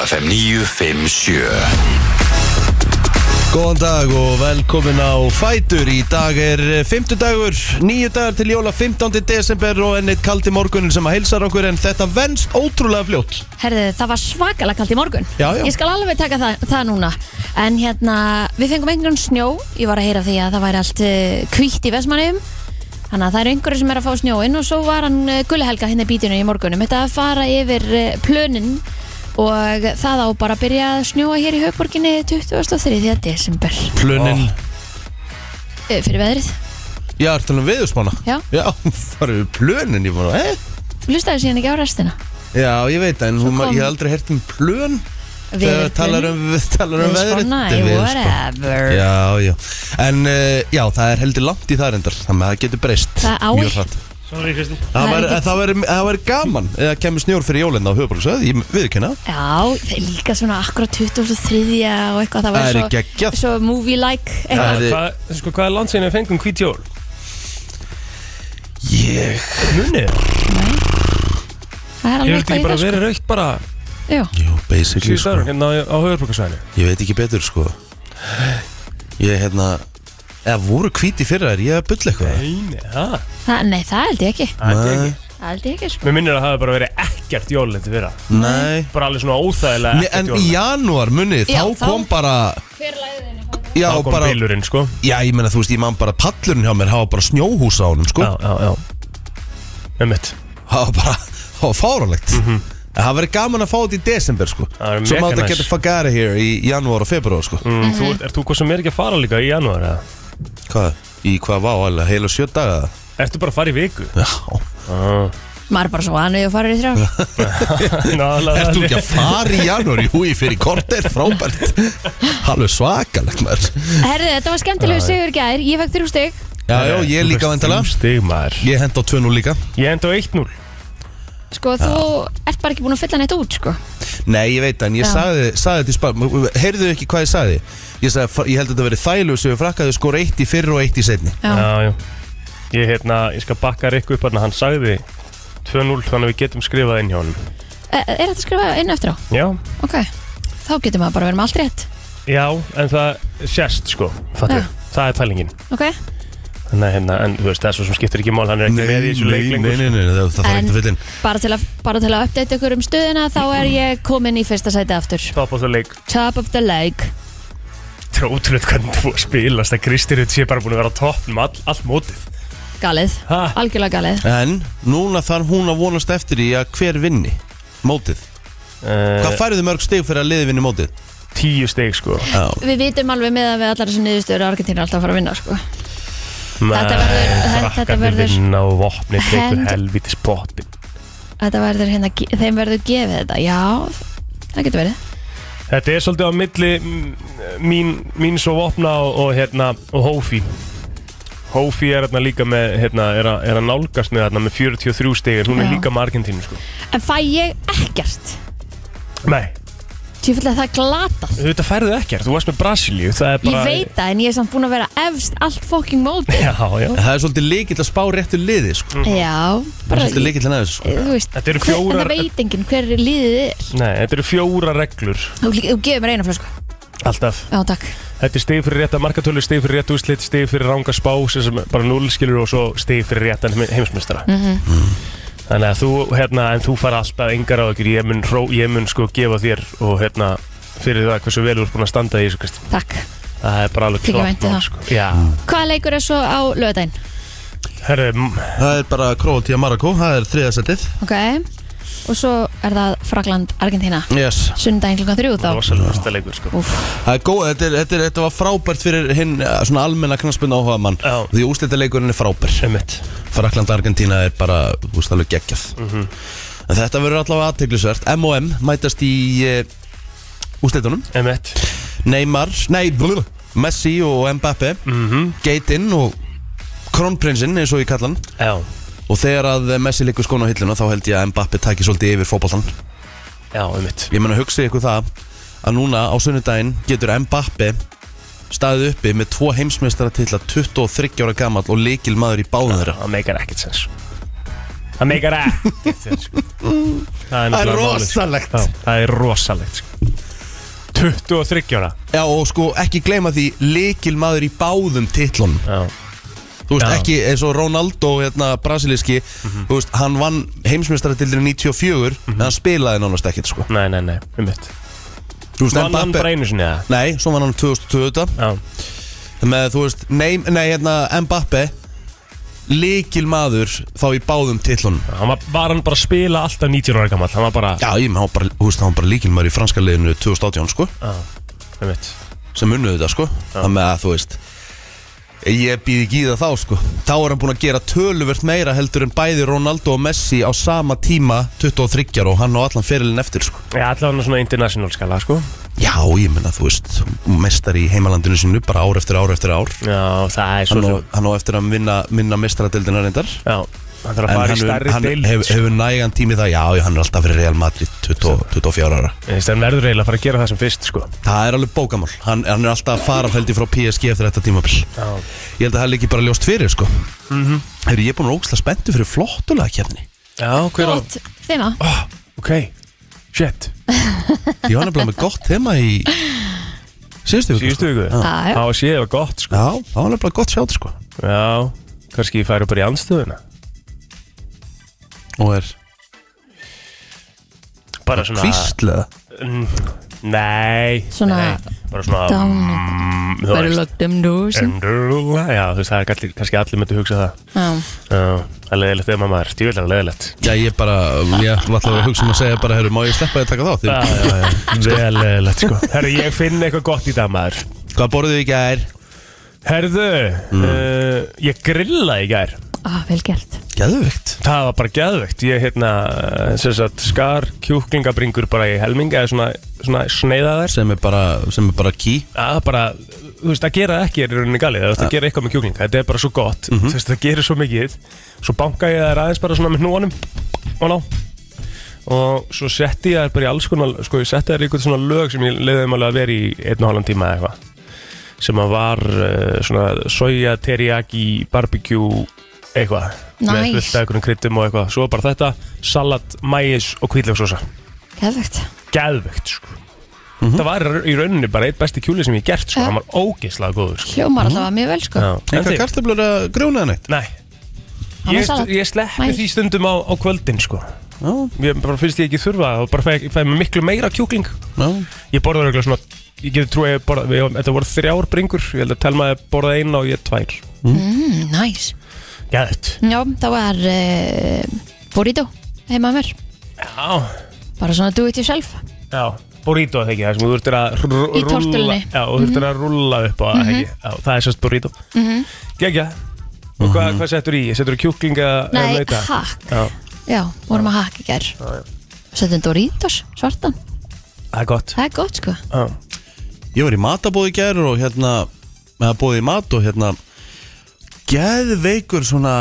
FM 957 Góðan dag og velkomin á Fætur Í dag er fymtudagur, nýju dagar til jóla 15. desember og enn eitt kaldi morgunin sem að heilsar okkur en þetta venst ótrúlega fljótt Herðu, það var svakalega kallt í morgun Já, já. Ég skal alveg taka það, það núna En hérna, við fengum einhvern snjó Ég var að heyra af því að það væri allt uh, kvítt í Vestmanneum Þannig að það eru einhverju sem er að fá snjóinn og svo var hann uh, gullihelga hérna í bítinu í morgunum Þetta að fara yfir uh, plönin og það á bara að byrja að snjóa hér í höfborginni 23. desember Plunin, Eh, fyrir veðrið. já, ertu alveg viðusmána Já. Já, farið við plunin, ég fann að, eh? Þú lustaði síðan ekki á restina. Já, ég veit það, en hún, kom- ég hef aldrei hert um plun Þegar Veðurplön, talar um, talar um veðrið viðspána, Þetta er veðurspá. whatever. Já, já, en uh, já, það er heldur langt í það reyndar Þannig að það getur breyst Það á mjög ekki- hratt. Sorry Kristi Það Það er væri- ekkert- það væri það væri gaman eða kemur snjór fyrir jólinn á höfuborgsöð ég viðkynna Já, það er líka svona akkurat 23. og eitthvað, það Það var er svo, geggjað. svo movie-like Já. eitthvað. þið- Hvað, sko, hvað er langt síðan við fengum hvít jól? ég Munið Nei. Það Hefur þetta er alveg eitthvað ekki í bara það, verið raukt bara sko. Jú. Jú, basically síðust sko. árum hérna á, á höfðurbrukarsvæðinu? ég veit ekki betur sko ég hérna eða voru hvíti fyrir þær, ég hef að bulla eitthvað Nei, það Það, nei, það held ég ekki. Það er Nei. ekki Það held ég ekki, sko. Mér minnir að það hafi bara verið ekkert jólindi fyrra Nei Bara alveg svona óþægilega Nei, ekkert En í jólindi janúar munni, Já, þá þá- kom bara Hver læðin? Já, Þá kom bara, bílurinn sko já, ég meina, þú veist, ég man bara pallurinn hjá mér, hafa bara snjóhús á honum, sko Já, já, já Ummitt hafa bara, hafa fáralegt En það verið gaman að fá þetta í desember, sko Mhm. Það væri Svo mega má þetta næs. geta fagari hér í janúar og februar, sko Mhm. mm, þú, ert- Ert þú hvað sem er ekki að fara líka í janúar eða? Hvað? Í hvað vá, alveg, heila sjö daga Ertu bara að fara í viku? Já Ah. Maður er bara svo aðnöðu að fara í þrjá. Nálega Ertu ekki að fara í janúar? Jú, ég fyrir korter, frábært Alveg svakalegt maður Herðu, þetta var skemmtilegu sigur í gær. Ég fekk þrjú stygg. Já, já, ég líka vantala Stig maður Ég hend á 2-0 líka Ég enda á 1-0 Sko, þú ert bara ekki búin að fylla neitt út, sko. Nei, ég veit það, en ég Já. sagði, sagði þetta í spal Heyrðu ekki hvað ég sagði? Ég, sagði, ég held að þetta verið þælu sem við frakkaðu skor eitt í fyrr og eitt í setni Já. Já, já. Ég, hérna, ég skal bakka Rikku upp hérna, hann sagði 2-0 þannig að við getum skrifað inn hjá hann. Er, E, er þetta skrifað inn eftir á? Já, Ok. Þá getur maður bara verið með allt rétt. já, en það sérst sko, fattu, Já. það er pælingin. Ok? Þannig að hérna, en þú veist, það er svo sem skiptir ekki mál, hann er ekki með í þessu leik nei, lengur. nei, nei, það það þarf En- ekki að fylla inn Bara til að, bara til að uppdata ykkur um stöðina, þá er ég komin í fyrsta sæti aftur. Top of the league. Top of the lake. Þetta er ótrúlega hvernig þú spilast að Kristi Rutt sé bara búin að vera á toppnum all, allt mótið. Galið. Ha? Algjörlega galið. En núna þarf hún að vonast eftir í að hver vinni Mótið Uh, Hvað færðu mörg stig fyrir að liði vinni mótið? tíu steg sko. Já Við vitum alveg með að við allar þessu niðurstöður Argentínu er alltaf að fara að vinna, sko. Þetta verður- þetta Frakkarnir verður- vinna og vopnið tekur Hand- helviti spotin. Þetta verður hérna, ge- þeim verður gefið þetta, já, það getur verið. Þetta er svolítið á milli mm, mín, mín svo vopna og, og, hérna, og Hófi Hófi er hérna líka með hérna, er, að, er að nálgast með hérna með 43 stig en hún er Já. líka með Argentínu sko En fæ ég ekkert? Nei, Tjúfilega það er glatað. þetta færðu ekkert, þú varst með Brasilíu Það er Ég bara veit það, en ég er samt búin að vera efst allt fokking móti. Já, já En Það er svolítið líkill að spá réttu liði, sko Já, Það Mm. bara, eh, er svolítið líkill að næðu, sko þú veist, Þetta eru hver- fjórar- það veit enginn hver liðið er. Nei, þetta eru fjóra reglur Þú, þú gefur mér eina flösku. Alltaf Já, takk. Þetta er stig fyrir rétta markatölu, stig fyrir rétt úrslit, stig fyrir ranga spá sem sem bara núl skilur og svo stig fyrir réttan heimsmyndstara Mhm. Þannig að þú, hérna, en þú fara alltaf engar á okkur, ég mun, hró, ég mun sko gefa þér og hérna fyrir það hversu vel þú ert búin að standa í þessu Kristi Takk. Það er bara alveg Þykir vænt um mál, það. sko. Já, Hvaða leikur er svo á löðdæn? herru, m- Það er bara Króatíu Marakó, það er þriðasettið Ok, og svo er það Frakland, Argentína. Yes Sundaginn klukkan þrjú þá. rosalega fyrsta leikur sko Úf, Það er góð, þetta, er, þetta, er, þetta var frábært fyrir hinn eh, svona almenna knaspun áhuga mann Já. Því úrslitaleikurinn er frábær Einmitt. Frakland Argentína er bara úrstæðlega geggjað En þetta verður allavega aðteglisvert M&M mætast í uh, úrslítunum Emmett Neymar, nei, blr, Messi og Mbappe mm -hmm. Geitinn og Kronprinsinn eins og ég kalla hann Já, Og þegar að Messi liggur skóna á hilluna þá held ég að Mbappe taki svolítið yfir fótboltan já, Emmett Ég meina hugsið ykkur það að núna á sunnudaginn getur Mbappe staðið uppi með tvo heimsmeistara 23 ára gamall og leikil maður í báðum þeirra Það meikar ekkert sens Það meikar ekkert sens sko. Það er, nefnilega málið, sko. rosalegt. Já, Það er rosalegt sko. 23 ára Já, og sko ekki gleyma því Likil maður í báðum titlunum Já, Þú veist, Já. Mhm. ekki eins og Ronaldo hérna, brasilíski, þú veist, hann vann heimsmeistaratildinu 94 en hann spilaði nánast ekkert, sko nei, nei, nei, um mitt Þú veist, Vann hann Mbappé- bara einu sinni eða? Nei, svo vann hann 2020 Já, með, þú veist, nei, nei hérna, Mbappe Likil maður þá í báðum titlunum hann var, var hann bara að spila alltaf 90 ára gammal Hann var bara, Já, ég með, hann var bara, þú veist, hann var bara líkil maður í franska liðinu 2018, sko já, um mitt sem unnuðu þetta sko þannig að þú veist ég býð ekki í það þá sko þá er hann búin að gera töluvert meira heldur en bæði Ronaldo og Messi á sama tíma 23 ára og hann á allan fyrirlin eftir sko Já, allavega svona international skala, sko já ég menna þú veist mestar í heimalandinu sínu bara ár eftir ár eftir ár Já, það er svo hann á, sem hann á eftir að vinna, vinna mestaradeildina reyndar Já, hann þarf að en fara í hann, hefur- stærri hann deild hefur hef nægan tími það já já, hann er alltaf fyrir Real Madrid 20, 24 ára Ég veist, hann verður eiginlega að fara að gera það sem fyrst, sko það er alveg bókamál hann, hann er alltaf að fara held ég frá PSG eftir þetta tímabil Já, Ég held að það liggi bara ljóst fyrir sko mm Hefur ég búin að ógsta spenntu fyrir flottulega kefni já hver á Gott, þeima oh, Ok, shit Ég var nefnilega með gott þema í Síðustu viku Síðustu ykkur Já. Já, já. Það var séð var gott, sko Já, það var nefnilega gott sjátt sko Já, kannski ég færi bara í andstöðuna Og er Bara svona kvíslega Mm, Nei Svona- nei, Bara svona Dám, mm, Þú verður veist lögdum dúsin Endurla, já, þú veist, það er kallir, kannski allir myndi hugsa það Já, Já, Það er leðilegt þegar maður er stífilega leðilegt Já, ég bara, ég var alltaf að hugsa um að segja bara Herru, má ég sleppa þér að taka þá? Því, Já, já, já, vel leðilegt sko Herru, ég finn eitthvað gott í dag maður Hvað borðuðu í gær? Herðu, uh, ég grillaði í gær ah, vel gert Geðvikt Það var bara geðvegt Ég hérna, sem sagt, skar kjúklingabringur bara í helming eða svona, svona sneiðaðar Sem er bara, sem er bara ký að það bara, þú veist, að gera það ekki er í rauninni galið, þú veist, að gera eitthvað með kjúklinga þetta er bara svo gott, þú veist, það gerir svo mikið svo banka ég þær aðeins bara svona með hnúanum og ná og svo setti ég þær bara í alls konar sko, ég setti þær í eitthvað svona lög sem ég leiði þeim alveg að vera í einn og halvan tíma eða eitthvað sem að var uh, svona soja, teriyaki, barbecue eitthvað, með Nice. fullt af einhvern kryddum og eitthvað, svo bara þetta salat, mæis og kvíðlegsósa Geðvögt geðvegt sko. Það var í rauninni bara eitt besti kjúli sem ég hef gert sko. Já. Hann var ógeðslega góður sko. Hljómar allavega mjög vel sko Já. En Engar þig? kartöflur að grjóna það neitt? Nei Hann var Ég, salat. ég sleppi Mæs. því stundum á, á kvöldin sko. Já, Ég bara finnst ég ekki þurfa og bara fæ, fæ mig miklu meira kjúkling já Ég borða eitthvað svona Ég getur trúið að ég borða ég, Þetta voru þrjár bringur Ég held að telma að borða eina og ég tvær mm, Næs Gæðt Já, það var uh, burrito heima að mér Já, Bara svona do it yourself já Burrito það ekki, það sem þú þurftir að rú- Í Mhm. rúlla- tortillunni. Já, þú þurftir að rúlla upp á það ekki Já, það er sérst burrito mm Mhm. Gægja Og hvað, hvað settur í? Settur í kjúklinga Nei, leita? hakk. Já, Já, vorum að haka í gær Settum Doritos, svartan það er gott Það er gott sko Já, Ég var í matabóð í gær og hérna með að bóði í mat og hérna geðveikur svona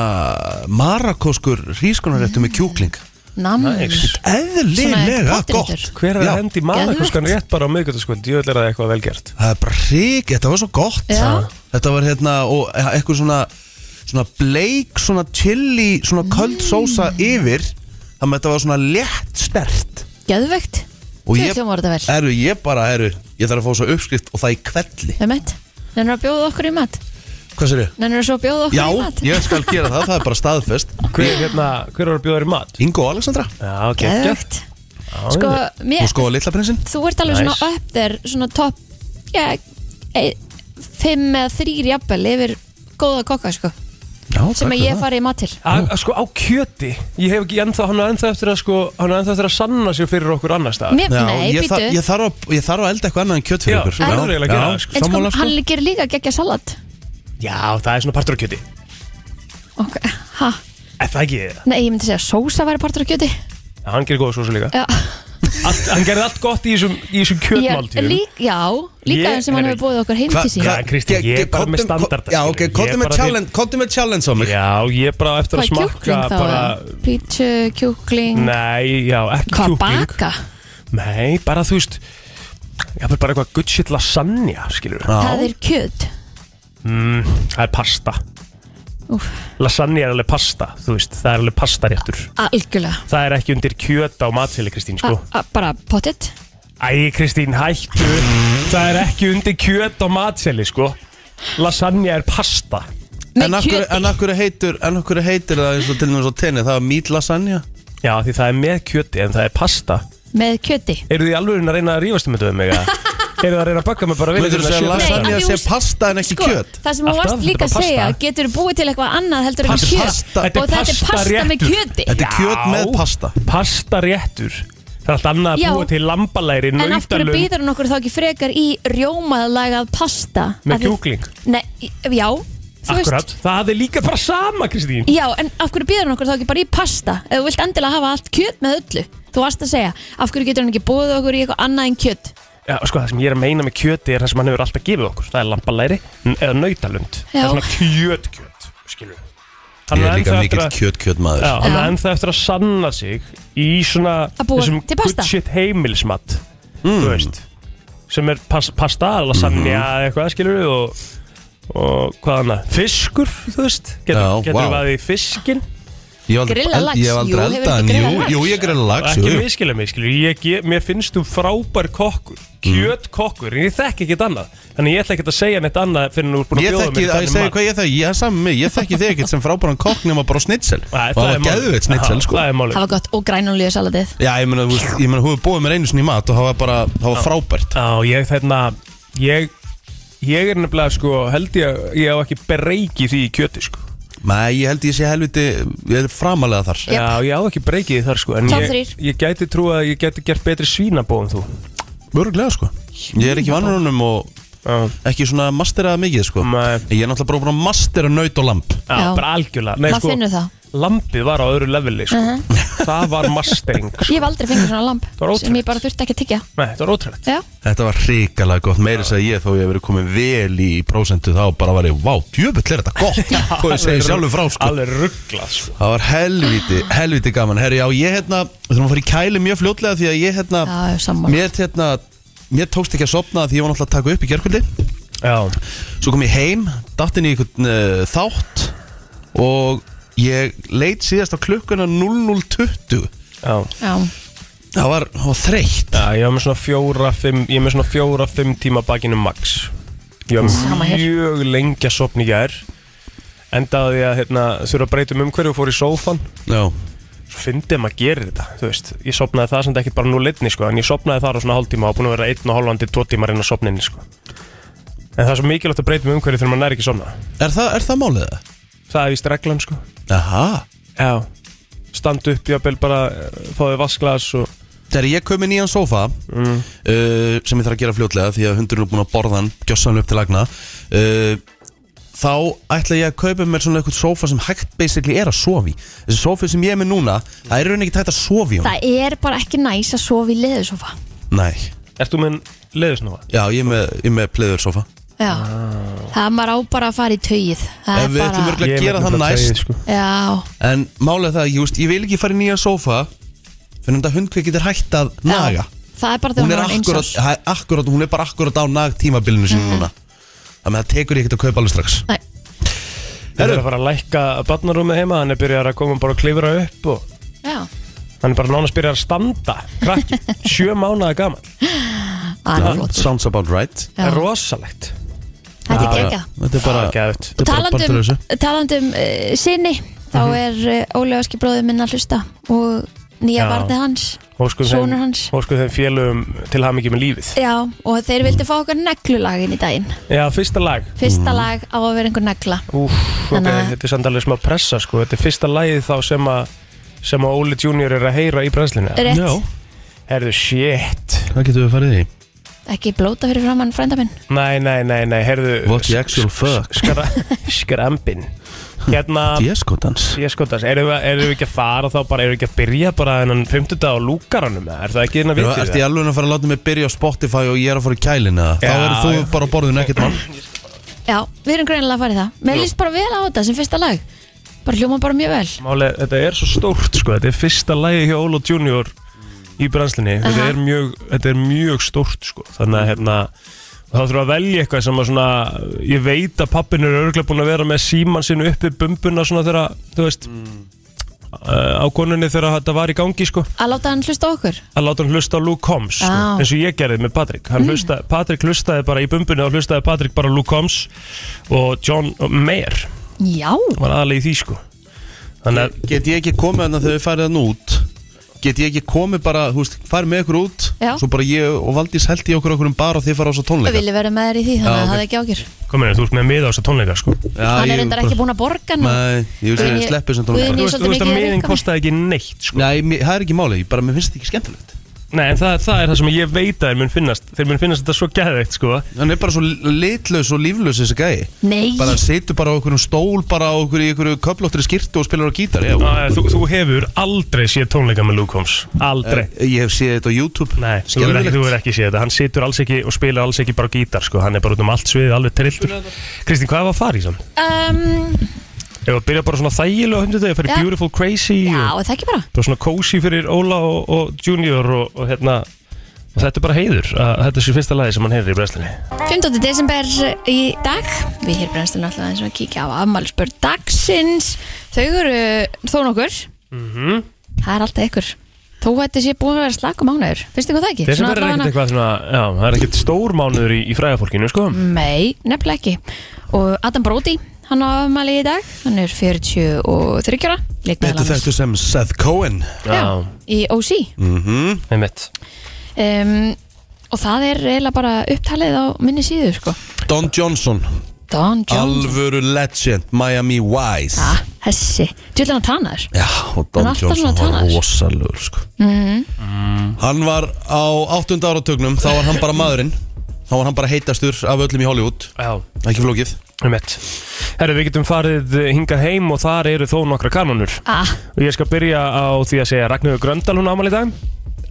marakoskur hrískunaréttu með kjúkling Nam Nice. eðlilega Svona gott pottréttur. Hver er Já. að hendi malakoskan rétt bara á miðgötaskvöld? Ég vil er það eitthvað vel gert það er bara hrík, þetta var svo gott Já. þetta var hérna og eitthvað svona svona bleik, svona chili svona köld Mm. sósa yfir þannig að þetta var svona létt stert Geðvögt Og Þau ég- hljómar þetta vel Herru, ég bara, herru, ég þarf að fá svo uppskrift og það í kvelli Það er meitt Nennir að bjóða okkur í mat Hvað sér ég? Nennir svo að bjóða okkur Já, í mat ég skal gera það, það er bara staðfest Hver, hérna, hver var að bjóða þér í mat? Ingo og Alexandra Já, ok, Geðvögt Sko, mér, og sko litla prinsinn þú ert alveg Nice. svona upp þér Svona topp ja, e, Fimm eða þrýr jafnvel Yfir góða kokka sko Já, Sem að ég fari í mat til A, sko á kjöti Ég hef ekki ennþá, hann er ennþá eftir að sko Hann er ennþá eftir að sanna sér fyrir okkur annar stað Mér, Já, Nei, ég, þar, býtu ég, þarf að, ég þarf að elda eitthvað annað en kjött fyrir Já, ykkur það er eiginlega að gera það, sko. En sko, sammála, hann gerir líka geggja salat Já, það er svona partur á kjöti Ok, ha Er það ekki það? Nei, ég myndi segja að sósa væri partur af kjöti Já, hann gerir góða sósu líka Já, allt, Hann gerir allt gott í þessum, í þessum ég, kjötmáltíðum lík, já líka Ég- það sem hann herri, hefur búið okkur heim Hva- til sín hva- Já, Kristín, ég er ge- bara með komdu- standarda, Já, ok, skilur. Ég komdu er með bara challenge Komdu með challenge á mig Já, ég er bara á eftir Hvað að er smakka kjúkling þá? bara, eða? Pítsu, kjúkling Nei, já, ekki Hvað kjúkling baka? Nei, bara þú veist Já, bara eitthvað good shit lasagna, skilur Það er kjöt mm, Það er pasta Úf, Lasagna er alveg pasta, þú veist, það er alveg pastaréttur algjörlega Það er ekki undir kjöta og matseli, Kristín, sko A- a- Bara pottit Æ, Kristín, hættu Það er ekki undir kjöt og matseli, sko Lasagna er pasta En af hverju- en af hverju heitir, en af hverju heitir það eins og til dæmis á tenni, það er meat lasagna Já, því það er með kjöti, en það er pasta Með kjöti Eru þið alveg að reyna að rífast um þetta við mig, eða? Eru þið að reyna að bagga mig bara við Myndirðu þetta segja kjöt- Nei, lasagna af því sé hún- sko, pasta en ekki kjöt það sem þú Alltaf, varst þetta líka er að bara segja pasta. Getur búið til eitthvað annað heldur en Pasta- kjöt pasta- Og þetta er pasta með réttur. kjöti Þetta er kjöt Já. með pasta Pasta réttur Það er allt annað að Já. búa til lambalæri, En af hverju nautalum býður hún okkur þá ekki frekar í rjómaðlagað pasta Af með því- kjúkling Nei, í- já, þú Akkurat, það er líka bara sama, Kristín Já, en af hverju býður hún okkur þá ekki bara í pasta Ef þú vilt endilega hafa allt kjöt með öllu Þú varst að segja, af hverju getur hún ekki búið okkur í eitthvað annað en kjöt Já, sko, það sem ég er að meina með kjöti er það sem hann hefur alltaf gefið okkur. Það er lambalæri n- eða nautalund. Það Já. er svona kjötkjöt, skilur við. Hann á Ég er líka ennþá eftir mikill að- kjöt kjöt maður Já, hann Já. er ennþá eftir að sanna sig í svona Að búa til pasta. good shit heimilsmat, þú Mm. veist, sem er pas, pasta, lasagna Mhm. eða eitthvað, skilur við, og, og hvað annað, fiskur, þú veist, getur, Já, getur vá. við að því fiskinn, Ég hef aldrei- Grilla lax, Ég hef jú, aldrei hefur eldað en ekki jú, grillað lax? jú, ég grilla lax jú, ekki jú. miskilja mig, skilur, ég, ge- mér finnst þú frábær kokkur, Mhm. kjötkokkur, en ég þekk ekki annað, þannig ég ætla ekki að segja neitt annað fyrir en þú er búin að Ég bjóða þekki, mér að ég segi hvað ég þekki, ég er saman með mig, ég þekki þig ekkert sem frábæran kokk nema bara á snitsel Og Nei, það var málið. geðveitt snitsel Já, sko Það er málið Það var gott og grænulíu salatið Já, ég meina, þú veist, ég meina, hún hefur búið mér einu sinni í mat og það var bara, það var frábært Já, ég þarna Ég, ég er nefnilega sko held ég að ég á ekki breyki því í kjöti sko Nei, ég held ég sé helviti, ég er framalega þar Jöp. Já, ég á ekki breyki því þar sko En Top ég, þrír. ég gæti trú að ég gæti gert betri svínabó en þú Mörglega, sko Ég er ekki vannur honum og Já, ekki svona masterað mikið, sko Nei. Ég er náttúrulega bara búin að mastera naut og lamp já, Já. bara algjörlega Nei, Maður finnur það. Uh-huh. Lampið var á öðru leveli sko Það var mastering sko. Ég hef aldrei fengið svona lamp var ótrúlegt. sem ég bara þurfti ekki að tyggja Nei, þetta var ótrúlegt Já, Þetta var hrikalega gott, meiri segi ég þó ég hef verið komið vel í prósentu þá bara var ég, vá, djöfull er þetta gott Þó ég segi sjálfur frá, sko Alveg rugglað sko Það var helviti, helviti gaman Herri, já, ég hérna, við þurfum að fara í kæli mjög fljótlega því að ég hérna, já, já, sammála mér hérna mér tókst ekki að sopna því ég var náttúrulega að taka upp í gerkvöldi Já, Svo kom ég heim, datt inn í einhvern uh, þátt og ég leit síðast á klukkuna 00.20 já Já, Það var, það var þreytt Já, ég var með svona fjóra, fimm Ég var með svona fjóra, fimm tíma bakinu max Ég var Sama hér. mjög lengi að sopna í gær Endaði að hérna, þurfa að breyta um umhverju og fór í sófan Já, Svo fyndið að maður gerir þetta, þú veist Ég sopnaði það sem þetta ekki bara nú litni, sko En ég sopnaði þar á svona hálftíma og búin að vera einn og hálfan til tvo tíma inn á sopninni, sko En það er svo mikilvægt að breyta um umhverju þegar maður næri ekki að sopna er það, er það málið það? Það er víst reglan, sko Aha Já Stand upp, jáfnvel bara, eh, fáið vasklas og Þegar ég kom inn í hann sófa uh, sem ég þarf að gera fljótlega því að hundurinn er búin að borða hann gjössan upp til lagna uh, þá ætla ég að kaupa mér svona eitthvað sófa sem hægt basically er að sofa í þessi sófi sem ég er með núna það er í raun ekki hægt að sofa í hún það er bara ekki næs að sofa í leðusofa Nei, Ert þú með leðusnúa? já ég er með, ég er með pleður sófa Já, það maður á bara að fara í taugið Það Ef er Ah. við ætlum bara, örugglega- Ég gera það næst. sko. já, en málega það, ég, veist, ég vil ekki fara í nýjan sófa fyrir að hundkveik getur hægt að naga já Það er bara hún þegar er, eins akkurat, árs. hæ, akkurat, hún er bara akkurat á nag tímabilinu sinni núna þannig að það tekur ég ekkert að kaupa alveg strax Nei, Það er að fara að lækka barnarúmið heima, hann er byrjað að koma bara að klifra upp og já hann er bara nánast byrjað að standa, krakki, sjö mánuða gaman. Það er flott Sounds about right Ah, Já. Það er rosalegt. Þetta er um- Já, gegga Þetta er bara Það er geðvægt. þetta er bara Talandum, partur af þessu. Mhm. talandum uh, sinni Þá er uh, Ólefaski bróðið minn að hlusta Og nýja Já. barnið hans Óskum Sonur þeim, hans. óskum þeim félögum til hafa mikið með lífið. Já, og þeir vildi fá okkur neglulagin í daginn Já, fyrsta lag. Mhm. Fyrsta lag á að vera einhver negla Úf, ok, Þannig að- þetta er samt alveg smá pressa sko. Þetta er fyrsta lagið þá sem að sem að Óli Junior er að heyra í brennslinu. Rétt, Herðu, shit. Hvað getur við farið í? ekki blóta fyrir framann frænda minn Nei, nei, nei, nei, herðu. What the actual fuck? Skra, skrambin. Hérna. Dieskotans Ég sko þess, erum við, erum við ekki að fara þá bara, erum við ekki að byrja bara þennan 50 á lúkaranum, eða? er það ekki þinn að vitið Ertu í alveg að fara að láta mig byrja á Spotify og ég er að fara í kælina Þá Já, eru þú já. bara á borðinu ekkert mann Já, við erum greinilega að fara í það Mér líst bara vel á þetta sem fyrsta lag Bara hljóma bara mjög vel Máli, þetta er svo stórt sko, þetta er fyrsta lægi hjá Óla Junior í brannslinni, þetta, Aha. er mjög, þetta er mjög stórt sko, þannig að hérna, þá þurfum við að velja eitthvað sem að svona, ég Mm. veit að pappin er örgulega búin að vera með síman sinu uppi bumbuna svona þegar, þú veist, uh, á konunni þegar þetta var í gangi sko Að láta hann hlusta á okkur að láta hann hlusta á Luke Combs sko, Já. eins og ég gerði með Patrick mm. hlusta, Patrick hlustaði bara í bumbunni og hlustaði Patrick bara á Luke Combs og John Mayer Já, Oh var aðalega í því sko þannig að Get ég ekki komið hann þegar við farið hann út Get ég ekki komið bara, hú veist, farið með ykkur út Já. Svo bara ég og Valdís held í okkur okkur um bar og þið fara á svo við tónleika viljum vera með þér í því Já, þannig að ok. það er ekki ákjör komin, þú ert með miða á þessa tónleika sko Já, Hann er ég- reyndar ekki búin að borga hann Nei, ég vil Guðni- segja sleppu sem Guðni- þú tónleika er veist, svolítið þú veist að mikið að miðin reyka mig. kostaði ekki neitt sko. Nei, mér- það er ekki málið, ég bara, mér finnst þetta ekki skemmtilegt nei, en það, það er það sem ég veit að þeir mun finnast þeir mun finnast þetta svo gæðveikt sko. Hann er bara svo litlaus og líflaus þessi gæi Nei, Bara hann situr bara á okkur um stól, bara á okkur í okkur köflóttri skirtu og spilar á gítar Já, Æ, þú, þú hefur aldrei séð tónleika með Luke Combs Eh, aldrei eh, Ég hef séð þetta á YouTube Nei, þú verður ekki, þú verður ekki séð þetta Hann situr alls ekki og spila alls ekki bara á gítar sko. Hann er bara út um allt sviðið, alveg trilltur Kristín, hvað var að fara í samt? um, Ef að byrja bara svona þægilega hundið þegar fyrir Já. Beautiful Crazy já, og er það ekki bara bara svona cozy fyrir Óla og, og Junior og, og hérna og þetta er bara heiður að þetta sé fyrsta lagi sem hann heyrir í brestinni 15. desember í dag Við hér brennstum alltaf eins og að kíkja á afmælspörn dagsins Þau eru þó nokkur Mhm. Það er alltaf ykkur Þó að þetta sé búin að vera slaka mánuður Finnst ykkur það ekki? Þessi Svona verður ekkert allavega- eitthvað svona Já, það er ekkert stór mánuður í, í fræðafólkinu sko Mm. Nei, nefnilega ekki Og Adam Brody, hann á afmæli í dag Hann er 43 ára Þetta Leikmaður þekktu lands sem Seth Cohen Já, í OC Mhm. einmitt um, Og það er eiginlega bara upptalið á minni síðu sko. Don Johnson, Don Jones alvöru legend, Miami Vice Ah, Þessi, djúlega hann tannaður Já, og Don Hann er alltaf Johnson svona var tannaður. rosalur sko. Hann var á 8. áratugnum þá var hann bara maðurinn þá var hann bara heitastur af öllum í Hollywood Já, ekki flókið einmitt Herru, við getum farið hingað heim og þar eru þó nokkra kanonur ah, Og ég skal byrja á því að segja Ragnhjóður Gröndal hún ámæli í dag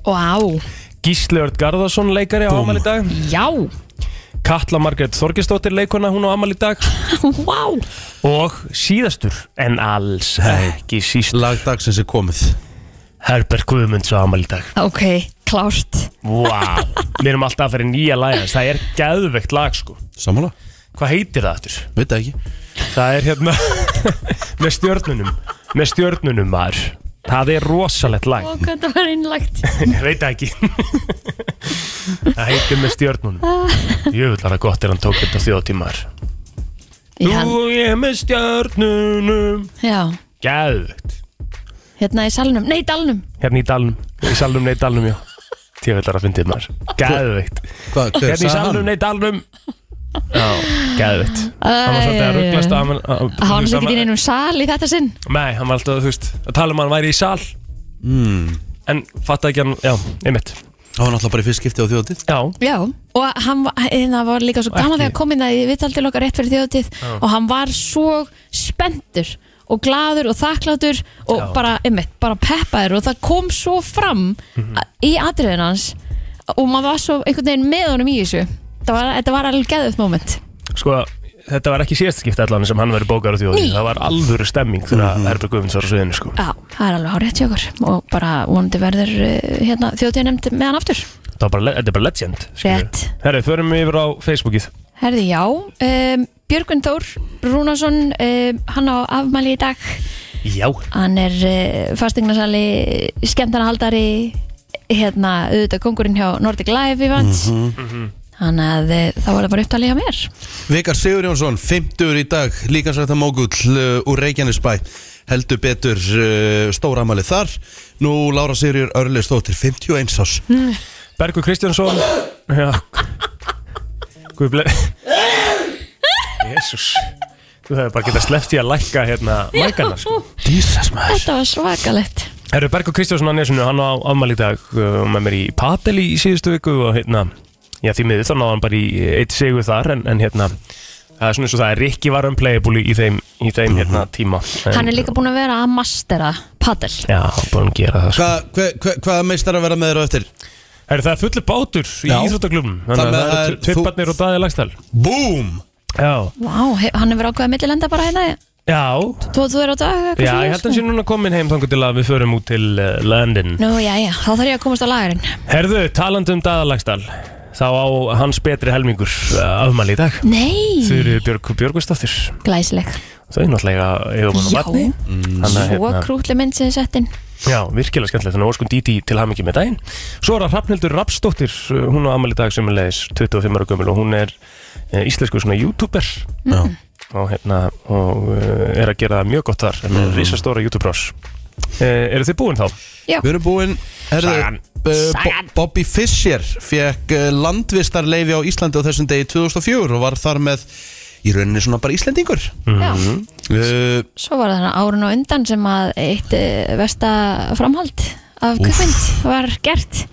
Wow, Gísli Örd Garðarsson leikari á ámæli í dag já Katla Margrét Þorgesdóttir leikona hún á ámæli í dag Wow Og síðastur en alls ekki síst Lag dagsins er komið Herbert Guðmunds á ámæli í dag Ok, klárt Vá, við erum alltaf að fyrir nýja lagans Það er gæðveikt lag sko Samanlega, Hvað heitir það aftur? veit það ekki Það er hérna Með stjörnunum Með stjörnunum maður Það er rosalegt lag Og hvað það var innlagt Ég veit það ekki Það heitir með stjörnunum Jöfull var það gott er hann tók þetta þjóðtímar Í hann, Nú ég er með stjörnunum já Gæðvögt Hérna í salnum, nei dalnum Hérna í dalnum, í salnum nei dalnum já Tjöfull var að fyndið maður Gæðvögt Hvað, hver Hérna í sagði salnum hann? nei dalnum Já, gæðvögt Hann var svolítið að rugglast að hann- að- þú Það var veist, ekki inn einum sal í þetta sinn Nei, hann var alltaf, þú veist, að tala um að hann væri í sal mm. Hmm. En fattaði ekki hann, já, einmitt Það var náttúrulega bara í fyrst skipti á þjóðatíð Já, Já, og hann var, en það var líka svo Og gaman ekki- þegar kom inn að ég vitt aldrei loka rétt fyrir þjóðtíð og hann var svo spenntur og gladur og þakklátur og Já. bara, einmitt, bara peppaður og það kom svo fram Mhm. að- í atriðin hans og maður var svo einhvern veginn með honum í þessu Þetta var, þetta var alveg geðuðt moment sko, þetta var ekki síðast skipti allan sem hann verið bókar á þjóðin Nei. Það var alvöru stemming þegar Mhm. mm -hmm. Herbjörg Guðmunds var á sviðinu, sko Já, það er alveg hár rétt hjá okkur og bara vonandi verður eh, hérna, þjóðtíð nefnd með hann aftur Það var bara, le- þetta er bara legend skilur. Rétt. Herri, förum við yfir á Facebookið Herði, já um, Björgvin Þór Rúnarsson um, hann á afmæli í dag Já hann er uh, fastegnarsali skemmtanahaldari hérna auðvitað kongurinn hjá Nordic Live Events þannig að uh, þá var það bara upptalið hjá mér Vikar Sigur Jónsson, 50 í dag líkansrættan mógull uh, úr Reykjanesbæ heldur betur uh, stóramæli þar Nú Lára Sigur Örlistóttir, 51 ás Mm. Bergur Kristjánsson Já Guð ble Jésús Þú hefur bara getað sleppt í að lækka hérna mækana, sko Jesus maður þetta var svakalett Herru, Bergur Kristjánsson Annesinu, hann á afmæli í dag uh, með mér í Patel í síðustu viku og hérna, já því miður þá náði hann bara í eitt sigur þar en, en hérna það er svona eins og það er Rikki var unplayable í, í þeim, í þeim hérna tíma en, hann er líka búin að vera að mastera padel Já, búin að gera það sko. Hva- hve- hve- Hvaða meistar að vera með þér á eftir? Herru, það er fullu bátur í Já. íþróttaklubnum Þar þannig með að það það er eru tvipparnir og daði lagstæl Boom! Já, Vá, he- hann hefur ákveðið að millilenda bara hérna já, þú þú er á dag eitthvað já, svoleiðis, ég held hann sé sko. núna komin heim þangur til að við förum út til uh, London Nú, já, já, þá þarf ég að komast á lagarinn Herðu, talandum daðalagstall þá á hans betri helmingur uh, afmæli í dag Nei, Þurri Björg Björgustóttir glæsileg þau náttúrulega eiga mann og Já, barni Mm. Þannig að, svo hérna, krútli mynd sem þið settin Já, virkilega skemmtilegt, þannig að óskum Díti til hamingi með daginn Svo er það Hrafnildur Rapsdóttir, uh, hún á afmæli í dag sem er leiðis 25 ára gömul og hún er uh, íslensku svona youtuber Mm. Já. og, hérna, og uh, er að gera það mjög gott þar en er risastóra youtube-rás Eh, Eru þið búin þá? Já, Við erum búin herðu, Sagan. eh, Sagan. Bo- Bobby Fischer fekk landvistarleifi á Íslandi á þessum degi 2004 og var þar með í rauninni svona bara Íslendingur já Mhm. uh, Svo var það þarna árun og undan sem að eitt eh, versta framhald af kvikmynd var gert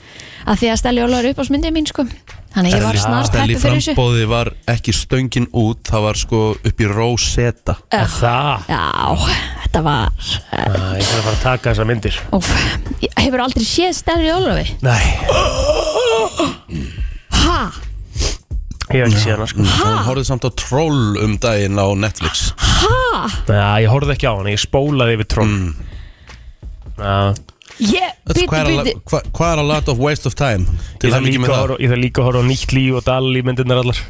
að því að Stelli Óla er upp á smyndið mín sko Þannig að ég var snart Stelli hættu fyrir þessu frambóði var ekki stöngin út það var sko upp í róseta Já. Það, Já, þetta var eh, Æ, ég þarf að fara að taka þessar myndir Úf, ég hefur aldrei séð Stelli Ólafi Nei, Ha, ég hef ekki séð hana sko Hún horfði samt á troll um daginn á Netflix Já, ég horfði ekki á hana, ég spólaði yfir trón Já, ég, Öll, bíti, Hvað er að- bíti hva- hvað er a lot of waste of time Ég til þarf það líka mikið með að það horfa- ég þarf líka að horfa á nýtt líf og dal í myndirnar allar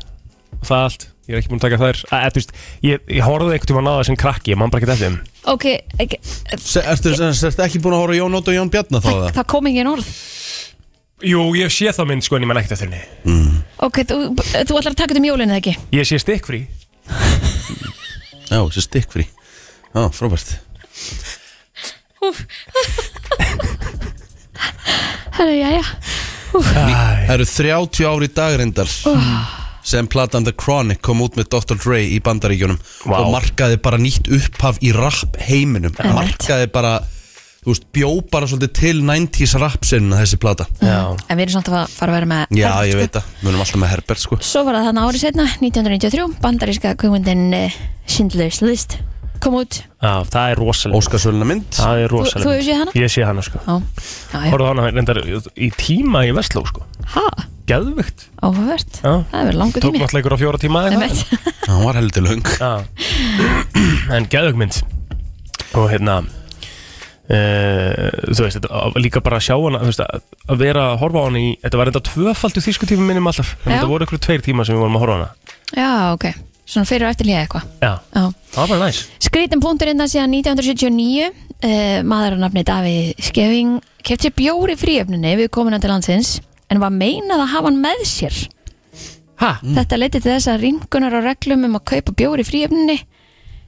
og það allt, ég er ekki búin að taka þær að, að, veist, ég, ég horfði einhvern tímann á það sem krakki ég man bara ekki eftir þeim Ok, ekki, Se- Ertu sem sagt ekki búin að horfa á Jón Ótt og Jón Bjarnar þá það, það? það kom engin orð Jú, ég sé það mynd sko en ég man ekkert eftir henni Ok, þú, þú ætlar að taka þetta um jólinu eða ekki? Ég sé stikkfrí Já, þessi stikkfrí Já, frábært Herra, já, já Æ, Það eru 30 ári dagrindar sem platan The Chronic kom út með Dr. Dre í bandaríkjunum Vá. og markaði bara nýtt upphaf í rap heiminum Einmitt. markaði bara, þú veist, bjó bara svolítið til 90s rap sinna þessi plata Já, En við erum samt að fa- fara að vera með Já, Herbert, ég sko. veit það, við erum alltaf með Herbert sko Svo var það þannig árið setna, 1993 Bandaríska kvikmyndin uh, Schindler's List kom út já, það er rosalega Óskarsvöluna mynd Það er rosalega þú mynd. hefur séð hana? Ég sé hana sko Já, já, já Horfði á hana reyndar í tíma í Vestló sko Ha, Geðvikt áhugavert Já. Það er verið langur Tók tími náttúrulega ykkur á fjóra tíma eða eitthvað. Einmitt. Það var heldur löng Já En geðugmynd Og hérna Uh, þú veist, þetta, að- líka bara að sjá hana þú veist, að, að vera að horfa á hana í þetta var enda tvöfaldu þýsku tíma minnum alltaf Já. þetta voru ykkur tveir tíma sem við vorum að horfa á hana Já, ok, svona fyrir og eftir líka eitthvað já, Já. það var bara næs Skrítin punktur innan síðan 1979 uh, maður á nafni Davíð Skeving kefti bjóri fríöfninni við komuna til landsins en var meinað að hafa hann með sér ha, Þetta leti til þess að ringunar á reglum um að kaupa bjór í fríöfninni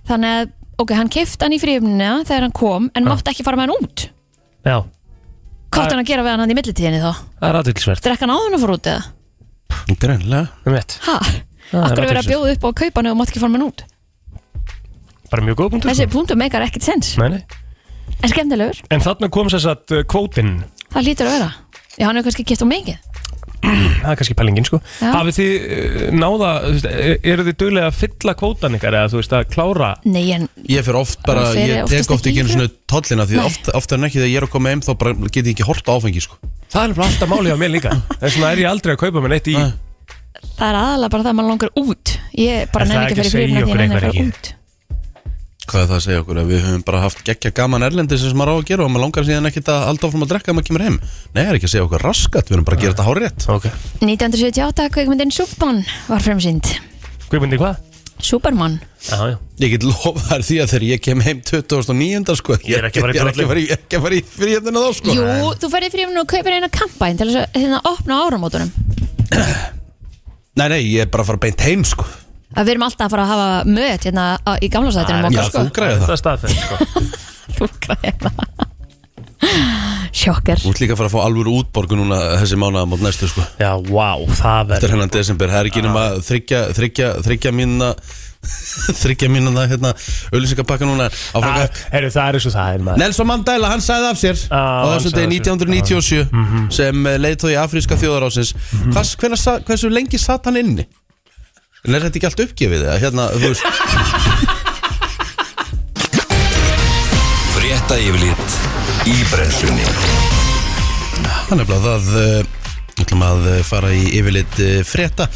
þannig að, ok, hann kefti hann í fríöfninna þegar hann kom, en mátti ekki fara með hann út já, Hvað Það- átti hann að gera við hann hann í millitíðinni þá? það er aðtilsvert Drekka hann áðun að fara út eða? Greinlega um vett, Ha? það er Akkur er verið að athyglisvert. bjóða upp á að kaupa hann og mátti ekki fara með hann út? bara mjög góð punktur Þessi punktum meikar ekkert sens sko. Nei, nei. En skemmtilegur, en þarna kom sér satt uh, kvótinn það lítur að vera Já, hann hefur kannski keft á mikið það er kannski pælingin sko Já. hafið þið uh, náða þú veist, e- eruð þið duglega að fylla kvótan ykkar eða þú veist að klára Nei, en Ég fyrir oft bara, Það fer ég oftast tek oft ekki ekki í einu þau. svona tollina því Nei. oft, oft en ekki þegar ég er að koma heim þá bara get ég ekki hort áfengi sko það er nefnilega alltaf málið á mér líka þess vegna er ég aldrei að kaupa mér neitt í Nei. það er aðalega bara það að maður langar út Ég bara En nefn það ekki ekki að segja fyrir fríöfninna okkur því nefn einhver ekki ekki. út Hvað er það að segja okkur? Að við höfum bara haft geggja gaman erlendi sem maður á að gera og maður langar síðan ekkit að halda áfram að drekka að maður kemur heim. Nei, það er ekki að segja okkur raskat, við erum bara að gera þetta hárétt. ok, 1978 kveikmyndin Superman var fremsynd kvipandi hvað? Superman Já, já. Ég get lofa þær því að þegar ég kem heim 2009, sko, Ég er ekki að fara í ég er ekki að fara í, ég er ekki að fara í fríðina þá, sko. Jú, þú ferði fríöfninna um og kaupir eina kampæn til þess að hérna opna á áramótunum Nei, nei, ég er bara að fara beint heim, sko. að við erum alltaf að fara að hafa möt hérna á- í gamla sætinum Já, okkar sko þú græði Þetta það. er staðfenn sko. þú græða sjokkar Þú ert líka að fara að fá alvöru útborgu núna þessi mánuða mót næstu, sko. Já, wow, það Þetta verður er Ah. hennan desember, það er ekki nema þryggja, þryggja, þryggja mínuna, þryggja mínuna, hérna, auðlýsingapakka núna. Áfram, Það- Heyrðu, það er eins og það er maður Ah. Nelson Mandela, hann Ah, sagði af sér Já, Ah. Mhm. á þessum hann sagði degi af sér. 1997 sem leiðtói í afríska þjóðarásins mm hversu lengi satt hann inni? En er þetta ekki allt uppgefið? eða? Hérna, þú veist, Frétta yfirlit í brennslunni hann er bara það uh, ætlum að uh, fara í yfirleitt uh, frétta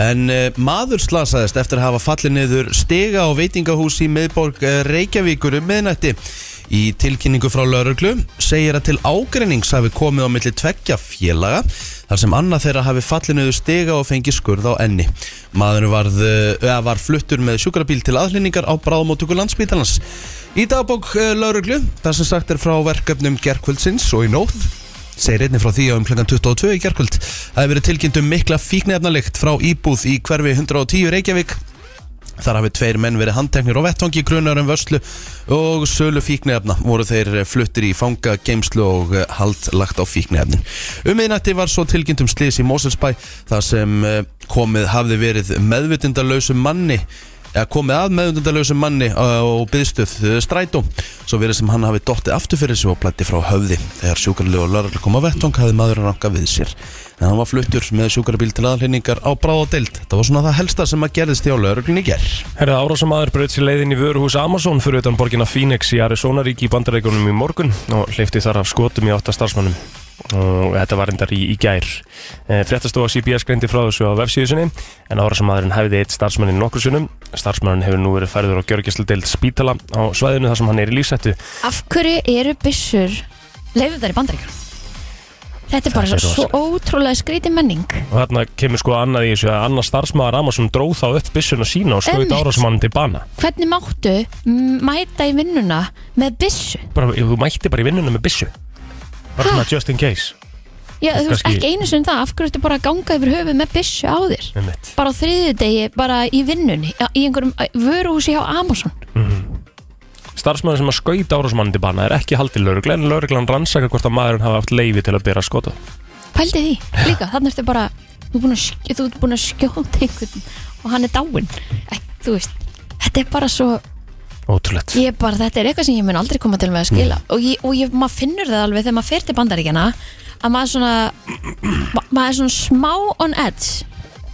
en uh, maður slasaðist eftir að hafa fallið niður stiga á veitingahús í miðborg uh, Reykjavíkur um eh, miðnætti Í tilkynningu frá lauruglu segir að til ágreinings hafi komið á milli tveggja félaga þar sem annað þeirra hafi fallinuðu stiga og fengið skurð á enni. Maðurinn varð, eh, eða var fluttur með sjúkrabíl til aðlýningar á bráðmótöku landsbítalans. Í dagbók eh, lauruglu, þar sem sagt er frá verkefnum gerkvöldsins og í nótt, segir einnig frá því að um kl. 22 í gerkvöld Það hefur verið tilkynnt um mikla fíknefnalikt frá íbúð í hverfi 110 Reykjavík Þar hafi tveir menn verið handteknir og vettangi grunar um vörslu og sölu fíknefna voru þeir fluttir í fanga, geimslu og eh, hald lagt á fíknefnin. Um einnætti var svo tilkynnt um slís í Moselsbæ þar sem eh, komið hafði verið meðvitundalösum manni eða komið að meðvitundalösum manni eh, og byðstuð strætó svo verið sem hann hafi dottið aftur fyrir sig og blætti frá höfði. Þegar sjúkarlegu og lörglu kom á vettvang hafði maður ranka við sér en hann var fluttur með sjúkarabíl til aðhlýningar á bráðadeild. Það var svona það helsta sem að gerðist hjá lörglun í gerð. Herða árásamæður bröðt sér leiðin í vöruhús Amazon fyrir utan borginna Phoenix í Arizona ríki í bandarækjunum í morgun og hleyfti þar af skotum í átta starfsmannum og þetta var endar í, í gær e, Fréttastofa CBS greindi frá þessu á vefsíðusinni en árásamæðurinn hefði eitt starfsmannin nokkur sunnum starfsmannin hefur nú verið færður á gjörgjæsludeild spítala á svæðinu þar sem hann er í lífsættu Af hverju eru byssur leifðar í bandaríkjum? Þetta er bara Þetta er svo ótrúlega skrítið menning og þarna kemur sko annað í þessu að annar starfsmæður Amazon dróð þá upp byssuna sína og skoði Einmitt. árásamannin til bana Hvernig máttu m- mæta í vinnuna með byssu? bara, þú mætti bara í vinnuna með byssu bara Ha? svona just in case Já, þú veist Kannski- ekki einu sinni það, af hverju ertu bara að ganga yfir höfuð með byssu á þér? Einmitt. Bara á þriðju degi, bara í vinnunni, á- í einhverjum á- vöruhúsi hjá Amazon Starfsmæður sem að skauta árásmannin til bana er ekki haldið laurugla en lauruglan rannsaka hvort að maðurinn hafa haft leifi til að bera skota. Pældi því, líka, þannig ertu bara, þú ert búin að, sk- þú ert búin að skjóta einhvern og hann er dáinn Ek, Þú veist, þetta er bara svo, Ótrúlegt. Ég bara, þetta er eitthvað sem ég mun aldrei koma til með að skila Mm. og, ég, og ég, maður finnur það alveg þegar maður fer til bandaríkjana að maður svona ma, maður er svona smá on edge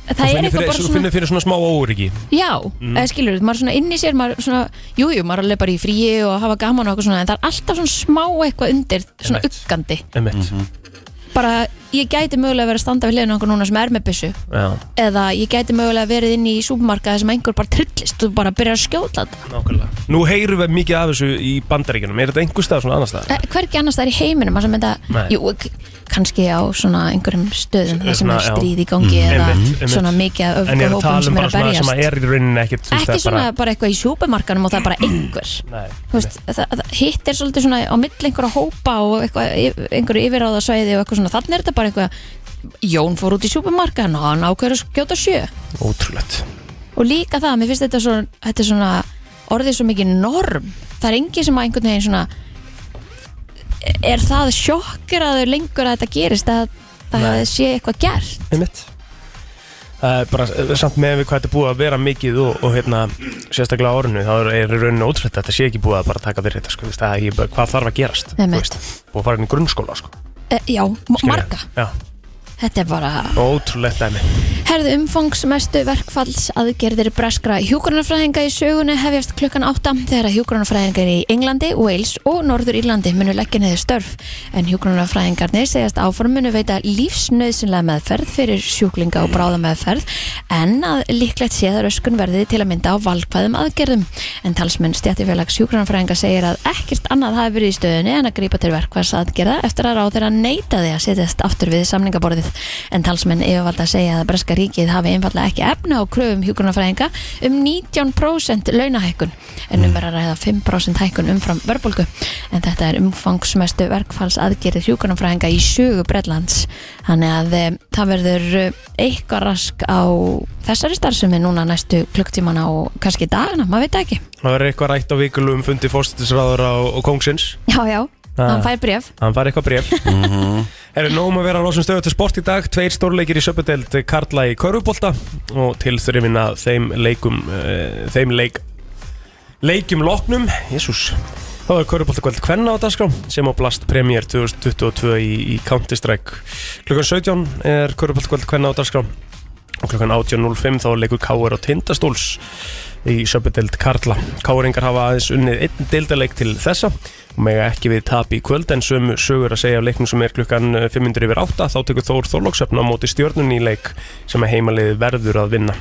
Það Þú er finnir eitthvað fyrir, bara svona... svona, finnir fyrir svona smá óryggi. já, mm. skilur þú, maður er svona inn í sér, maður er svona, jújú, jú, maður er alveg bara í fríi og hafa gaman og eitthvað svona, en það er alltaf svona smá eitthvað undir, svona Einmitt. uggandi. Emitt. Bara, ég gæti mögulega verið að standa við hliðinu okkur núna sem er með byssu, Já, eða ég gæti mögulega verið inn í súpmarkaði sem einhver bara trillist og bara byrjar að skjóta þetta. nákvæmlega. Nú heyrum við mikið af þessu í bandaríkjunum. Er þetta einhver stað svona annar stað? Eh, hvergi annars það er í heiminum þar sem þetta, Nei. jú, k- kannski á svona einhverjum stöðum þar sem Svona, er já. Mm, stríð í gangi eða Einmitt, einmitt. svona mikið af En ég er að öfgahópum tala um sem er bara að svona sem að berjast er í rauninni ekkert. þú veist, ekki það er svona bara, eitthvað í súpermarkanum og það er bara einhver Nei, Þú veist, það, það, hitt er svolítið svona á milli einhverja hópa og eitthvað, yf- einhverju yfirráðasvæði og eitthvað svona, þannig er þetta bara eitthvað Jón fór út í súpermarkan og hann ákveður að skjóta sjö Ótrúlegt. og líka það, mér finnst þetta svo, þetta er svona orðið svo mikið norm það er engin sem að einhvern veginn svona er það sjokkir að þau lengur að þetta gerist að það Nei. sé eitthvað gert Einmitt. Það er bara, eh, samt með við hvað þetta er búið að vera mikið og, og hérna, sérstaklega á árinu, þá er- er í rauninni ótrúlegt að þetta sé ekki búið að bara taka fyrir þetta, sko, þú veist, það er ekki bara, hvað þarf að gerast, þú Einmitt. veist, búið að fara inn í grunnskóla, sko. e, já, m- Skilja. marga, Já, þetta er bara ótrúlegt dæmi herðu umfangsmestu verkfalls aðgerðir breskra hjúgrunarfræðinga í sögunni hefjast klukkan 8 þegar að hjúgrunarfræðingar í Englandi, Wales og Norður Írlandi munu leggja neðu störf en hjúgrunarfræðingarnir segjast áfram munu veita lífsnauðsynlega meðferð fyrir sjúklinga og bráðameðferð en að líklegt séð röskun verði til að mynda á valkvæðum aðgerðum en talsmenn stjættifélags hjúgrunarfræðinga segir að ekkert annað hafi verið í stöðunni en að grípa til verkvæðs aðgerða eftir að ráðir að neita því að setjast aftur við samningaborðið en talsmenn yfirvalda segja að Breska ríkið hafi einfallega ekki efna á kröfum hjúgrunarfræðinga um 19% launahækkun en um er að ræða 5% hækkun umfram verbulgu en þetta er umfangsmestu verkfalls aðgerðir hjúgrunarfræðinga í sögu Bretlands þannig að e, það verður eh, eitthvað rask á þessari starfsemi núna næstu klukktíman á kannski dagana, maður veit það ekki Það verður eitthvað rætt á vikulum fundi fórstættisráður og, og kongsins Já, já, Ah. hann fær bref Hann fær eitthvað bref Það er nóg um að vera á losum stöðu til sport í dag Tveir stórleikir í söpudeld Karla í Körfubólta Og til þurfin að þeim leikum uh, Þeim leik Leikjum loknum Jésús Þá er Körfubólta kvöld kvenna á dagskrá Sem á Blast Premier 2022 í, í Counter-Strike Klukkan 17 er Körfubólta kvöld kvenna á dagskrá Og klukkan 18.05 þá leikur Káur á Tindastóls í söpudeld Karla. Káringar hafa aðeins unnið einn deildaleik til þessa og mega ekki við tap í kvöld en sömu sögur að segja af leiknum sem er klukkan eh, 500 yfir 8 þá tekur Þór Þorlóksöfn á móti stjörnun í leik sem að heimaliði verður að vinna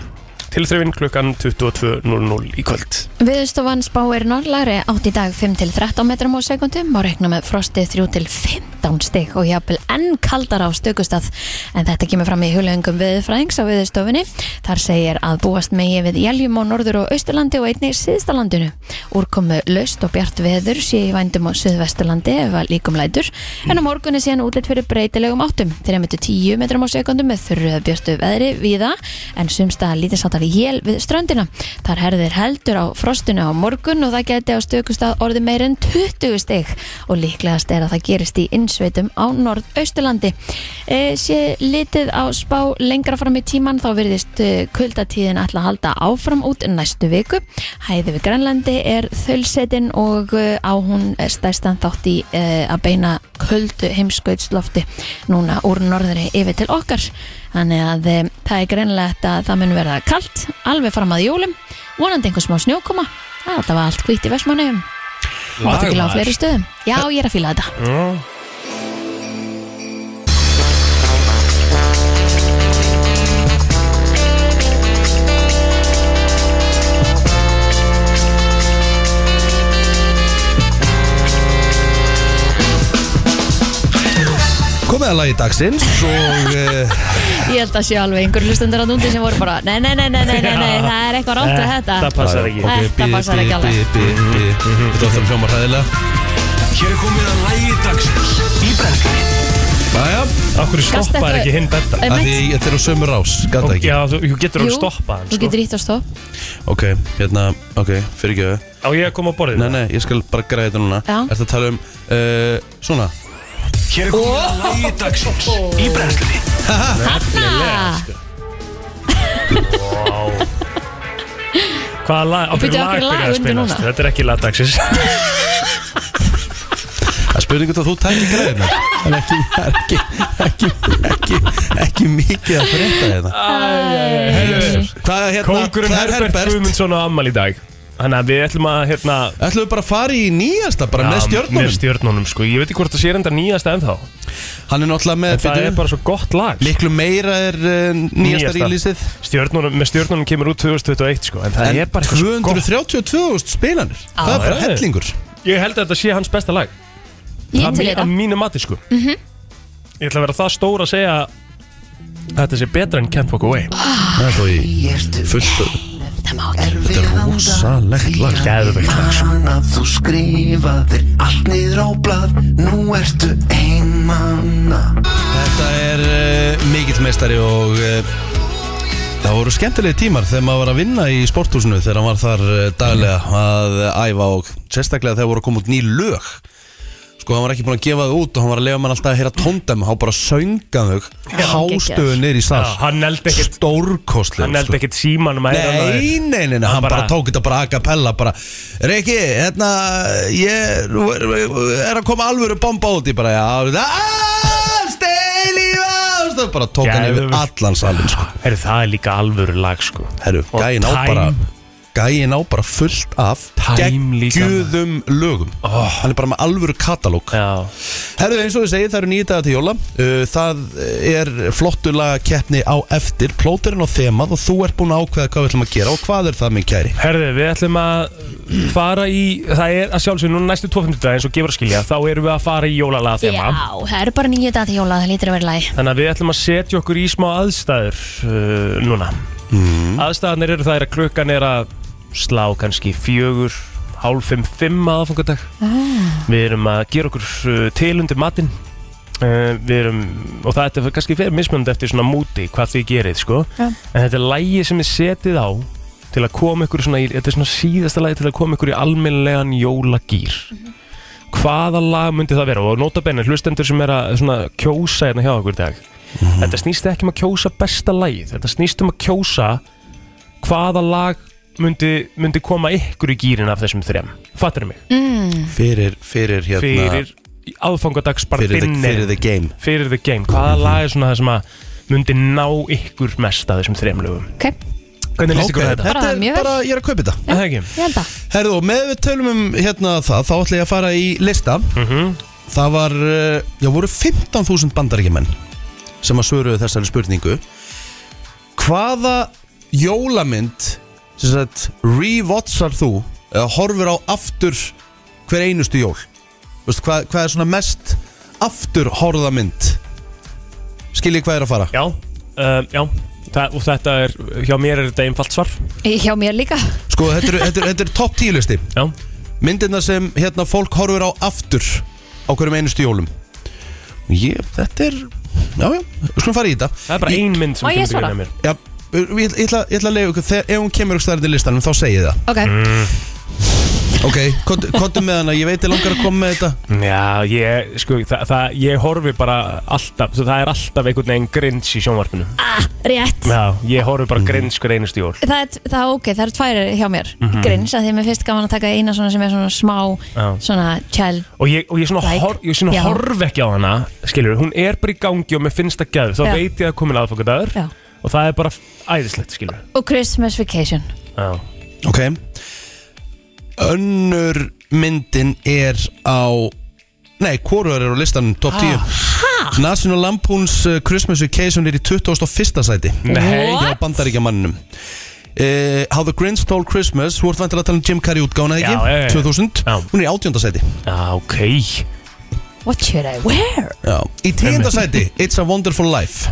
tilþrifin klukkan 22.00 í kvöld Viðstofan spáir norðlæri átt í dag 5 til 13 metrum á sekundum og rekna með frostið 3 til 15 stygg og jafnvel enn kaldar á stökustað en þetta kemur fram í hulöngum viðfræðings á viðstofinni. Þar segir að búast megi við jæljum á norður og austurlandi og einnig síðstalandinu. Úrkomu laust og bjart veður sé í vændum á suðvesturlandi ef að líkum lætur en á morgun er síðan útlitt fyrir breytilegum áttum 3-10 metrum á sekundum með þurruða björtu veðri viða en sumstaða lítinsáttar jél við ströndina. Þar herðir heldur á frostinu á morgun og það geti á stökustað orði meir en 20 stig og líklegast er að það gerist í innsveitum á norðausturlandi. E, sé litið á spá lengra fram í tíman þá virðist eh, kuldatíðin ætla að halda áfram út næstu viku. Hæði við Grænlandi er þölsetin og eh, á hún stærstan þátt í e, að beina kuldu heimskautslofti núna úr norðri yfir til okkar. Þannig að e, það er greinlegt að það mun verða kalt alveg fram að jólum, vonandi einhver smá snjókoma. Það er alltaf allt hvít í versmannum og ábyggilega á fleiri stöðum. Já, ég er að fíla þetta. Komið að lagi dagsins og uh, Ég held að sé alveg einhver hlustendur að núndi sem voru bara nei, nei, nei, nei, nei, nei, nei, það er eitthvað rátt við Þetta þetta. passar ekki Þetta passar ekki alveg. Þetta var það að hljóma hræðilega Hér er komið að lægi dagsins Í brennslunni Jæja, Akkur Gast stoppar þetta- ekki hinn betta af því Einmitt. þetta eru sömur rás, gata ekki Já, þú þú getur alveg Jú, stoppað hann Þú sko. getur ítt á stopp. Ok, hérna, ok, fyrirgjöðu Á ég að koma á borðið Nei, nei, ég skal bara græða þetta núna Já. Ertu að tala um, uh, svona Hér er komið að lægi dagsins Í brennslunni Hanna! sko. Hvaða lag, okkur Bíddu, af lag hverju lag byrjaði að undir spilast núna? Þetta er ekki lagdagsins Það er spurningu þá þú tækir græðina Það er ekki, það er ekki, ekki, ekki, ekki mikið að frétta hérna. þetta Heyrðu, Hvað, hérna, Kóngurinn það er Herbert Guðmundsson á ammal í dag Þannig að við ætlum að hérna Ætlum við bara að fara í nýjasta, bara með Já, stjörnunum Með stjörnunum sko, ég veit ekki hvort það sé enda nýjasta ennþá Hann er náttúrulega með, Það bíddu, er bara svo gott lag sko. Miklu meira er uh, nýjasta Nýjasta. rýlísið stjörnunum, Með stjörnunum kemur út 2021 sko En það En er bara eitthvað svo gott 232.000 spilanir Það er bara Já. hellingur Ég held að þetta sé hans besta lag Ég Að mí- til í þetta. Mhm. Að mínu mati sko Ég ætla að vera það stór að segja að Þetta sé betra en Can't Walk Away Ah. Það er þó í fullt Þetta er rosalegt lag Geðveikt lag, sko. Man að þú skrifaðir allt niður á blað Nú ertu einmanna Þetta er uh, mikill meistari og uh, það voru skemmtilegi tímar þegar maður var að vinna í sporthúsinu þegar hann var þar uh, daglega að uh, æfa og sérstaklega þegar voru að koma út ný lög sko hann var ekki búin að gefa þau út og hann var að lefa mann alltaf að heyra tóndæmi hann bara sönga þau hástöðu niður í sal Já, Ah, Hann held ekkert stórkostlega Hann held ekkert símanum að heyra hann sko. Nei, nei, nei, nei, hann bara, bara- tók þetta bara a cappella bara, Riki, hérna ég er, er að koma alvöru bomba út í bara, já, það steil í vást og bara tók hann yfir Geðveikt. allan salin sko. Herru, það er líka alvöru lag sko Herru, Og gæin á Time. bara gæin á bara fullt af Time líka, Oh. geggjöðum lögum hann er bara með alvöru katalóg Já, Herðu eins og ég segi, það eru nýju dagar til jóla uh, Það er flottulega keppni á eftir Plóterinn og þemað og þú ert búin að ákveða hvað við ætlum að gera og hvað er það minn kæri? herðu, við ætlum að fara í Það er að sjálfsögum núna næstu 250 dag eins og gefur að skilja Þá erum við að fara í jólalaga Já, þema það eru bara nýju dagar til jóla, það lítur að vera læg. Þannig að við ætlum að setja okkur í smá aðstæður uh, núna Aðstæðanir eru það er að klukkan er að slá kannski fjögur, hálf fimm, fimm að aðfangadag Við erum að gera okkur uh, til undir matinn uh, Við erum, og það er kannski fyrir mismunandi eftir svona múti hvað þið gerið sko Já. En þetta er lægi sem þið setið á til að koma ykkur svona, í, þetta er svona síðasta lægi til að koma ykkur í almennlegan jólagýr Hvaða lag myndi það vera? Og nota benni, hlustendur sem er að svona, kjósa hérna hjá okkur í dag Mhm. Þetta snýst ekki um að kjósa besta lagið Þetta snýst um að kjósa hvaða lag myndi, myndi koma ykkur í gýrin af þessum þrem Fattir mig? Fyrir, fyrir hérna fyrir aðfangadags bara fyrir, the, dinner fyrir the game Mhm. fyrir the game hvaða lag er svona það sem að myndi ná ykkur mest að þessum þrem lögum Ok, hvernig líst ykkur á Ok, þetta? Þetta er mjög vel. bara, ég er að kaupa þetta Er það ekki? ég held að. Herðu, og með við tölum um hérna það þá ætla ég að fara í lista Það var, uh, já voru 15.000 bandaríkjumenn sem að svöruðu þessari spurningu Hvaða jólamynd sem sagt, rewatchar þú eða horfir á aftur hver einustu jól Veistu, hvað, hvað er svona mest aftur horfa mynd skiljið hvað er að fara Já, um, já Þa, og þetta er, hjá mér er þetta einfalt svar Hjá mér líka sko þetta eru- þetta eru þetta er topp tílisti Já, myndirna sem hérna fólk horfir á aftur á hverjum einustu jólum ég, þetta er já já, við skulum fara í þetta það er bara ein mynd sem Má ég kemur til svara? greina mér já, ég, ég, ætla, ég ætla að leiða ykkur þegar, ef hún kemur ykkur stærðið listanum þá segi ég það Ok, ok, kontum með hana, ég veit ég langar að koma með þetta Já, ég, sko, það, það, ég horfi bara alltaf, þú- það er alltaf einhvern veginn grins í sjónvarpinu Ah, rétt Já, Mhm. ég horfi bara grins hver einustu jól Það er, það er ok, það eru tvær hjá mér Grins, að því að mér finnst gaman að taka eina svona sem er svona smá Mhm. Já. Svona child Og ég, og ég svona, Like, hor, ég svona já. horf ekki á hana, skilur, hún er bara í gangi og mér finnst það gæður Þá Já. veit ég að komin aðfangadagur Já. og það er bara æðislegt, skilur Og Christmas Vacation Já, ok önnur myndin er á nei, hvorur er á listanum, top 10 National Lampoon's uh, Christmas Vacation er í 21. sæti Nei, What? hjá bandaríkjamanninum uh, How the Grinch Stole Christmas Þú ert vantilega að tala um Jim Carrey útgána ekki Já, já, já. 2000, Já. hún er í átjóndasæti já, ok What should I wear? Í tíundasæti, It's a Wonderful Life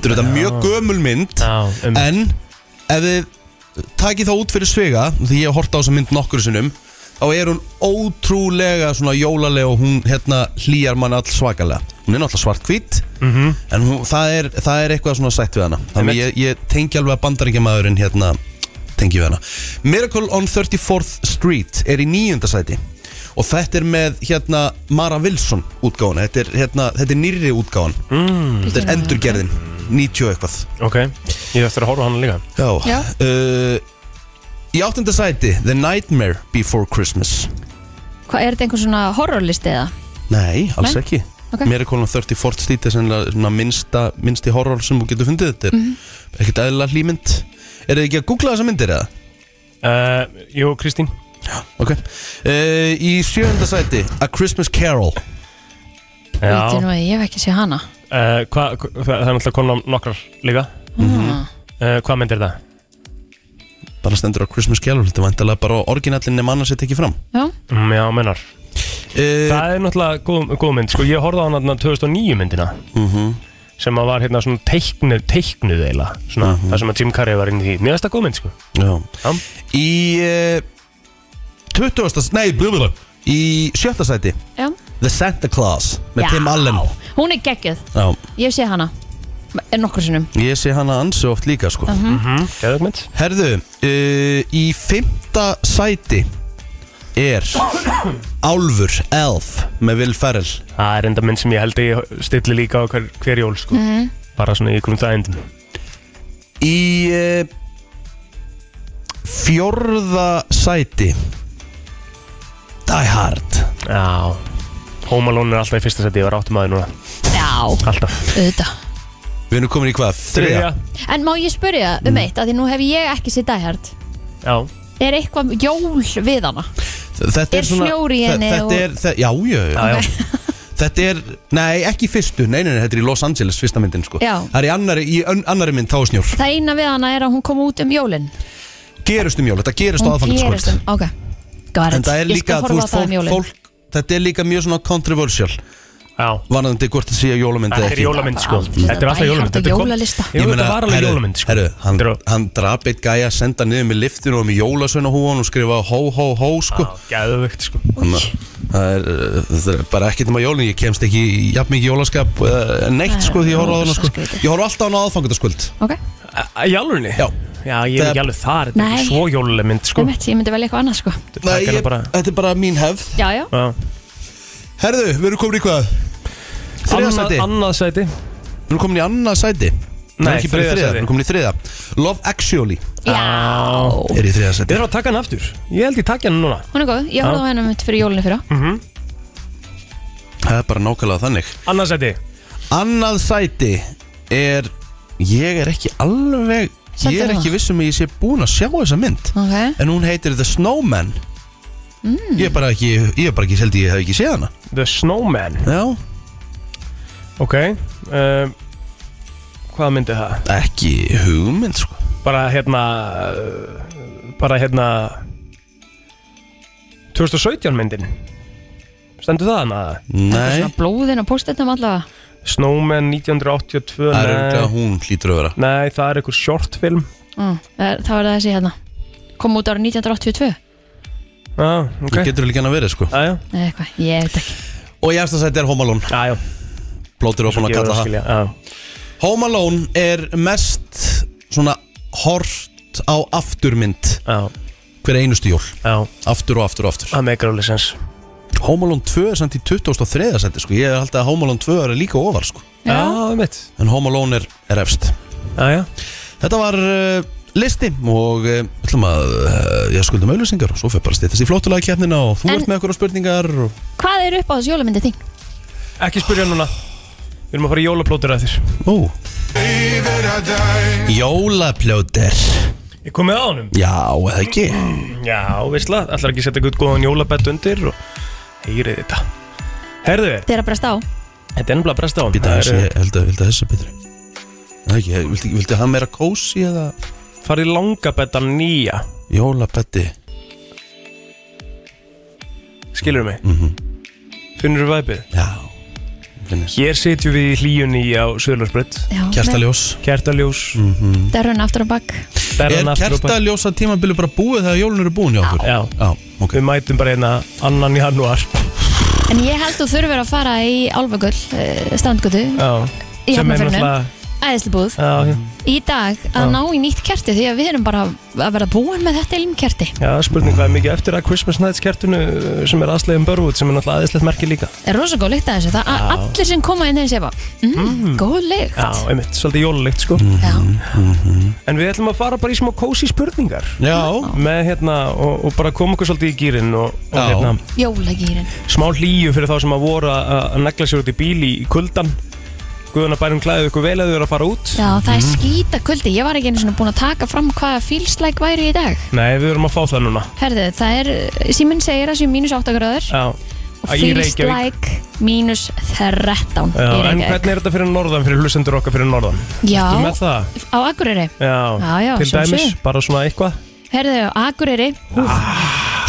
Þetta er þetta mjög gömul mynd Já, um, En ef þið takið þá út fyrir svega Því ég hef hort á þessa mynd nokkur sinnum Þá er hún ótrúlega svona jólalega Og hún hérna hlýjar mann all svakalega Hún er náttúrulega svart hvít -hmm. En hún, það, er, það er eitthvað svona sætt við hana Þannig ég, ég tengi alveg að bandarengjamaðurinn hérna Tengi við hana Miracle on 34th Street er í níunda sæti Og þetta er með hérna Mara Wilson útgáfuna Þetta er, hérna, þetta er nýrri útgáfan Þetta er endurgerðin 90 og eitthvað ok, ég þarf eftir að horfa á hana líka Já, Já. Uh, Í áttunda sæti The Nightmare Before Christmas Hvað, er þetta einhver svona horrorlisti eða? Nei, alls Nei. ekki Ok. Mér er konan 34 slít er sennilega svona minnsta, minnsti horror sem þú getur fundið þetta er Mhm. ekkert eðla hlýmynd Er þið ekki að googla þessa myndir eða? uh, Jú, Kristín Ok uh, Í sjöunda sæti A Christmas Carol Veitir nú að ég hef ekki séð hana Uh, hva, hva, það það er náttúrulega konan nokkrar líka mm. uh, Hvað myndir það? Bara stendur á Christmas Carol Þetta er vantilega bara orginallin nema annars þetta ekki fram Já, Mm, já, mennar uh, Það er náttúrulega góð, góð mynd sko, Ég horfði á hana þarna 2009 myndina sem að var hérna svona teiknuð teiknuð eiginlega svona, það sem að Jim Carrey var inn í því Mér finnst það góð mynd sko Uh, Já Já. Í uh, 20. Nei, blöðulega Í sjötta sæti já The Santa Claus með Já. Tim Allen Hún er geggjöð, Já, ég hef séð hana Er nokkur sinnum ég sé hana ansi oft líka sko Geðug mynd Herðu, uh, í fymta sæti er Álfur, Elf með Will Ferrell Það er enda mynd sem ég held að ég stilli líka á hver, hver jól sko Bara svona í grunn það endum Í uh, fjórða sæti Die Hard Já Home Alone er alltaf í fyrsta seti, ég var áttum aðeins núna Já, Alltaf auðvitað Við erum komin í hvað? Þriðja. En má ég spyrja um Mm. eitt, að því nú hef ég ekki séð Die Hard Já, Er eitthvað jól við hana? Þetta Er snjór í þe- henni Þetta og- er, þe- já, já, já já, já Þetta er, nei, ekki í fyrstu Nei, nei, nei, þetta er í Los Angeles, fyrsta myndin sko Já. Það er í annari, í ön- annari mynd, þá er snjór Það eina við hana er að hún kom út um jólin gerist um jól, þetta gerist á Hún aðfangandaskvöld um, ok sko. Got en it, það er ég líka, skal þú horfa á veist, það um fólk, jólin fólk þetta er líka mjög svona controversial Já varðandi hvort það sé að jólamynd eða Þetta er ekki jólamynd sko Aldrei. Þetta er alltaf jólamynd Þetta er kom- Jólalista. Jú, þetta var alveg herru, jólamynd sko herru, hann, Þetta er hann drap eitt gæja, senda hann niður með liftinu og með jólasveinahúan og skrifa hó, hó, hó, sko á- Geðvögt sko þannig að það er, uh, það er bara ekkert um að jólin, ég kemst ekki í jafn mikið jólaskap uh, neitt, Nei, sko, því ég horfa á hana, rosa sko skrítið. ég horfa alltaf á hana aðfangandaskvöld Ok, Í alvörunni? Já. Já, ég er Það- ekki alveg þar Þetta er Nei. ekki svo jóluleg mynd sko um eitt, ég myndi velja eitthvað annað sko Þetta er ég, bara þetta er bara mín hefð Já, já, Já. herðu, við erum komin í hvað? þriða Annað- sæti Annað sæti Við erum komin í annað sæti Við erum Nei, ekki bara í þriðja þriða, sæti. við erum komin í þriða Love Actually já er í þriða Við sæti erum að taka hann aftur Ég held ég takja hann núna Hún er góð, ég horfði á henni mitt fyrir jólinu fyrir á Mm. Það er bara nákvæmlega þannig Annað sæti Annað sæti er Ég er ekki alveg Sendu Ég er hana. ekki viss um að ég sé búin að sjá þessa mynd Ok, En hún heitir The Snowman Ég er bara ekki Ég er bara ekki, held ég hef ekki séð hana The Snowman Já, Ok um, Ehm, Hvað myndi það? Ekki hugmynd sko Bara hérna uh, Bara hérna 2017 myndin Stendur það hana? Eitthvað Nei, Svona blóðin á postetum allavega Snowman 1982 það er nei, auðvitað hún hlýtur að vera nei, það er einhver shortfilm mm. er- Þá er það þessi hérna Kom út ára 1982 ah, Það okay. getur líka hann að vera sko Aja, Nei, eitthvað, ég veit ekki Og ég eftir að þetta er Home Alone aja, Plótur er búin að kalla það Home Alone er mest svona hort á afturmynd Já, hver einustu jól já, Aftur og aftur og aftur það meikar alveg sens Home Alone 2 er samt í 2003 seti, sko. Ég held að Home Alone 2 er líka ofar sko. Já, það mitt En Home Alone er, er efst Aja, Þetta var uh, listi og uh, ætlum að uh, ég skuldum auðlýsingar og svo fyrir bara stýttast í flottulega keppnina og þú En- ert með okkur á spurningar og, Hvað er upp á þessu jólamyndi þín? ekki spyrja núna Við erum að fara í jólaplótur að þér ó Jólapljóter Ég kom með á honum Já, eða ekki Já, veistla, ætlar ekki að setja eitthvað góðan jólabett undir og heyrið þetta Herðu, Þið er að bresta á þetta er nefnilega að bresta á Býta þessi, ég held að, held að þessi er betri Eða ekki, ég- vildi, vildi hann meira kósi eða Farið langabettan nýja, Jólabetti skilur mig Mhm. mm -hmm. Finnur þú væpið? Já, finnist Hér sitjum við í hlíjunni á Söðlarsbrödd Já, Kertaljós Kertaljós, með derruna aftur á bak Mm. Er berðan aftur og bak kertaljós að tímabili bara búið þegar jólun eru búin hjá okkur? Já. Já, ok Við mætum bara hérna annan janúar En ég held þú þurfur að fara í Álfagull, uh, standgötu Já Í Sem er Hafnarfirðinum. náttúrulega- Æðislebúð Já, já. Í dag að ná í nýtt kerti Því að við erum bara að vera búin með þetta ilmkerti já, spurning hvað er mikið eftir að Christmas Nights kertinu uh, sem er aðslegin börvút sem er náttúrulega aðeinslegt merki líka Er rosa góð lykt að þessu Það að allir sem koma inn þeir sé bara mm, Góð lykt Mhm. Já, einmitt, svolítið jólulegt sko Já. En við ætlum að fara bara í smá kósi spurningar Já, með hérna og, og bara koma okkur svolítið í gýrin og, og Já. hérna Jólagýrin smá hlýju fyrir þá sem að voru að að negla sér út í bíl í kuldan Guðuna bærum klæðið ykkur vel að þau eru að fara út Já, Mhm. það er skýta kuldi Ég var ekki einu svona búin að taka fram hvaða fílslæk væri í dag Nei, við erum að fá það núna Herðu, það er, síminn segir að séu mínus 8 gráður Já, og Í Reykjavík. fílslæk mínus 13 Já, í en Reykjavík hvernig er þetta fyrir norðan, fyrir hlustendur okkar fyrir norðan? Þú með Já, það? á Akureyri Já, Já, já, til sem dæmis, sé. bara svona eitthvað Herðu, á Akureyri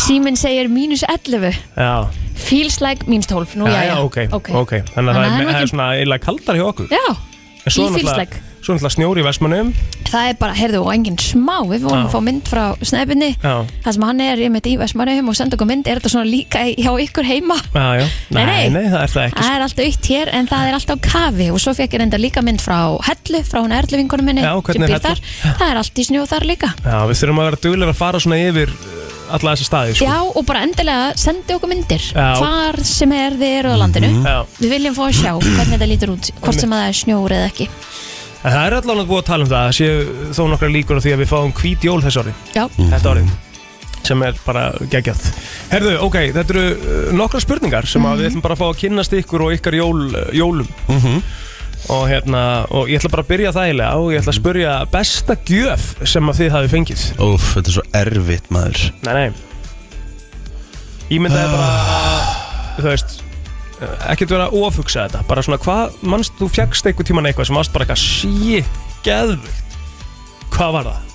Síminn segir mínus 11 Já, Fílslæk mínus 12 Nú, já, já, ok, ok, Þannig að það er, það er ekki- svona eiginlega kaldar hjá okkur Já, En svo í er náttúrulega- Fílslæk. Svo er náttúrulega snjór í Vestmannum það er bara, herðu, og enginn smá Við vorum Já. að fá mynd frá snæfinni Já, Það sem hann er, ég með dývæs mannum og senda okkur mynd Er þetta svona líka í- hjá ykkur heima? já, já Nei, nei. nei, það er það ekki sko. Það er alltaf aukt hér en það er alltaf á kafi og svo fekk ég reynda líka mynd frá Hellu, frá hún Erlu vinkonum minni Já, hvernig sem er býr Hella? þar. Það er allt í snjó þar líka Já, við þurfum að vera duglega að fara svona yfir uh, alla þessa staði, sko Já, og bara endilega sendi okkur myndir Já. Mhm. hvar sem er þið eruð á landinu Já. Við viljum fá að sjá hvernig þetta lítur út hvort sem að það er snjór eða ekki En það er allan að búa að tala um það, það séu þó nokkra líkur á því að við fáum hvít jól þess ári Já, þetta árið sem er bara geggjað Herðu, ok, þetta eru uh, nokkra spurningar sem að við ætlum bara að fá að kynnast ykkur og ykkar jól, uh, jólum og, hérna, og ég ætla bara að byrja þægilega og ég ætla að spyrja besta gjöf sem að þið hafi fengið Úf, þetta er svo erfitt maður Nei, nei Ímyndaði bara að, þú veist uh, ekkert vera að ofugsa þetta bara svona, hvað, manst þú fjagst einhver tíman eitthvað sem varst bara eitthvað shit, geðvikt hvað var það?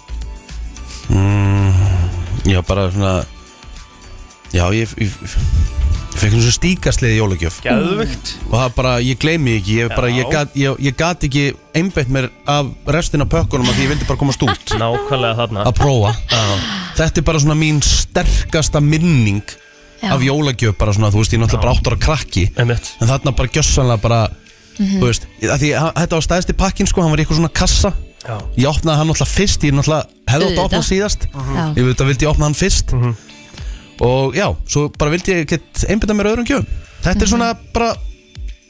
Já, bara svona Já, ég, ég, ég fekk eins og stíkasliði jólagjöf Geðvikt? og það bara, ég gleymi ekki ég, bara, ég, Já. gat, ég, ég gat ekki einbeitt mér af restin af pökkunum að því ég vildi bara komast út Nákvæmlega þarna að prófa Þetta er bara svona mín sterkasta minning Já. af jólagjöf bara svona, þú veist, ég er náttúrulega bara áttur að krakki Einmitt. en þarna bara gjössanlega bara Mhm. þú veist, að því að- þetta var stæðsti pakkin sko, hann var í eitthvað svona kassa Já. ég opnaði hann náttúrulega fyrst, ég náttúrulega hefði átt að opna Auðvitað. síðast Já. ég veit að vildi ég opna hann fyrst og já, svo bara vildi ég gett einbyrða mér öðrum gjöfum þetta Mhm. er svona bara,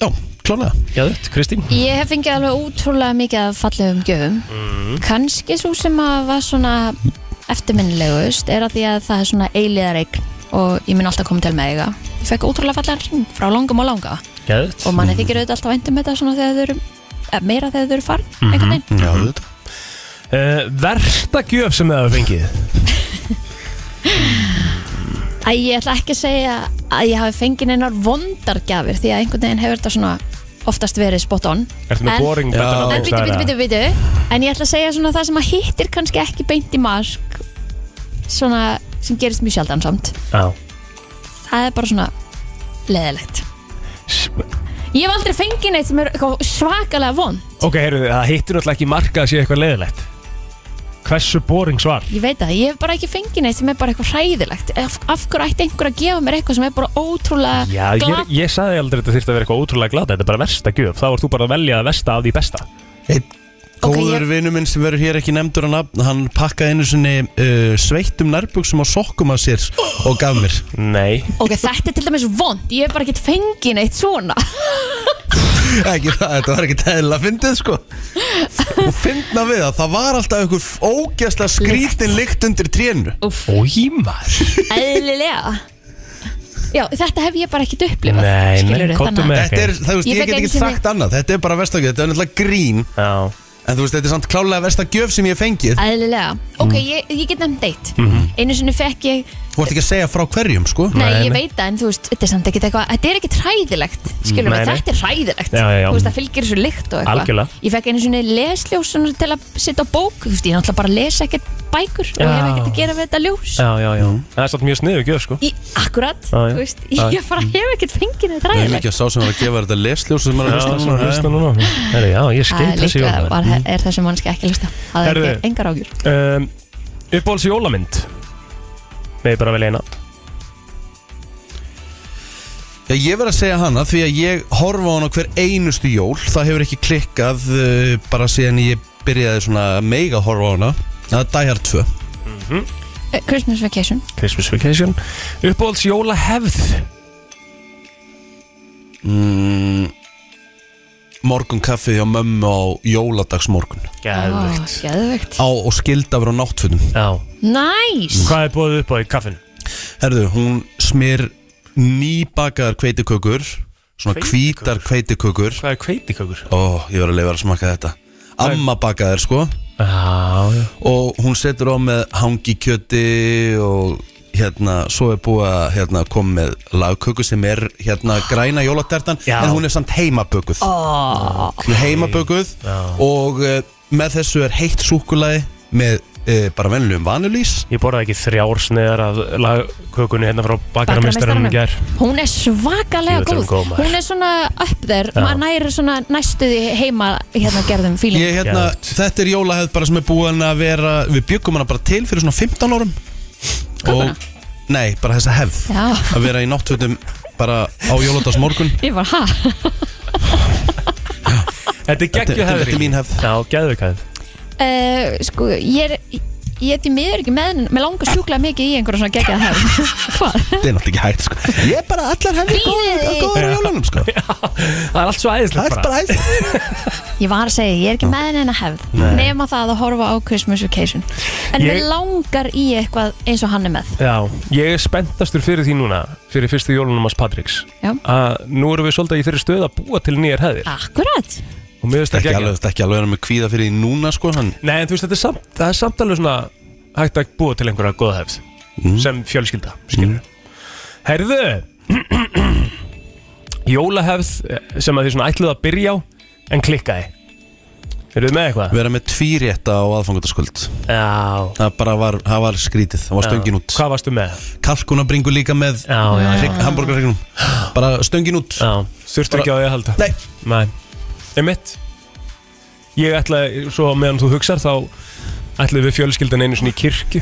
já, klálega Geðvikt, Kristín? Ég hef fengið alveg útrúlega mikið af fallegum gjöfum Kanski svo sem að var svona eftirminnilegust er að því að það er svona eilíðareign og ég mun alltaf koma til með eiga Ég fekk útrúlega fallegan ring frá langum og langa Geðvikt og manni þykir auðvitað alltaf væntum þetta svona þegar þau eru eh, meira þegar þau eru farin einhvern veginn já, þetta uh, Versta gjöf sem þið hafa fengið Æ, ég ætla ekki að segja að ég hafi fengið einar vondargjafir því að einhvern veginn hefur þetta svona oftast verið spot on Ertu með En- boring Já. betan á En bókstafina? bitu, bitu, bitu, bitu En ég ætla að segja svona það sem að hittir kannski ekki beint í mark Svona sem gerist mjög sjaldan samt Já. Það er bara svona leðilegt Ég hef aldrei fengið neitt sem er eitthvað svakalega von Ok, heyrðu, það hittir náttúrulega ekki marka að sé eitthvað leiðilegt Hversu boring svar? Ég veit það, ég hef bara ekki fengið neitt sem er bara eitthvað hræðilegt Af, af hverju ætti einhver að gefa mér eitthvað sem er bara ótrúlega Já, ég, glatt ég sagði aldrei að þetta þurfti að vera eitthvað ótrúlega glada Þetta er bara versta gjöf, þá ert þú bara að velja að versta af því besta Einn Ok, góður okay, ég- vinnu minn sem verður hér ekki nefndur að nafn Hann pakkaði einu sinni uh, sveittum nærbuksum og sokkum af sér og gaf mér Nei, Ok, þetta er til dæmis vond, ég hef bara ekki fengið neitt svona ekki, það, Þetta var ekki teðla að fyndið sko Og fyndna við það, það var alltaf einhver ógæsla skrítin lykt undir trénu ójímar Eðlilega Já, þetta hef ég bara ekkert upplifað Nei, nei, skilurðu, komdu þannig að- með Þetta er, það, þú veist, Ég ég, fekk get einu ekki sinni- sagt annað Þetta er bara vestakjöf, þetta er náttúrulega grín Já, En þú veist, þetta er samt klálega versta gjöf sem ég hef fengið Æðlilega, Mm. ok, ég, ég get nefnt eitt Einu sinni fekk ég, Þú ert ekki að segja frá hverjum, sko nei, Mhm. Nei, ég nei. veit það En þú veist, þetta er samt ekkit eitthvað, þetta er ekkit hræðilegt Skilur Nei, við, nei. þetta er hræðilegt Já, já, já. Þú veist, það fylgir þessu lykt og eitthvað Algjörlega. Ég fekk einu sinni lesljós svona til að sitja á bók Þú veist, ég náttúrulega bara les ekkert bækur Og ég hef Já. ekkert að gera við þetta ljós já, já, já. Mm. Það er satt mjög sniðu gjöf sko Í, akkurat, Já, já. þú veist, Já, já. ég bara hef ekkert fengið þetta Það er hræðilegt mikið að sá sem var að gefa þetta lesljósa sem er að Já, hlusta sem að hlusta núna Heru, Já, ég Það skil er þessi líka jólamynd var, er þessi mannski ekki að hlusta Það er Mm. Herðu. ekki- engar ágjur um, Uppbóls jólamynd Með bara vel eina Já, ég verð að segja hana því að ég horfa á hana hver einustu jól Það hefur ekki klikkað uh, bara síðan ég byrjaði svona mega að horfa á hana Það er Die Hard 2 Eh, Christmas Vacation Christmas Vacation Uppbóls jólahefð Morgun kaffið hjá mömmu á jóladagsmorgun Geðvögt Geðvögt Á og skildafur á náttfötum Já, Næs hvað er búið upp á í kaffin? Herðu, hún smyr nýbakaðar kveitikökur Svona Hveitikökur? hvítar kveitikökur Hvað er kveitikökur? Ó, ég verð að leifa að smaka þetta Amma bakaðar sko Já, já og hún setur á með hangikjöti og hérna, svo er búið að hérna, koma með lagköku sem er hérna græna jólatertan Já. en hún er samt heimabökuð oh, okay. heimabökuð og uh, með þessu er heitt súkulaði með uh, bara venlum vanulís Ég borðaði ekki þrjár sniðar af lagkökunni hérna frá bakaramestaranum í gær Hún er Jú, svakalega þetta er góð hún góð, maður. Hún er svona upp þér Maður næri svona næstuði heima hérna gerðum fíling Ég, hérna, Geðvegt. þetta er jólahefð bara sem er búin að vera við byggum hana bara til fyrir svona 15 árum Kökuna? nei, bara þessa hefð Já. að vera í náttfötum bara á jóladas morgun Ég var ha Þetta er geggju Þetta- þetta- hefð þetta er mín hefð. Já, geðvögt hefð uh, Sko ég er Ég er því miður ekki með Mér langar sjúklega mikið í einhverja svona geggjað hefð Hvað? Þetta er náttúrulega ekki hægt sko Ég er bara allar hefði góður, Bíðið. góður á jólunum sko Það er allt svo Það æðislegt er bara bara hægt Ég var að segja, ég er ekki með henni hefð Nema það að horfa á Christmas Vacation En Ég- ég... langar í eitthvað eins og hann er með Já, ég er spenntastur fyrir því núna fyrir fyrstu jólunum hans Patriks Já. að nú erum við svolítið í þeirri stöð að búa til nýjar hefðir Akkurat og mér finnst það Ekki geggjað. alveg, ekki alveg erum við kvíða fyrir því núna sko hann. Nei, en þú veist, þetta er samt, það er samt alveg svona hægt að búa til einhverja góða hefð sem fjölskylda, skilur Herðu Jólahefð eh, sem að þið svona ætluðu að byrja á en klikkaði Eruð þið með eitthvað? Vera með tvírétta á aðfangutaskvöld Já, Það bara var, það var skrítið, það var stöngin út Hvað varstu með? Kalkunabringu líka með Já, já, já. Hamburgarregnum Bara stöngin út Já, þurftu ekki á því að halda Nei, Nei, einmitt Ég ætla, svo meðan þú hugsar þá ætlaði við fjölskyldan einu svona í kirkju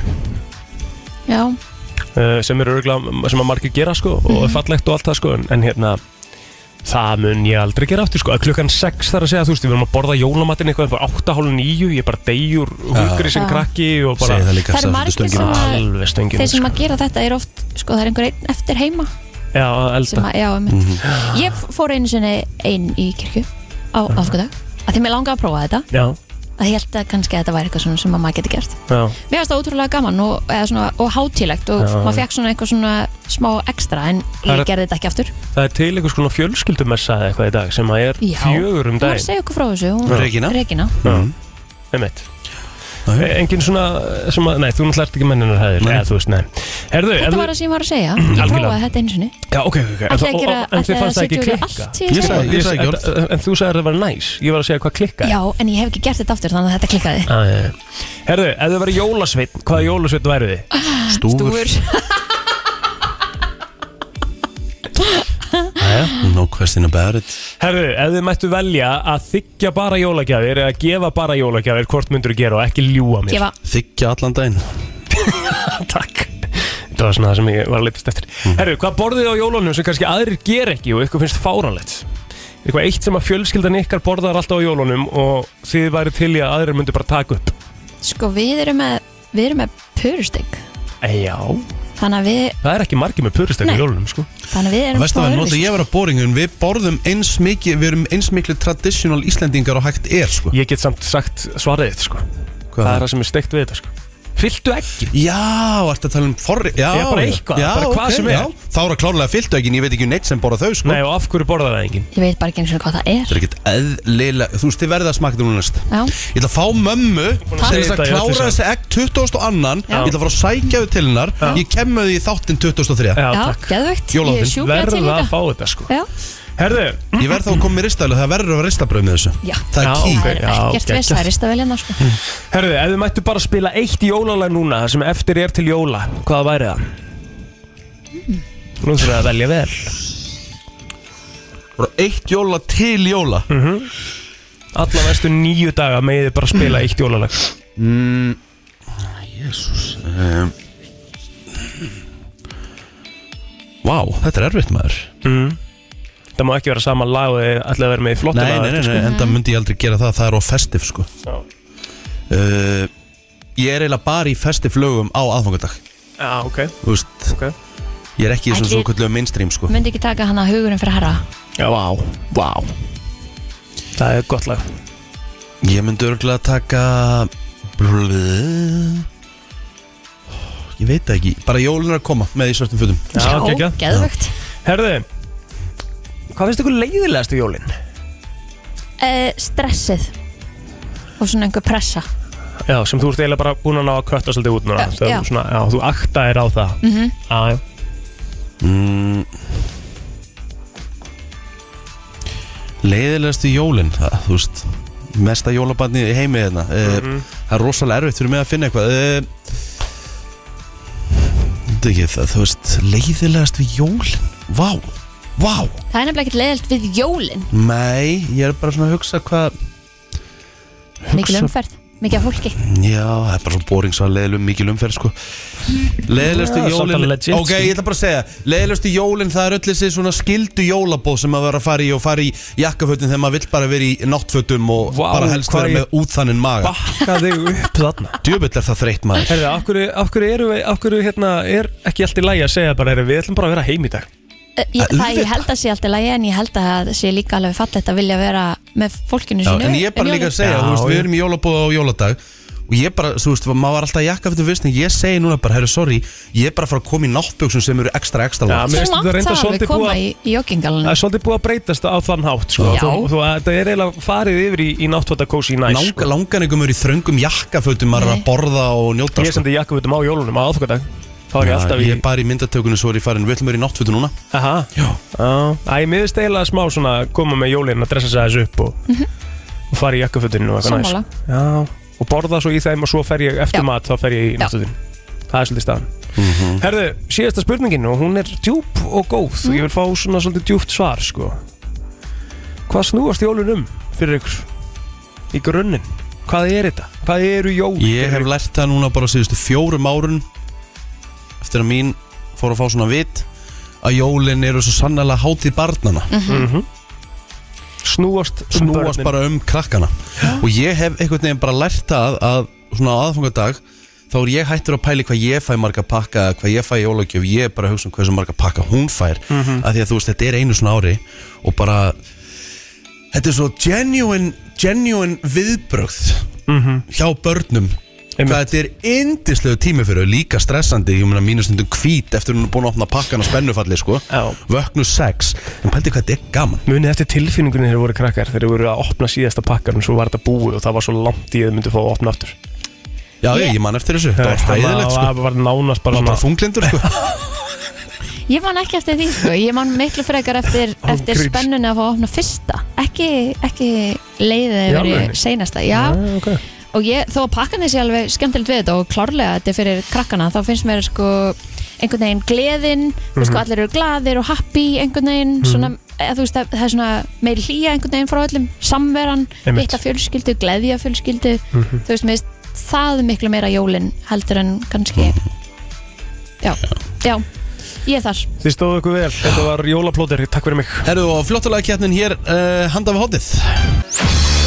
Já, uh, sem er örgulega, sem að margir gera sko Mhm. og er fallegt og allt það sko en, en hérna, það mun ég aldrei gera aftur sko, að klukkan 6 þar að segja þú veist, við erum að borða jólamatinn eitthvað, bara 8.30 ég bara degjur hungri sem Já. krakki og bara segi það líka Það eru sagði margir stöngin sem út. að- alveg stöngin þeir út, sem sko. að gera þetta er oft sko það er einhver einn eftir heima Já, að sem elda að, já, mm Mhm. ég f- fór einu sinni einn í kirkju á aðfangadag að því mér langaði að prófa þetta Já, að ég held að kannski að þetta væri eitthvað svona sem að maður geti gert já, mér finnst það ótrúlega gaman og, eða svona, og hátílegt og Já. maður fekk svona eitthvað svona smá ekstra en Það ég er- gerði þetta ekki aftur það er til einhvers konar fjölskyldumessa eða eitthvað í dag sem að er Já. fjögur um hún var að daginn segja okkur frá þessu hún, Regína? Regina. Já, einmitt Eh, Nei. engin svona sem að, nei, þú náttúrulega ert ekki menninar hæðir Nei. eða þú veist, nei Herðu, ef Þetta þú- var það sem ég var að segja Ég Algjörlega. prófaði þetta einu sinni Já, ok, ok, ok En það- Ætlaði að gera- og- En ætlaði þið að fannst það ekki setja yfir klikka allt sem ég Ég sagði- sagði. ég sagði ekki orð. En- En þú sagði að það var næs Ég var að segja hvað klikkaði Já, en ég hef ekki gert þetta aftur þannig að þetta klikkaði Ah, já, já. Herðu, ef þið væri jólasveitn, hvaða jólasveitn væru þið? Stúfur No question about it Herðu, ef þið mættu velja að þykja bara jólagjafir eða gefa bara jólagjafir, hvort myndur þú gera og ekki ljúa mér? Gefa Þykja allan daginn Takk Þetta var svona það sem ég var að litast eftir Herru, hvað borðið þið á jólunum sem kannski aðrir ger ekki og ykkur finnst fáránlegt? Eitthvað eitt sem að fjölskyldan ykkar borðar alltaf á jólunum og þið væri til í að aðrir myndu bara taka upp Sko, við erum með, við erum með purusteg Eh, Já Þannig að við, Það er ekki margir með puristökk Nei. í jólunum, sko þannig að við erum Vestu að smá nota öðruvísi. ég var að boringu en Við borðum eins mikið Við erum eins miklu traditional Íslendingar og hægt er sko Ég get samt sagt svarið þitt, sko Hvað Það er er það sem er steikt við þetta, sko Fylltu ekki Já, ertu að tala um forri Já, Já, bara eitthvað, já, bara hvað ok, sem er. já. Þá er að klárlega fyllt ekki, en ég veit ekki um neitt sem borða þau sko Nei, og af hverju borðar það enginn? Ég veit bara ekki eins og hvað það er Það er ekkert eðlilega Þú veist, þið verðið að smaka þetta núna næst Já, Ég ætla að fá mömmu að til segja þetta í þess að öllu klára saman. þessi egg 2000 og annan Ég Já. ætla að fara að sækja þau til hennar Ég kem með því í þáttinn 2003 Já, já, takk geðvögt Ég Jólahátíðin. er sjúklega til í Verða að þetta fá þetta, sko Já, Herðu, Ég verð þá að koma með ristaðlega Það verður að vera ristabröð með þessu já, Já, Það er key ok. það er ekkert geggjað. veist, það er rista vel hérna sko herðu, ef þið mættu bara spila eitt jólalag núna, það sem eftir er til jóla, hvað væri það? Nú þurfum við að velja vel Bara eitt jóla til jóla Hm. Alla næstu nýju daga megið þið bara spila eitt jólalag Vá, þetta er erfitt maður Það má ekki vera sama lag og þið ætlaði að vera með í flottum Nei, nei, nei, nei, enda myndi ég aldrei gera það Það er á festif sko Já. uh, Ég er eiginlega bara í festiflögum á aðfangadag Já, ok, Þú veist, ok ég er ekki í þessum Ætli- svo kvöldlega mainstream sko Myndi ekki taka hana hugurinn fyrir herra Já, vá, vá Það er gott lag Ég myndi örgulega taka Ég veit það ekki Bara jólun er að koma með í svörtum fötum Já, geggjað. geðvögt Herðu, hvað finnst ykkur leiðilegast í jólinn? Eh, Stressið Og svona einhver pressa Já, sem þú ert eiginlega bara búin að ná að kvötta svolítið út núna Já, Þegar já. þú svona, já, þú akta er á það mm -hmm. Já, já mm. Leiðilegast í jólun það, Þú veist Mesta jólabarni í heimi hérna mm Það er rosalega erfitt fyrir mig að finna eitthvað Eh, Þetta ekki það Þú veist Leiðilegast við jólun Vá Vá Það er nefnilega ekkert leiðilt við jólin Nei Ég er bara svona að hugsa hvað Mikil Hugsa- umferð, mikið af fólki Já, það er bara svo boring svo að leiðilegum mikil umferð sko Leiðilegustu Já, jólin svolítið legit, Ok, sko. ég ætla bara að segja Leiðilegustu jólin það er öll þessi svona skildu jólabóð sem maður verður að fara í og fara í jakkafötum þegar maður vill bara vera í náttfötum og Vá, bara helst hvað vera ég- með útþannin maga ba Bakka þig upp þarna Djöfull er það þreytt maður Herðu, af hverju, af hverju erum við, af hverju hérna er ekki allt í lagi að segja bara, herðu, við ætlum bara að vera heim í dag Eh, ég- Að Það ég auðvitað. held að sé alltaf lægi en ég held að það sé líka alveg fallegt að vilja vera með fólkinu Já, sínu En ég er bara um líka að jólin. segja, Já, þú veist, við ég- erum í jólabóð á jóladag og ég bara, þú veist, maður var alltaf í jakkafötum fyrst en ég segi núna bara, herru, sorry ég er bara að fara að koma í náttböksum sem eru ekstra Já, ekstra mér langt. Svo finnst þetta langt það reyndar að við svolítið búið koma í, í joggingalunum Það er svolítið búið að breytast á þann hátt sko. Já. þú, þú, Það er eiginlega farið yfir í, í náttfata kósi næs Lang, langan einhverjum eru í þröngum jakkafötum maður er að Nei. borða og sko. njóta Ég sendi jakkafutum á jólunum á aðfokadag Þá er ég Já, alltaf í ég er bara í myndatökunni svo er ég farin Við ætlum að vera í náttfötu núna Aha. Já Já. Æ, mér finnst eiginlega smá svona að koma með jólinn að dressa sig aðeins upp og, og fara í jakkafutinu og eitthvað næs Sammála. Já. og borða svo í þeim og svo fer ég eftir Já. mat þá fer ég í Já. náttfutinu Það er svolítið staðan Mhm. Herðu, síðasta spurningin og hún er djúp og góð og ég vil fá svona svolítið djúpt svar sko. Hvað snúast jólun um fyrir ykkur í grunninn? Hvað er þetta? Hvað eru jól? Ég hef lært það núna bara síðustu fjórum árun Eftir að mín fór að fá svona vit Að jólin eru svo sannlega hátíð barnana snúast um Snúast börnin. bara um krakkana Og ég hef einhvern veginn bara lært það Að svona á aðfangadag Þá er ég hættur að pæli hvað ég fæ marga pakka eða Hvað ég fæ í jólagjöf Ég er bara að hugsa um hversu marga pakka hún fær mm Mhm. Af því að þú veist, þetta er einu svona ári Og bara Þetta er svo genuine, genuine viðbrögð hjá börnum Mhm. Einmitt. Hvað þetta er indislegu tími fyrir þau, Líka stressandi, ég meina mínustundum hvít Eftir hún er búin að opna pakkan á spennufalli sko. Já. Vöknu sex En pældi hvað þetta er gaman Munið eftir tilfinningunni þegar þeir voru krakkar þegar þeir voru að opna síðasta pakkan og svo var þetta búið og það var svo langt í að þau myndu fá að opna aftur Já, ég, ég man eftir þessu, það var Hérna var, hæðilegt sko var nánast bara Það var svona bara þunglindur sko Ég man ekki eftir því sko, ég man miklu frekar eftir, eftir Ángríns. spennunni að fá að opna fyrsta ekki, ekki leiðið Í yfir alvörunni? seinasta Já, Ah, ok. og ég, þó að pakkan þessi alveg skemmtilegt við þetta og klárlega þetta er fyrir krakkana þá finnst mér sko einhvern veginn gleðin, þú veist sko allir eru glaðir og happy einhvern veginn svona, eða, þú veist það, það er svona meiri hlýja einhvern veginn frá öllum, samveran, Einmitt. hitta fjölskyldu gleðja fjölskyldu, þú veist mér finnst það miklu meira jólin heldur en kannski já, já, ég er þar Þið stóðu ykkur vel, þetta var jólaplóter, takk fyrir mig Herru og flottulega kjarnin hér, uh, handa við hotið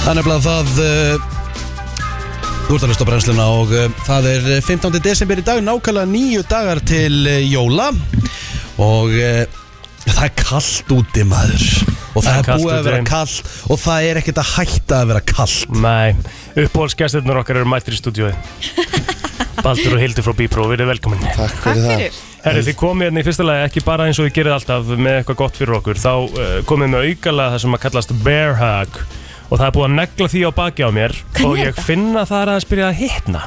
Það er nefnilega það uh, Þú ert að hlusta á brennsluna og uh, það er 15. desember í dag, nákvæmlega nýju dagar til uh, jóla og uh, það er kallt úti maður og Það það er er kalt búið að vera úti. kallt og það er ekkert að hætta að vera kallt Nei, uppbóðsgæstirnur okkar eru mættir í stúdíói Baldur og Hildur frá Bípró, við erum velkomin Takk fyrir það Herri, þið komið hérna í fyrsta lagi ekki bara eins og þið gerðið alltaf með eitthvað gott fyrir okkur þá uh, komið með aukala það sem að kallast bear hug og það er búið að negla því á baki á mér Hvernig og er ég þetta? finna það er að spyrja að hitna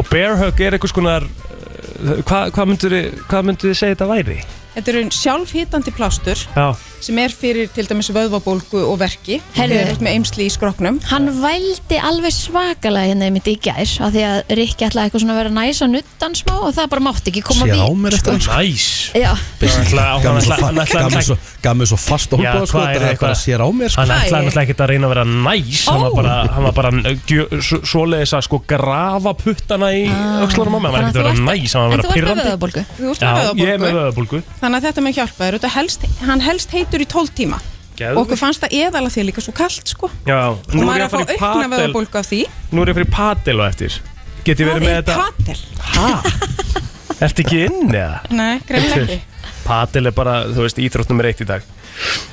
og bear hug er eitthvað skonar uh, hvað hva myndur hva þið segja þetta væri? Þetta eru sjálfhitandi plástur Já, sem er fyrir til dæmis vöðvabólgu og verki Heyrðu. Þegar þú ert með eimsli í skroknum Hann vældi alveg svakalega hérna mitt í gær af því að Rikki ætlaði eitthvað svona að vera næs að nuttan smá og það bara mátti ekki koma Sér á við sko, mér eftir hann sko. næs Já, ætla- hann ætla- Gaf mér svo fa- hann ætla- gaf mér svo- gaf mér svo fast og Já, húpa sko, hvað er það er eitthvað- bara sér á mér sko. Hann Hæ. ætlaði náttúrulega ekkert að reyna að vera næs Hann var Ó. bara, hann var bara uh, gjö- svo- svoleiðis að sko grafa puttana í Ah. öxlunum á mig Hann var ekkert Þannig að að vera þú næs, hann var að en vera þú ert með pyrrandi vöðabólgu Þú ert Já, með ég er með vöðvabólgu vöðabólgu Þannig að þetta með hjálpa þér Þetta helst, hann helst heitur í 12 tíma Geðveikt. Og okkur fannst það eðala því líka svo kalt sko Já, Og nú er maður ég er að að fara fá í aukna padel vöðvabólgu af því Nú er ég að fara í padel á eftir Get ég verið Hvað með er þetta patel? Hæ? Ertu ekki inn eða? Nei, greinlega ekki Padel er bara, þú veist, íþrótt nummer eitt í dag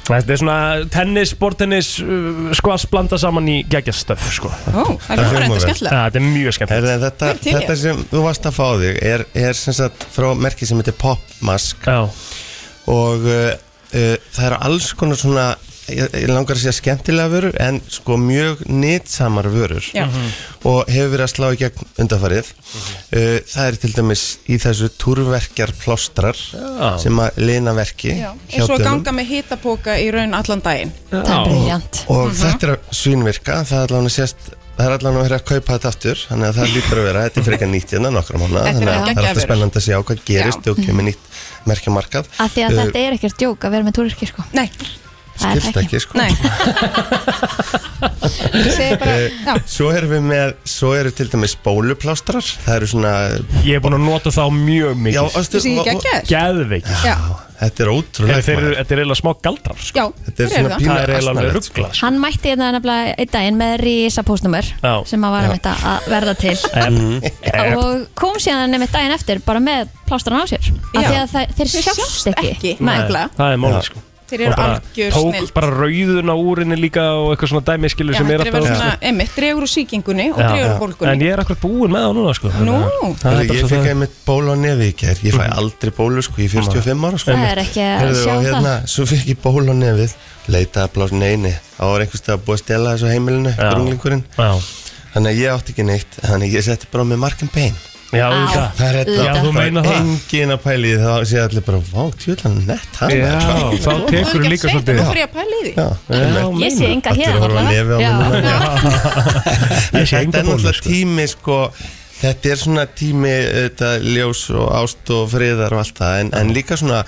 Þetta er svona tennis, bortennis, uh, skvass blanda saman í geggjastöf, sko Ó, það er hljómar bara enda vel. skemmtilega Ja, Þetta er mjög skemmt Herri, en Ég þetta, er til í þetta það. sem þú varst að fá á þig er, er sem sagt frá merki sem heitir Popmask Já, og uh, uh, það eru alls konar svona ég, ég langar að segja skemmtilega vörur en sko mjög nýtsamar vörur Já. Mhm. og hefur verið að slá í gegn undanfarið uh, það er til dæmis í þessu túrverkjar plástrar Já. sem að lina verki Já, hjá eins og að dönum. ganga með hitapóka í raun allan daginn Það er briljant og Mhm. þetta er að svínvirka það er allan að sést það er allan að vera að kaupa þetta aftur þannig að það lítur að vera, þetta er fyrir eitthvað nýtt hérna nokkra mánu, Þetta er þannig alveg að það er alltaf geggjaður. spennandi að sjá hvað gerist og kemur nýtt merkjamarkað Eh, Af því að þetta er ekkert djók að vera með túryrki sko Nei, Það er skilst ekki ekki sko nei Ég segi bara, Eh, já svo erum við með, svo eru til dæmis bóluplástrar, það eru svona ég er bún að nota þá mjög já, mikið ástu, Þessi geggjaður Geðveikir Já, þetta er En ótrúlega þeir eru, þetta er eiginlega smá galdrar sko. já, þetta er þeir eru svona það pínu Það er eiginlega alveg asnalegt, sko. ruggla sko. Hann mætti hérna nefnilega einn daginn með risa póstnumör Já. sem að var einmitt að- að verða til og kom síðan einmitt daginn eftir bara með plástarna á sér af Já. því að það- þeir Þeir sjást ekki Nefnilega Það er málið sko. Þeir eru Og bara algjör Tók snill. bara rauðuna úr henni líka og eitthvað svona dæmiskilur Já, sem er þetta er verið alltaf svona, einmitt, dregur úr sýkingunni og Já. dregur úr En bólgunni ég er akkur búinn með það núna sko. Nú, Þannig að- Það er Mhm. Heyrðu, bara ég svo fikk það. einmitt bólu á nefi í kær ég fæ aldrei bólu sko, ég er 45 ára sko Það er ekki að Heyrðu, sjá og það hérna, svo fikk ég ból á nefið leitaði að blása neini þá var einhverstað að búa að stela þessu á heimilinu Já. drunglingurinn, Já, þannig að ég átti ekki neitt þannig að ég setti bara með markan bein já, Á. auðvitað. það er já Auðvitað. þetta þú meina það engin að pæli í því, þá sé allir bara vá, tjóðlega nett hann Já, þá tekur líka svolítið Nú fyrir ég að pæla í því já, einmitt. Ég sé enga Allir hérna horfa á nefið á mér núna. Já. Ég sé þetta enga er bólu náttúrulega sko. tími sko Þetta er svona tími þetta, ljós og ást og friðar og allt það en, en líka svona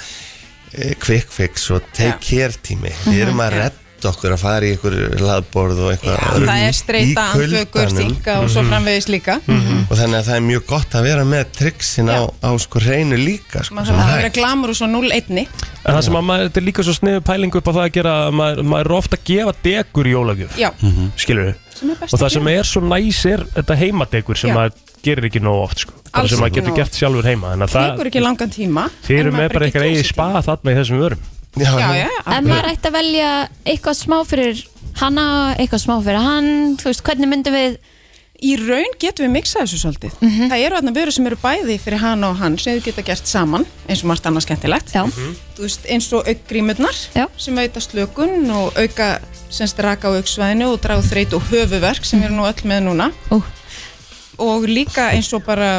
eh, quick fix og take care tími Mhm, Við erum að redda okkur að fara í einhver laðborð og Já, eitthvað það er streita, Um í andvökur, kuldanum. Mhm. þinga og Mhm. svo framvegis líka og þannig að það er mjög gott að vera með triksin á, á sko reynu líka sko, maður sem þarf að hægt. vera glamur og svo 0-1 En það sem að maður, þetta er líka svo sniðu pælingu upp á það að gera að maður, maður er ofta að gefa degur í jólagjöf Já, skilur við sem er Mhm. best og það að sem gera. er svo næs er þetta heimadegur sem Já. maður gerir ekki nóg oft sko. bara Alls sem maður ekki getur nógu gert sjálfur heima þannig að það tekur ekki langan tíma Þið en eru með maður bara eitthvað getur eigið sér spa tíma. þarna í þessum vörum Já, Já, já, En maður ætti að velja eitthvað smá fyrir hana, eitthvað smá fyrir hann, þú veist, hvernig myndum við í raun getum við miksað þessu svolítið Mhm. það eru þarna vörur sem eru bæði fyrir hann og hann sem þau geta gert saman eins og margt annars skemmtilegt Já. Þú veist, eins og aukgrímurnar Já. sem auka slökun og auka semst raka á auksvæðinu og dragu þreyt og höfuverk sem eru nú öll með núna Ú. og líka eins og bara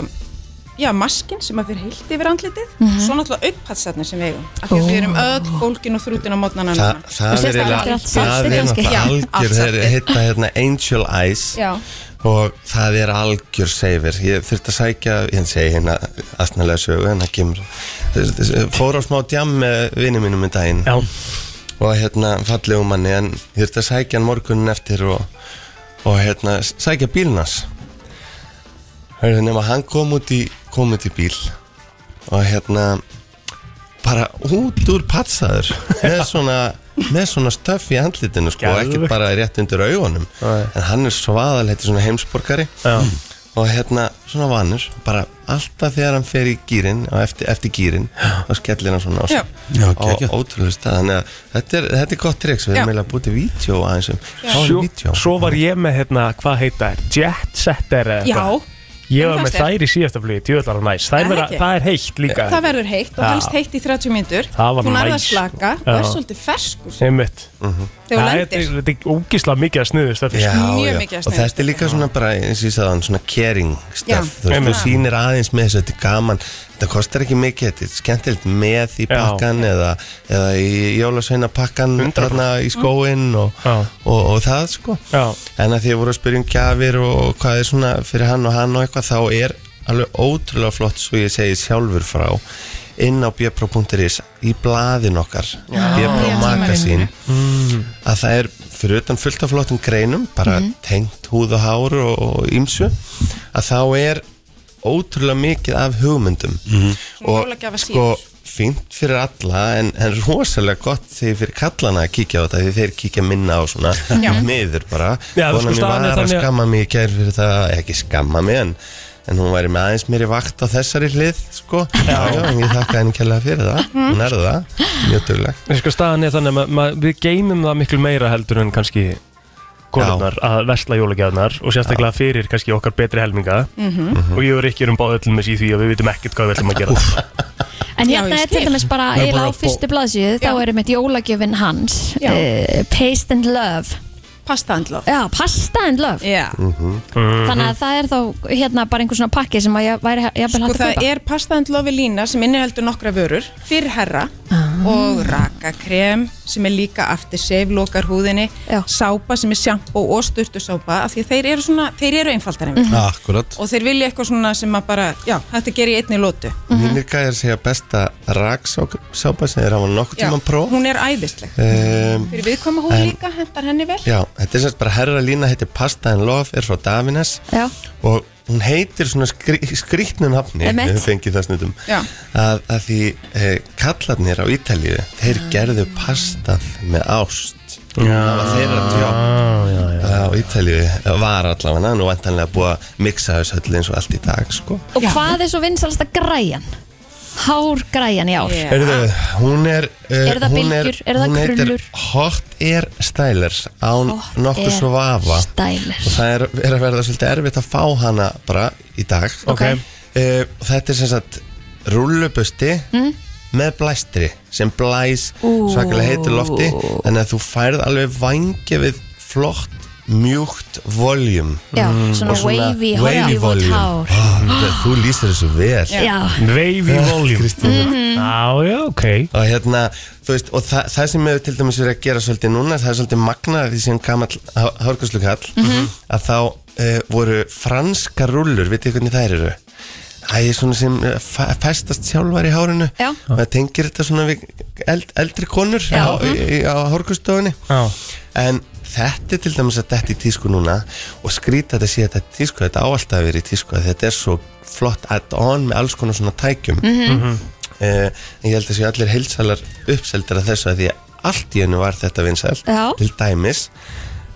já, maskin sem að fyrir heilt yfir andlitið Mhm. svo náttúrulega aukpatsarnir sem við eigum af því að við erum öll bólkin og þrútin á mótnana Þa, það Og er sést það eiginlega- allt í allt það salti er kannski. náttúrulega Já, algjör allt þeir salti. heita hérna Angel Eyes Já. og það er algjör seifir ég þurfti að sækja, ég segi hérna aðsnalega sögu, hérna kemur þess- þess- fór á smá djam með vini mínum í daginn Já, og hérna fallegum manni en ég þurfti að sækja hann morgunin eftir og, og hérna sækja bílnas hérna nema hann kom út í kom út í bíl og hérna bara út úr patsaður með svona, með svona stöf í handlitinu sko, Geðveikt. ekki bara rétt undir augunum Nei. en hann er svaðal, þetta er svona heimsborgari já, og hérna svona vanur bara alltaf þegar hann fer í gýrin og eftir, eftir gýrin og skellir hann svona á, Já. Já, á geggjað. ótrúlega stað þannig að þetta er, þetta er gott triks við Já. erum eiginlega að búti vídeo aðeins um Svo, svo var ég með hérna, hvað heita þær? Jet setter eða Já, eitthvað. Ég var Hvernig með fannst þér? þær í síðasta flugi, djöðlar og næs Er Þær það vera, ekki? Það er heitt líka það verður heitt og Já. helst heitt í 30 mínútur Það var Þú nærð að næs. slaka og er Já. svolítið ferskur Einmitt þegar þú Það er- lendir Þetta er ógislega mikið að sko. sniðu stöfi Já, Mjög já. mikið að og sniða þetta er líka svona bara eins og ég sagði hann, svona caring Já. stuff, þú veist, þú Einmitt. sýnir aðeins með þessu, þetta er gaman þetta kostar ekki mikið, þetta er skemmtilegt með í Já. pakkan eða, eða í jólasveina 100%. pakkan þarna í skóinn Mm. og, Já. og, og, það sko Já, en að því að voru að spyrja um gjafir og, og hvað er svona fyrir hann og hann og eitthvað þá er alveg ótrúlega flott svo ég segi sjálfur frá inn á bjöpró.is í blaðin okkar bjöpró Já, magasín Mm. að það er fyrir utan fullt af flottum greinum bara tengt húð og hár og, og ímsu að þá er ótrúlega mikið af hugmyndum Mhm. og jólagjafa sko fínt fyrir alla en, en rosalega gott þegar fyrir kallana að kíkja á þetta því þeir kíkja minna á svona miður bara Já, þú Konan sko, mín staðan er var að þannig að- skamma mig í gær fyrir það ekki skamma mig en, en hún væri með aðeins mér í vakt á þessari hlið sko, já, já, en ég þakka henni kjærlega fyrir það hún er það, mjög dugleg en sko staðan er þannig að ma- ma- við geymum það miklu meira heldur en kannski konurnar að versla jólagjafnar og sérstaklega fyrir kannski okkar betri helminga Mhm. og ég og Rikki erum báð öllum með síð því að við vitum ekkert hvað við ætlum að gera En Já, hérna ég er til skil. dæmis bara er eiginlega á bara bó- fyrstu blaðsíðu þá Já. er mitt jólagjöfin hans Já. uh, Paste and Love Pasta andla Já, Pasta and Love Já, Þannig að það er þá hérna bara einhver svona pakki sem að ég væri jafnvel sko hægt að það kaupa er pasta andla við lína sem inniheldur nokkra vörur fyrir herra Ah. og rakakrem sem er líka aftirsef, lokar húðinni Já. sápa sem er sjampó og sturtusápa af því að þeir eru svona, þeir eru einfaldar mm Mhm. Akkurat og þeir vilja eitthvað svona sem að bara, já, þetta gerir í einni lótu mínir gæjar segja besta raksápa sem þeir hafa nokkuð Já, tíma próf hún er æðisleg um, Fyrir viðkoma hún líka, hendar henni vel já, þetta er semst bara herra lína heitir Pasta and Love, er frá Davines Já. og hún heitir svona skri, skrýtnum hafni Emmett. við höfum fengið það snundum Já. að, að því e, kallarnir á Ítalíu þeir Ah. gerðu pastað með ást já. það var þeirra jobb á Ítalíu var allavega nú vantanlega búið að miksa þessu öll eins og allt í dag sko. Og hvað er svo vinsalasta græjan? Hár græjan í ár Yeah. Heyrðu, hún er uh, Eru Ah. það hún er, bylgjur? Eru það hún heitir krullur? Hot Air Styler án Hot nokkuð Air svo vafa Stylers. og það er, er að verða svolítið erfitt að fá hana bara í dag Ok. Eh, og þetta er sem sagt rullubusti Mhm. með blæstri sem blæs svakalega heitir lofti þannig að þú færð alveg vangja við flott mjúkt voljum Já, svona, wavy, Hollywood hár Ah, þú lýsir þessu vel Já, Wavy volume Mhm. Já, já, ok og hérna, þú veist, og þa það sem hefur til dæmis verið að gera svolítið núna, það er svolítið magnað því sem gamall hárkurslukall mm að þá uh, voru franska rullur, veitir þið hvernig þær eru? Æ, svona sem eh, fe- festast sjálfar í hárinu Já. og það tengir þetta svona við eld, eldri konur Já. á, í, á hárkurstofunni Já. en þetta er til dæmis að þetta í tísku núna og skrýta þetta sé að þetta er tísku þetta á alltaf að vera í tísku að þetta er svo flott add-on með alls konar svona tækjum mm en ég held að sé allir heilsalar uppseldir að þessu að því að allt í hennu var þetta vinsæl Já. til dæmis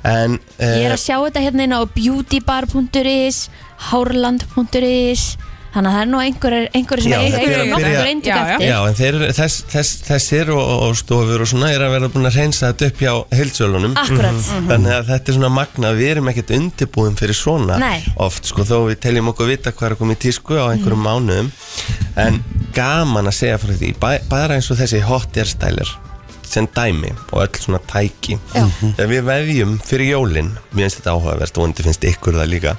en ég er uh, að sjá þetta hérna inn á beautybar.is hárland.is Þannig að það er nú einhverjir einhver sem Já, eiga þetta er að einhverjir byrja- nokkur eindug Já, já. eftir Já, en þeir, eru- þess, þess, þessir og, og stofur og svona er að vera búin að reynsa þetta upp hjá heilsölunum Akkurat Þannig að þetta er svona magna, við erum ekkert undirbúin fyrir svona Nei. oft, sko, þó við teljum okkur vita hvað er að koma í tísku á einhverjum Mhm. mánuðum en gaman að segja frá því bæ, bara eins og þessi hot airstyler sem dæmi og öll svona tæki Mhm. Já. þegar við veðjum fyrir jólin mér finnst þetta áhugavert og vondi finnst ykkur það líka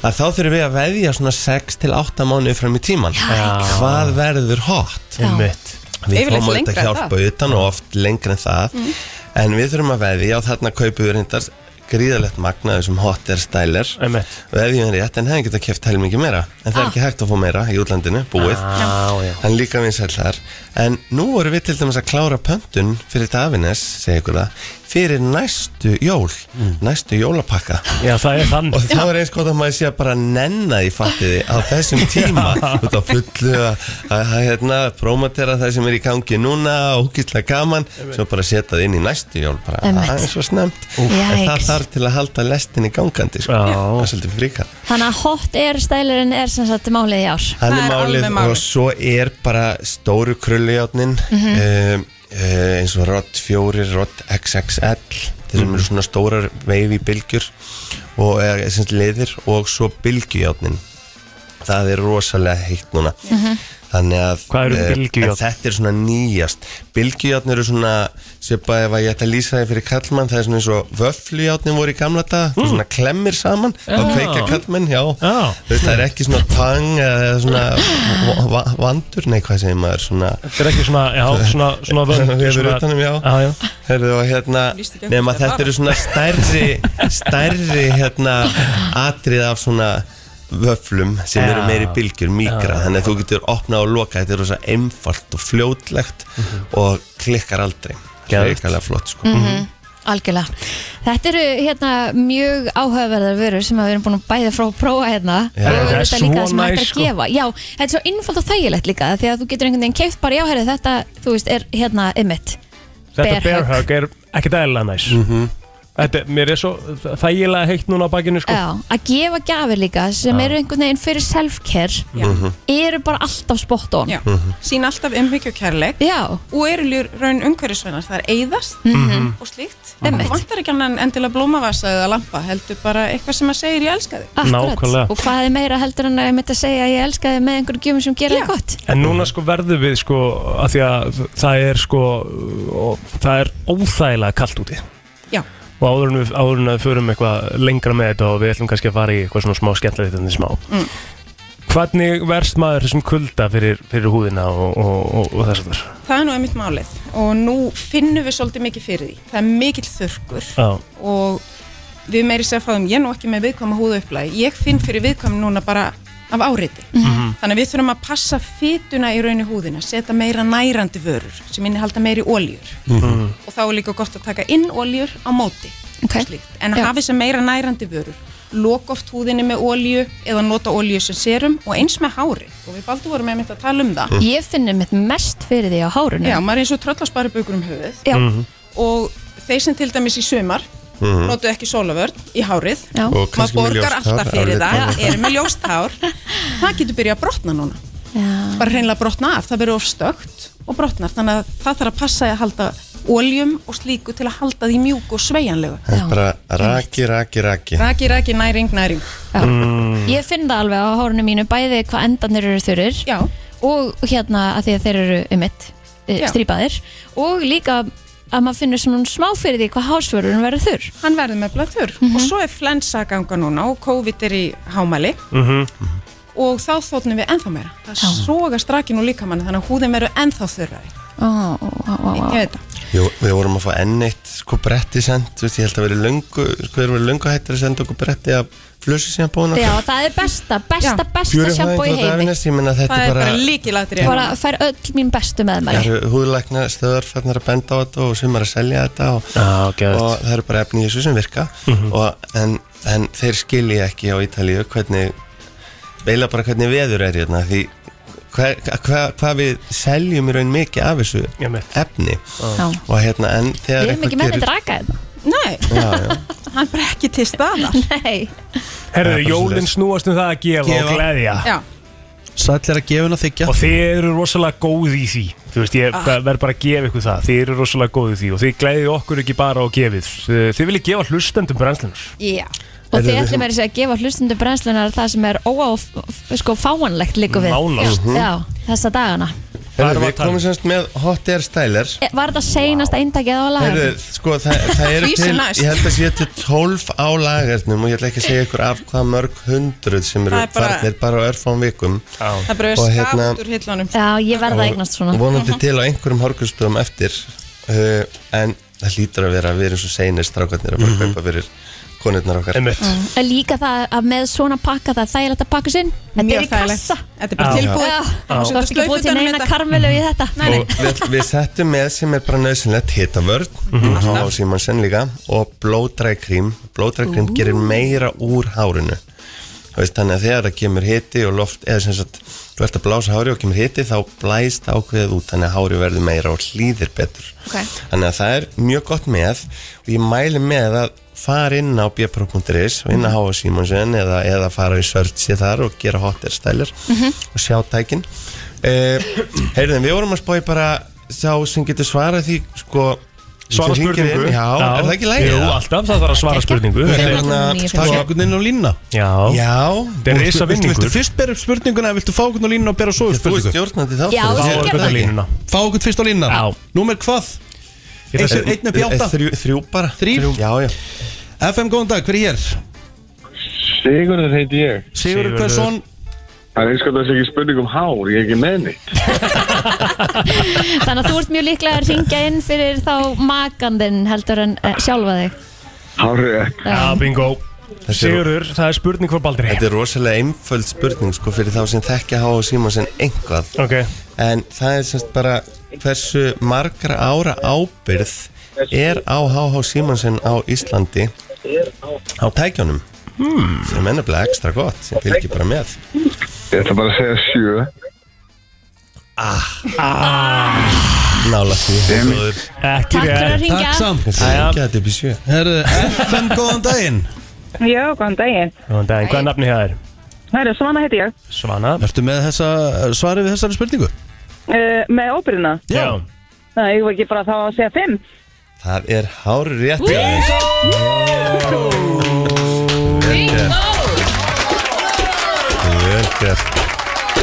að þá þurfum við að veðja svona 6 til 8 mánuði fram í tíman Já. hvað verður hot Já. Einmitt. við Yfirleitt fáum lengra auðvitað en hjálpa utan og oft lengur en það en við þurfum að veðja og þarna kaupum við reyndar gríðalegt magnaðu sem hot air styler Einmitt. veðjum við rétt en hefðum getað keft helmingi meira en það er Ah. ekki hægt að fá meira í útlandinu, búið Á, Ah, já. hann líka vinsæll þar en nú vorum við til dæmis að klára pöntun fyrir Davines, segi ykkur það fyrir næstu jól Mm. næstu jólapakka já, það er þann og þá er eins gott að maður sé að bara nenna því fattiði á þessum tíma út á fullu að, að, að hérna, promotera það sem er í gangi núna og húkislega gaman svo bara setja það inn í næstu jól bara Einmitt. það er svo snemt en það Jæks. þarf til að halda lestinni gangandi sko. Já. það er svolítið fríka Þannig að hot air stælurinn er sem sagt málið í ár hann Það er er málið alveg málið. og svo er bara stóru krullujáttnin Mhm. um, uh, eins og Rott 4, Rott XXL þeir sem Mhm. eru svona stórar veifi bylgjur og er, sem sagt, leðir og svo bylgjujáttnin það er rosalega heitt núna Mhm. þannig að Hvað eru eh, bylgjujárn? en þetta er svona nýjast bylgjujáttn eru svona svipa ef að ég ætta að lýsa þið fyrir kallmann það er svona eins og vöflujáttnin voru í gamla dag mm. svona klemmir saman og Já. kveika kallmenn, já Já. Þú veist, það er ekki svona tang eða svona va- va- vandur, nei hvað segir maður svona Þetta er ekki svona, já, svona, svona vönd, Við erum svona- utanum, já. Já, já. Herðu og hérna, Lýst ekki upp nema þetta þetta bara. eru svona stærri, stærri hérna atrið af svona vöflum sem Já. eru meiri bylgjur, mikra þannig að þú getur opnað og lokað, þetta er rosa einfalt og fljótlegt Mhm. og klikkar aldrei, það er Geðveikt. ekki flott sko. Mhm. Algjörlega. Þetta eru hérna mjög áhugaverðar vörur sem að við erum búin að bæða frá að prófa hérna Já. og Það er þetta svo líka sem næs, hægt að sko. gefa. Já, þetta er svo innfald og þægilegt líka því að þú getur einhvern veginn keift bara já, herri, þetta, þú veist, er hérna ymmit. Þetta Bear bear hug. hug er ekkert dæla næs Þetta, mér er svo þægilega heitt núna á bakinu sko Já, að gefa gjafir líka sem eru einhvern veginn fyrir self-care Mhm. eru bara alltaf spot on. Já, sín alltaf umhyggju og kærleik Já, og eru ljur raun umhverfisvennar, það er eyðast og slíkt, en Einmitt. þú vantar ekki annan en til að blómavasa eða lampa, heldur bara eitthvað sem að segir ég elska þig akkurat. Nákvæmlega. Og hvað er meira heldur en að ég myndi að segja að ég elska þig með einhverjum gjöfum sem gera Já. þig gott? En núna sko verðum við sko að því að það er sko og, það er óþægilega kalt úti Já, og áður en við, áður en við förum eitthvað lengra með þetta og við ætlum kannski að fara í eitthvað svona smá skemmtilegt en smá Hvernig verst maður þessum kulda fyrir, fyrir húðina og, og, og, og þess að þess það er nú einmitt málið og nú finnum við svolítið mikið fyrir því það er mikill þurrkur Já, og við meiri segja fáðum ég er nú ekki með viðkvæma húðu ég finn fyrir viðkvæm núna bara af áriti þannig að við þurfum að passa fytuna í raun í húðina setja meira nærandi vörur sem innihalda meiri oljur og þá er líka gott að taka inn oljur á móti Ok. og slíkt. en Já. hafi sem meira nærandi vörur loka oft húðinni með olju eða nota olju sem serum og eins með hári og við baldur vorum einmitt að tala um það Ég finn einmitt mest fyrir því á hárunum. Já, maður er eins og tröllarspari bökur um höfuð Já. Mhm. og þeir sem til dæmis í sumar notu ekki sólavörn í hárið Já. Og maður kannski með ljóst borgar alltaf hár, fyrir árið það, tólf. eru með ljóst hár það getur byrjað að brotna núna Já. bara hreinlega brotna af, það verður of stökt og brotnar, þannig að það þarf að passa að halda oljum og slíku til að halda því mjúk og sveigjanlegu það Já. er bara raki, raki, raki Raki, raki, næring, næring Já. Mm. Ég finn það alveg á hárunum mínu bæði hvað endarnir eru þurrir Já, og hérna að því að þeir eru um mitt Já. strýpaðir og líka að maður finnur svona smá fyrir því hvað hásvörurinn verður þurr hann verður með blöðtur og svo er flensa að ganga núna og COVID er í hámæli Mhm. og þá þóttnum við ennþá meira það sógast rakin og líkamann þannig að húðin verður ennþá þurrari oh, oh, oh, ég veit það Jú, við vorum að fá enn eitt sko bretti send, þú veist, ég held að verið löngu, sko, við erum verið löngu hættir að senda okkur bretti af flössu sem búin Já, það er besta, besta, Já. besta sjampo í heimi Davines, ég menna þetta það er bara, líkilatri bara fær öll mín bestu með það maður eru húðlækna stöðar farnar að benda á þetta og sem er að selja þetta og, Já, geðvægt. og það eru bara efni í þessu sem virka og, en, en þeir skilji ekki á Ítalíu hvernig, veila bara hvernig veður er hérna, því hvað hva, hva við seljum í raun mikið af þessu ég mitt efni Já. og hérna, en þegar Við erum ekki með þetta raka nei, Já, já. hann er bara ekki til staðar Nei, Herðu, bara jólinn svoleiðis. snúast um það að gefa, Gefa. og gleðja já, Sæll er að gefa henn að þykja og þið eru rosalega góð í því þú veist, ég ah. verð bara að gefa ykkur það þið eru rosalega góð í því og þið glæðið okkur ekki bara og gefið, Eh, þið viljið gefa hlustendum brennslunars Já Og þið Heyrðu, ætlum er að gefa hlustundum brennslunar það sem er óáf, sko fáanlegt líka við Nánast. Já, Já, þessa dagana Hvað erum Herru, við við að tala um? komum semst með hot air styler E, Var þetta seinasta eintakið á lagar? Heyrðu, sko, það, það eru Því sem til, næst. ég held að séu til 12 á lagarnum og ég ætla ekki að segja ykkur af hvað mörg hundruð sem eru Það er bara- farnir bara á örfám vikum Það er bara Og að hérna- skapt úr hillunum Já, ég verða að eignast svona og vonandi til á einhverjum horgustöðum eftir uh, en það hlýtur að vera að vera eins og seinir strákarnir að fara að kaupa fyrir konurnar okkar einmitt, Mm. En líka það að með svona pakka það er þægilegt að pakka sinn Þetta er Mjög í þægilegt kassa Þetta er bara tilbúið Já, Og þú ert ekki setja búið til slaufutan um neina þetta. karmelu í þetta Nei, nei. og við, við settum með sem er bara nöðsynlegt hitavörn á Simonsen líka og blóðdrækrím blóðdrækrím gerir meira úr hárinu Þú veist, þannig að þegar það kemur hiti og loft eða sem sagt, þú ert að blása hári og kemur hiti þá blæst ákveðið út þannig að hári verður meira og hlýðir betur Ok. þannig að það er mjög gott með og ég mæli með að fara inn á björnpro.is og inn á Háa Simonsen eða, eða fara í searchi þar og gera hot air styler og sjá tækin uh, heyrðum, við vorum að spói bara sá sem getur svarað því sko, svara sem hringir spurningu inn, já, er það ekki lægið? Jú, alltaf, það þarf að svara spurningu Þetta er Þetta er- náttúrulega Takk nýju fyrir. einhvern veginn á línna Já, Já, þetta er risa Viltu vinningur fyrst bera upp spurninguna eða viltu fá okkur á línna og bera svo upp þú er spurningu? stjórnandi þá Já, Fá ég Ég- gerði okkur það. til línuna Fá okkur fyrst á línna Já. Númer hvað? Ég ætla að Einn- segja- einn upp í átta. Þrjú, þrjú bara Þrír? Já, já FM góðan dag, hver er hér? Sigurður heiti ég. Sigurður Sigurður. Kvesson Það er einskjöld að það sé ekki spurning um hár, ég er ekki með neitt. Þannig að þú ert mjög líklega að ringja inn fyrir þá makandinn heldur en eh, sjálfa þig Hár er ekki. Já, bingo Sigurður, það er spurning fyrir Baldri Þetta er rosalega einföld spurning sko fyrir þá sem þekkja Háa Simonsen einhvað Ok, En það er semst bara hversu margra ára ábyrð er á Háa Simonsen á Íslandi á tækjónum hmm. sem er nefnilega ekstra gott sem fylgir bara með Ég ætla bara að segja sjö. Nála Ah. því ekki Takk fyrir að rétt Takk ringja samt Jæja. Gæti upp í sjö Herðu, FM góðan daginn Já, góðan daginn. Góðan daginn, Hvað er nafni hér? Hæru, Svana heiti ég. Svana Ertu með þessa, svarið við þessari spurningu? Uh, með óbyrðina. Já, Það ég var ekki bara þá að segja fimm. Það er hár rétt hjá þér. Vel gert.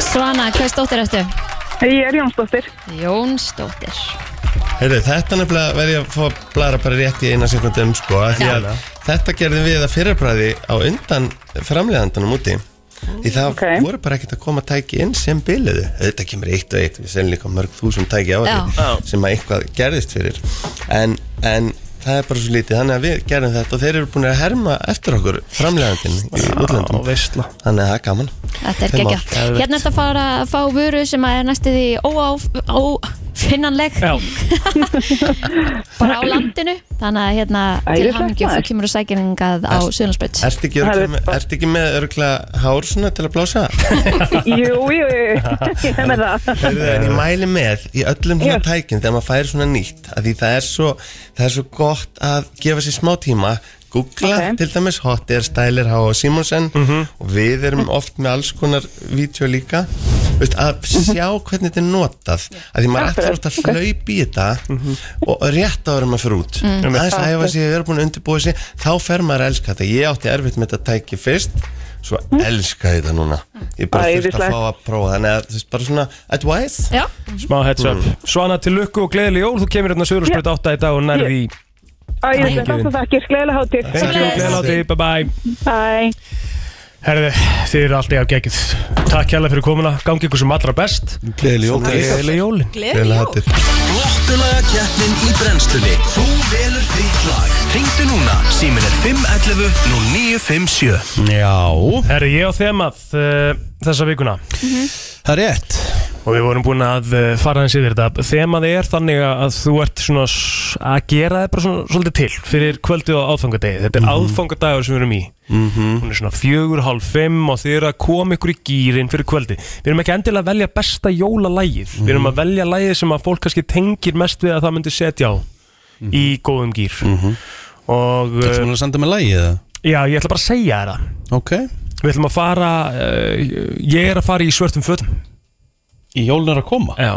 Svana, hvað stóttir ertu? Ég er Jónsdóttir. Jónsdóttir Heyrðu, þetta nefnilega verði ég að fá að blara bara rétt í eina sekundum sko, af því að þetta gerðum við að fyrirbræði á undan framleiðandunum úti því það Ok. voru bara ekkert að koma tæki inn sem biliðu, þetta kemur eitt og eitt við seljum líka mörg þúsund tæki á Já. því sem að eitthvað gerðist fyrir en, en það er bara svo lítið þannig að við gerðum þetta og þeir eru búin að herma eftir okkur framleiðandin í útlöndum veistla þannig að það er gaman Þetta er Fimm ár. geggja Hérna ertu að fara að fá vöru sem að er næstu því ófinnanleg Já, bara á landinu Þannig að hérna til Æðislegt, hamingju maður. þú kemur og sækir hingað á Suðlandsbreyt Ertu ekki, Það er örugglega með- bara- ertu ekki með örgla hár svona til að blása? Jú, jú, ég er með það. Heyrðu, en ég mæli með í öllum svona Já. tækinn þegar maður færi svona nýtt að því það er svo, það er svo gott að gefa sér smá tíma googla Ok. til dæmis Hot Air Styler H.O. Simonsen og við erum oft með alls konar vídeo líka Veist, að sjá hvernig þetta er notað að því maður ætlar oft að hlaupa í þetta og rétt áður en maður fyrir út aðeins að æfa sig, við erum búin að undirbúa sig þá fer maður að elska þetta, ég átti erfitt með þetta tæki fyrst, svo elska ég þetta núna ég bara þurfti að Æðislegt. fá að prófa þannig að þú veist bara svona advice Já, smá heads up Svana, til lukku og gleðileg jól Þú kemur hérna Suðurlandsbreyt 8 í dag og nærði í Æðislega, þakka þakkir. Gleðilega hátir. Thank you, gleðileg átti, bye bye Bye. Herði, þið eru alltaf í afgækið Takk hérlega fyrir komuna, gangi ykkur sem allra best Gleðileg jól Gleðileg jólin Gleðileg jól. hátíð. Flottulaga keppnin í brennslunni Þú velur þitt lag Ringdu núna, símin er 511 0957 Já Herði, ég á þemað uh, þessa vikuna Það er rétt og við vorum búin að eh, fara hans yfir þetta þemað er þannig að þú ert svona s- að gera það bara svona svolítið til fyrir kvöldið á aðfangadegi þetta er mm aðfangadagur sem við erum í hún er svona fjögur, hálf, fimm og þið eru að koma ykkur í gýrin fyrir kvöldið við erum ekki endilega að velja besta jólalægið við erum að velja lægið sem að fólk kannski tengir mest við að það myndi setja á í góðum gýr og Það er uh, svona að senda með lagið eða? já, ég ætla bara að segja þér það Ok Við ætlum að fara uh, Ég er að fara í svörtum fötum Í jólun er að koma Já,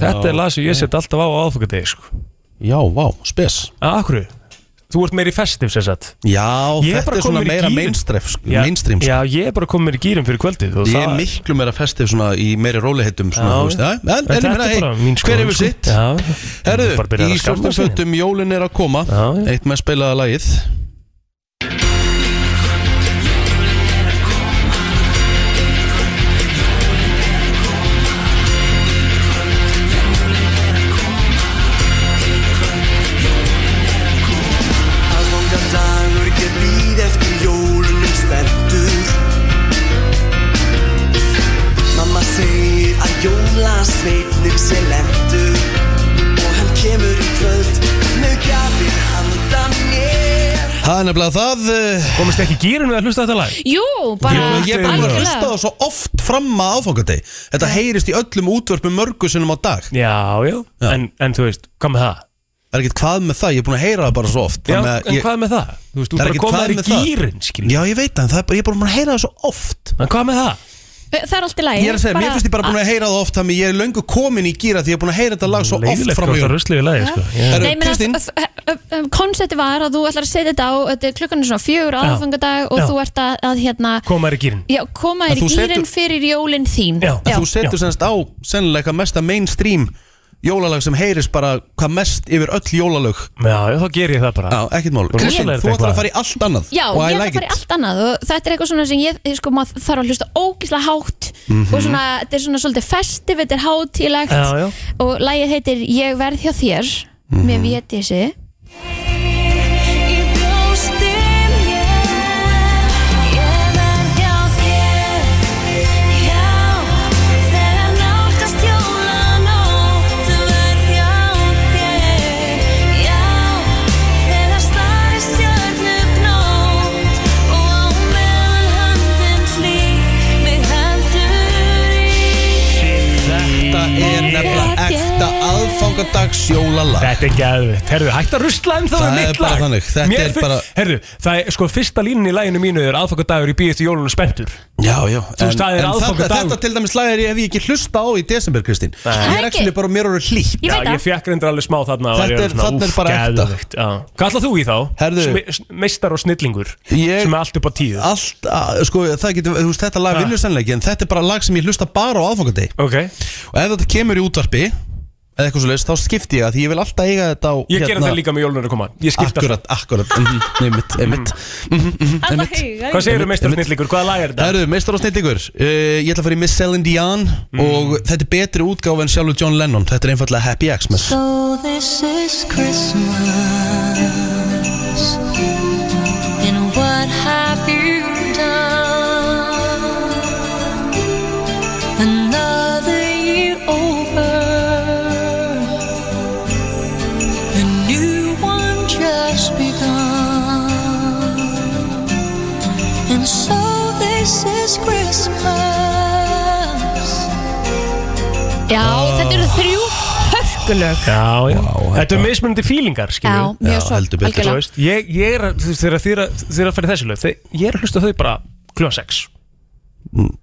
þetta er lag sem ég set alltaf á á aðfokkardegi sko. Já, vá, spes Akkur, þú ert meir í festiv sem sagt Já, Ég er þetta bara er svona komin í meira gírinn. mainstream, sko, Já, mainstream sko. Já, ég er bara komin mér í gýrum fyrir kvöldið og Ég er það- miklu meira festið svona í meiri róliheitum Já, svona, þú veist, já. já, en, en, þetta ég er meina, bara hey, mín hver skoðun, hefur sko. sitt? Já. Ég er bara að Herðu, byrja í að skamma svörtum sín. fötum jólun er að koma Já, já. Eitt með spilaða lagið Aðfangadagur get býð eftir jólunum spenntur Mamma segir að jólasveitnum sé lendur Og hann kemur í kvöld með gafir handa mér Það er nefnilega það eh, Komist ekki í gýrum við að hlusta á þetta lag Jú, bara Jú, Ég er bara búin að Algjörlega. hlusta á það svo oft fram að áfangadeg Þetta heyrist í öllum útvörpum mörgu sinnum á dag Já, já, Já. En, en þú veist, hvað með það? Það er ekkert hvað með það, ég er búin að heyra það bara svo oft Já, þannig að en ég, hvað með það? Þú veist, þú Það er bara ekki komið hvað þær í með það. gýrin skilur Já, ég veit það, en það er bara, ég er bara búin að heyra það svo oft En hvað með það? Það er allt í lagi Ég er að segja, mér finnst ég bara búin að heyra það oft Þannig ég er löngu komin í gíra því ég er búin að heyra þetta lag svo oft Leifilegt fram hvort að það jól ruslið í lagi sko. Já. Herru, Nei, Kristín, menn að konsepti var að þú ætlar að setja þetta á þetta er klukkan er svona fjögur Já. aðfangadag og Já. þú ert að, að hérna Koma þær í gýrin já, koma Að þér í þú setur- gýrin fyrir jólin þín Já. en þú setur semst á sennilega eitthvað mesta mainstream jólalag sem heyrist bara hvað mest yfir öll jólalög Já, já, þá ger ég það bara Já, ekkert mál Þú Kristín, rosalega er þú þetta ætlar að eitthvað. fara í allt annað Já, og I ég ætla að like fara í it. allt annað og þetta er eitthvað svona sem ég, ég sko, maður þarf að hlusta ógislega hátt og Mhm. svona, þetta er svona svolítið festiv, þetta er hátílegt Já, já. og lagið heitir Ég verð hjá þér Mhm. með Védísi Þetta er nefnilega ekta aðfangadags jólalag Þetta er gæðvitt, herðu, hætt að rusla um það Það er er mitt bara lag þannig, þetta Mér er finn- bara- Herðu, það er sko fyrsta línin í laginu mínu er aðfokkadagur í bíðist í jólunum spenntur Já, já Þú veist, það er en- en þetta, aðfangadagur. þetta til dæmis lag er ég hef ég ekki hlusta á í desember, Kristín Ég er Ekki. ekki bara mér orður hlýtt Ég Já, veit ég það, fekk reyndar alveg smá þarna Þetta er- þarna er bara ekta. ekta Hvað ætlað þú í þá? Herðu- Sme- Meistar og snillingur Ég- Sem er allt upp á tíu Allt, að, sko, það getur, þú veist, þetta lag Ah. vinnur sennleiki En þetta er bara lag sem ég hlusta bara á aðfangadegi Ok, Og ef þetta kemur í útvarpi Eða eitthvað svo leist, þá skipti ég að Því ég vil alltaf eiga þetta á ég gera það líka með jólunum að koma Ég skipta það Hérna- Akkurat, akkurat, mhm, einmitt, einmitt Mhm, alla hauga Hvað segir þú meistar og snillingur? Hvaða lag er Það þetta? eru meistar og snillingur uh, Ég ætla að fara í Miss Celine Dion Mm. Og þetta er betri útgáfa en sjálfur John Lennon Þetta er einfallega Happy Xmas So this is Christmas, and what have you done? Another year over, a new one just begun, and so this is Christmas. Já, þetta eru þrjú hörkulög Já, já Þetta er mismunandi fílingar, Já, skilju mjög Já, svo, heldur betur. Þú algjörlega veist, ég, ég er að, þú veist, þegar þið er að- þið er að fara í þessi lög þið- Ég er að hlusta á þau bara kljóðan 6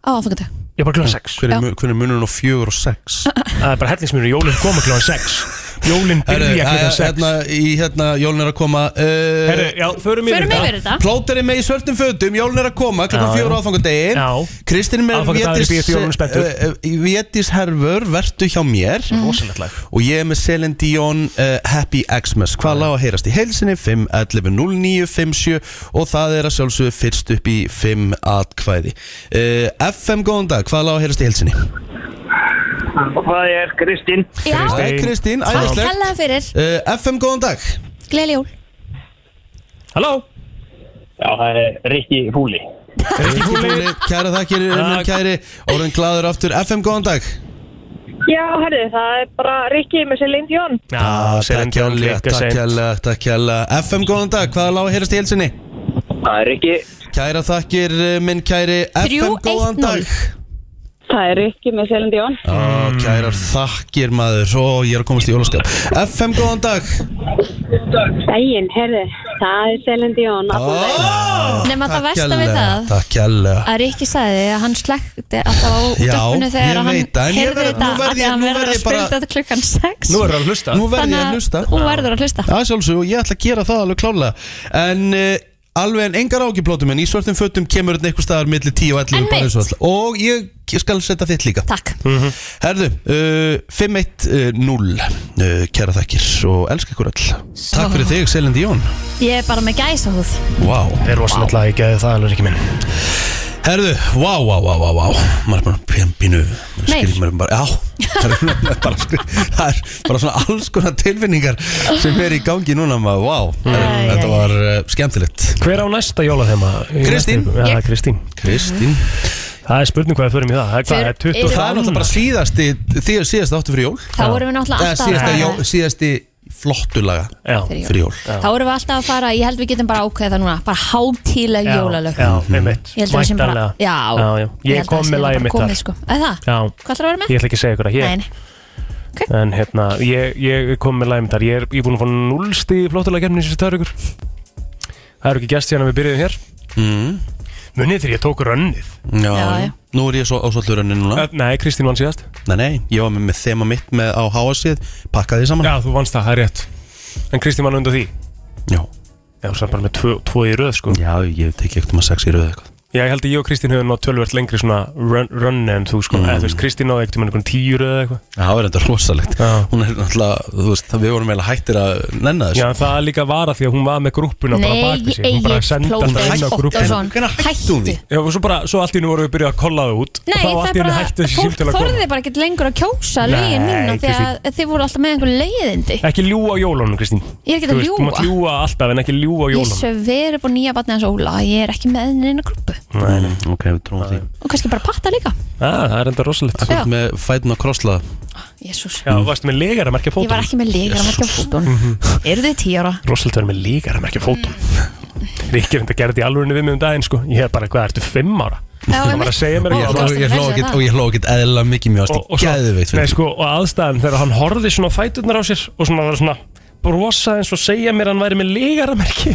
Á, fangata Ég er bara kljóðan 6 Hver er, mu- hver er munurinn á fjögur og sex? Það er bara hellingsmjörn, jólinn koma kljóðan 6 Jólinn Herru, byrja kljóðan 6 hérna, í hérna, jólun er að koma uh, Herru, já, förum yfir Förum yfir þetta þetta Plóterinn með í svörtum fötum, jólun er að koma klokkan Já, já. fjögur á aðfangadegi Já. Kristinn með eh, Aðfangadagur í bíó, jólin er spenntur. Vétis herfur, vertu hjá mér Rósalegt lag Og ég er með Celine Dion uh, Happy Xmas Hvað lág að heyrast í heilsinni 5, 11, 0, 9, 5, 7 Og það er að sjálfsögðu fyrst upp í 5 atkvæði uh, FM góðan dag, hvað lág að heyrast í heilsinni Það er Kristinn Já, Það er Kristín, æðislegt hella fyrir, uh, FM góðan dag gleyli jól Halló Já, það er Rikki Fúli Rikki Fúli, kæra þakkir Unnur kæri, orðin glaður aftur FM góðan dag Já, herri, það er bara Rikki með sér Lind Jón Já, Ah, Takk kjærlega, takk kjærlega, takk kjærlega FM góðan dag, hvað er lág að heyrast í heilsinni? Það er Rikki Kæra þakkir uh, minn kæri FM góðan 3-1-0. dag Það er Rikki með sér Lind Jón Ó, kærar þakkir maður Ó, ég er að komast í jólaskap FM, góðan dag Dægin, herri Það er Celine Dion allan daginn. Nefn að Takk það versta við kærlega, það Takk kjærlega að Rikki sagði að hann slekti alltaf á Já, döppinu þegar ég hann veit það, en ég heyrði verð- þetta nú verð af því ég- að hann nú verður verð að ég bara- spila þetta klukkan 6 Nú er það að hlusta Nú verð ég að hlusta Hún verður að hlusta Það er sjálfsög og ég ætla að gera það alveg klálega En uh, alveg en engar ágiplótum En í svörtum fötum kemur þetta einhver staðar Millir 10 og 11 En bara mitt. eins og öll. Og ég skal setja þitt líka Takk Herðu, uh, 5-1-0 uh, Kæra þakkir og elska ykkur öll Takk fyrir þig, Selin Díón Ég er bara með gæsa húð Vá wow. Það er rosalega ekki að það alveg ekki minn Herðu, vá, vá, vá, vá, vá Maður er bara pjambinu Meir. Maður er bara, já Það er bara, skri- það er bara svona alls konar tilfinningar sem er í gangi núna maður, vá, Æ, æ, þetta æ. var uh, skemmtilegt Hver á næsta jólathema? Í Kristín. næstu viku? Já, Ég. Kristín Kristín Það er spurning hvað við förum í það Það er hvað, Hver- það er 20 Og það er náttúrulega bara síðasti því að síðasti áttu fyrir jól Þá erum við náttúrulega Eða alltaf síðasta, að jó, fara síðasti flottulaga Já, fyrir jól Þá erum við alltaf að fara Ég held við getum bara ákveða það núna Bara hátíleg já, jólalög Já, einmitt Ég held að við séum bara Væntanlega. Já, Já, já. Ég held að kom við séum með bara lagið mitt komið, þar sko. Er það? Já, Hvað ætlar að vera ég með? ætla ekki að segja ykkur að Nei, ég nei. En hérna, ég, ég kom með lægum þar Ég er, ég er búin að fá núlst í flottulega kemni Sér það ykkur Það eru ekki gæst síðan að við byrjuðum hér mm. Munið þegar ég tók rönnið já, Já, já. Nú er ég svo á svolítið raunin núna Nei, Kristín vann síðast Nei, nei, ég var með, með þema mitt með á háasið Pakkaði því saman Já, þú vannst það, það er rétt En Kristín vann undan því Já, Já, þú sagði bara með tvo, tvo í röð, sko já ég tek ekki um að sex í rauð eitthvað Já, ég held að ég og Kristín höfum nátt tölvert lengri svona run, run en þú, sko Eða þú veist, Kristín náði ekkert um einhvern tíu röð eða eitthvað Já, Það var enda rosalegt Já. Hún er náttúrulega, þú veist, við vorum eiginlega hættir að nenna Já, þessu en það líka var að því að hún var með grúppuna bara Nei, bak við sig Hún bara Egill sendi alltaf Plóter inn á grúppuna Óttarsson. Hvenær hætti hún því? Já, og svo bara, svo allt í hennu vorum við byrjað að kolla það út Nei, og þá allt í hennu það er bara, hætti þessi fólk símtöl að koma þorði bara ekkert lengur að kjósa Nei, lögin mína því Kristín. að þið voru alltaf með einhver leiðindi Ekki ljúa á jólunum, Kristín Ég er ekki að Þú veist, Þú mátt ljúga. ljúa alltaf en ekki ljúa á Ég jólunum sveri upp á nýja batni hans Óla að ég er ekki með henni inn á grúpu Nei, nei. Ok, við trúum því og kannski bara patta líka Ah, Það er enda rosalegt Já. Með fætin að krosslaða Jésús, Já, varstu með legar að merkja ég fótum var ekki með leikar að merkja fótun Eru þið tíu ára? Rosalegt verið með legar að merkja fótum Mm. Ríkir enda gerði þetta í alvörinu við mig um daginn sko Ég hef bara, hvað, ertu fimm ára? Já, Þú var að segja mér Ó, að Ég ég hló- varstu hérna? ég að hló lesa ekkert- það? og ég hló ekkert eðla mikið mjög og, ástu og, Gæðveikt svo, nei, sko, og aðstæðan þegar hann horfði svona á fæturnar á sér og svona var svona brosa eins og segja mér að hann væri með legaramerki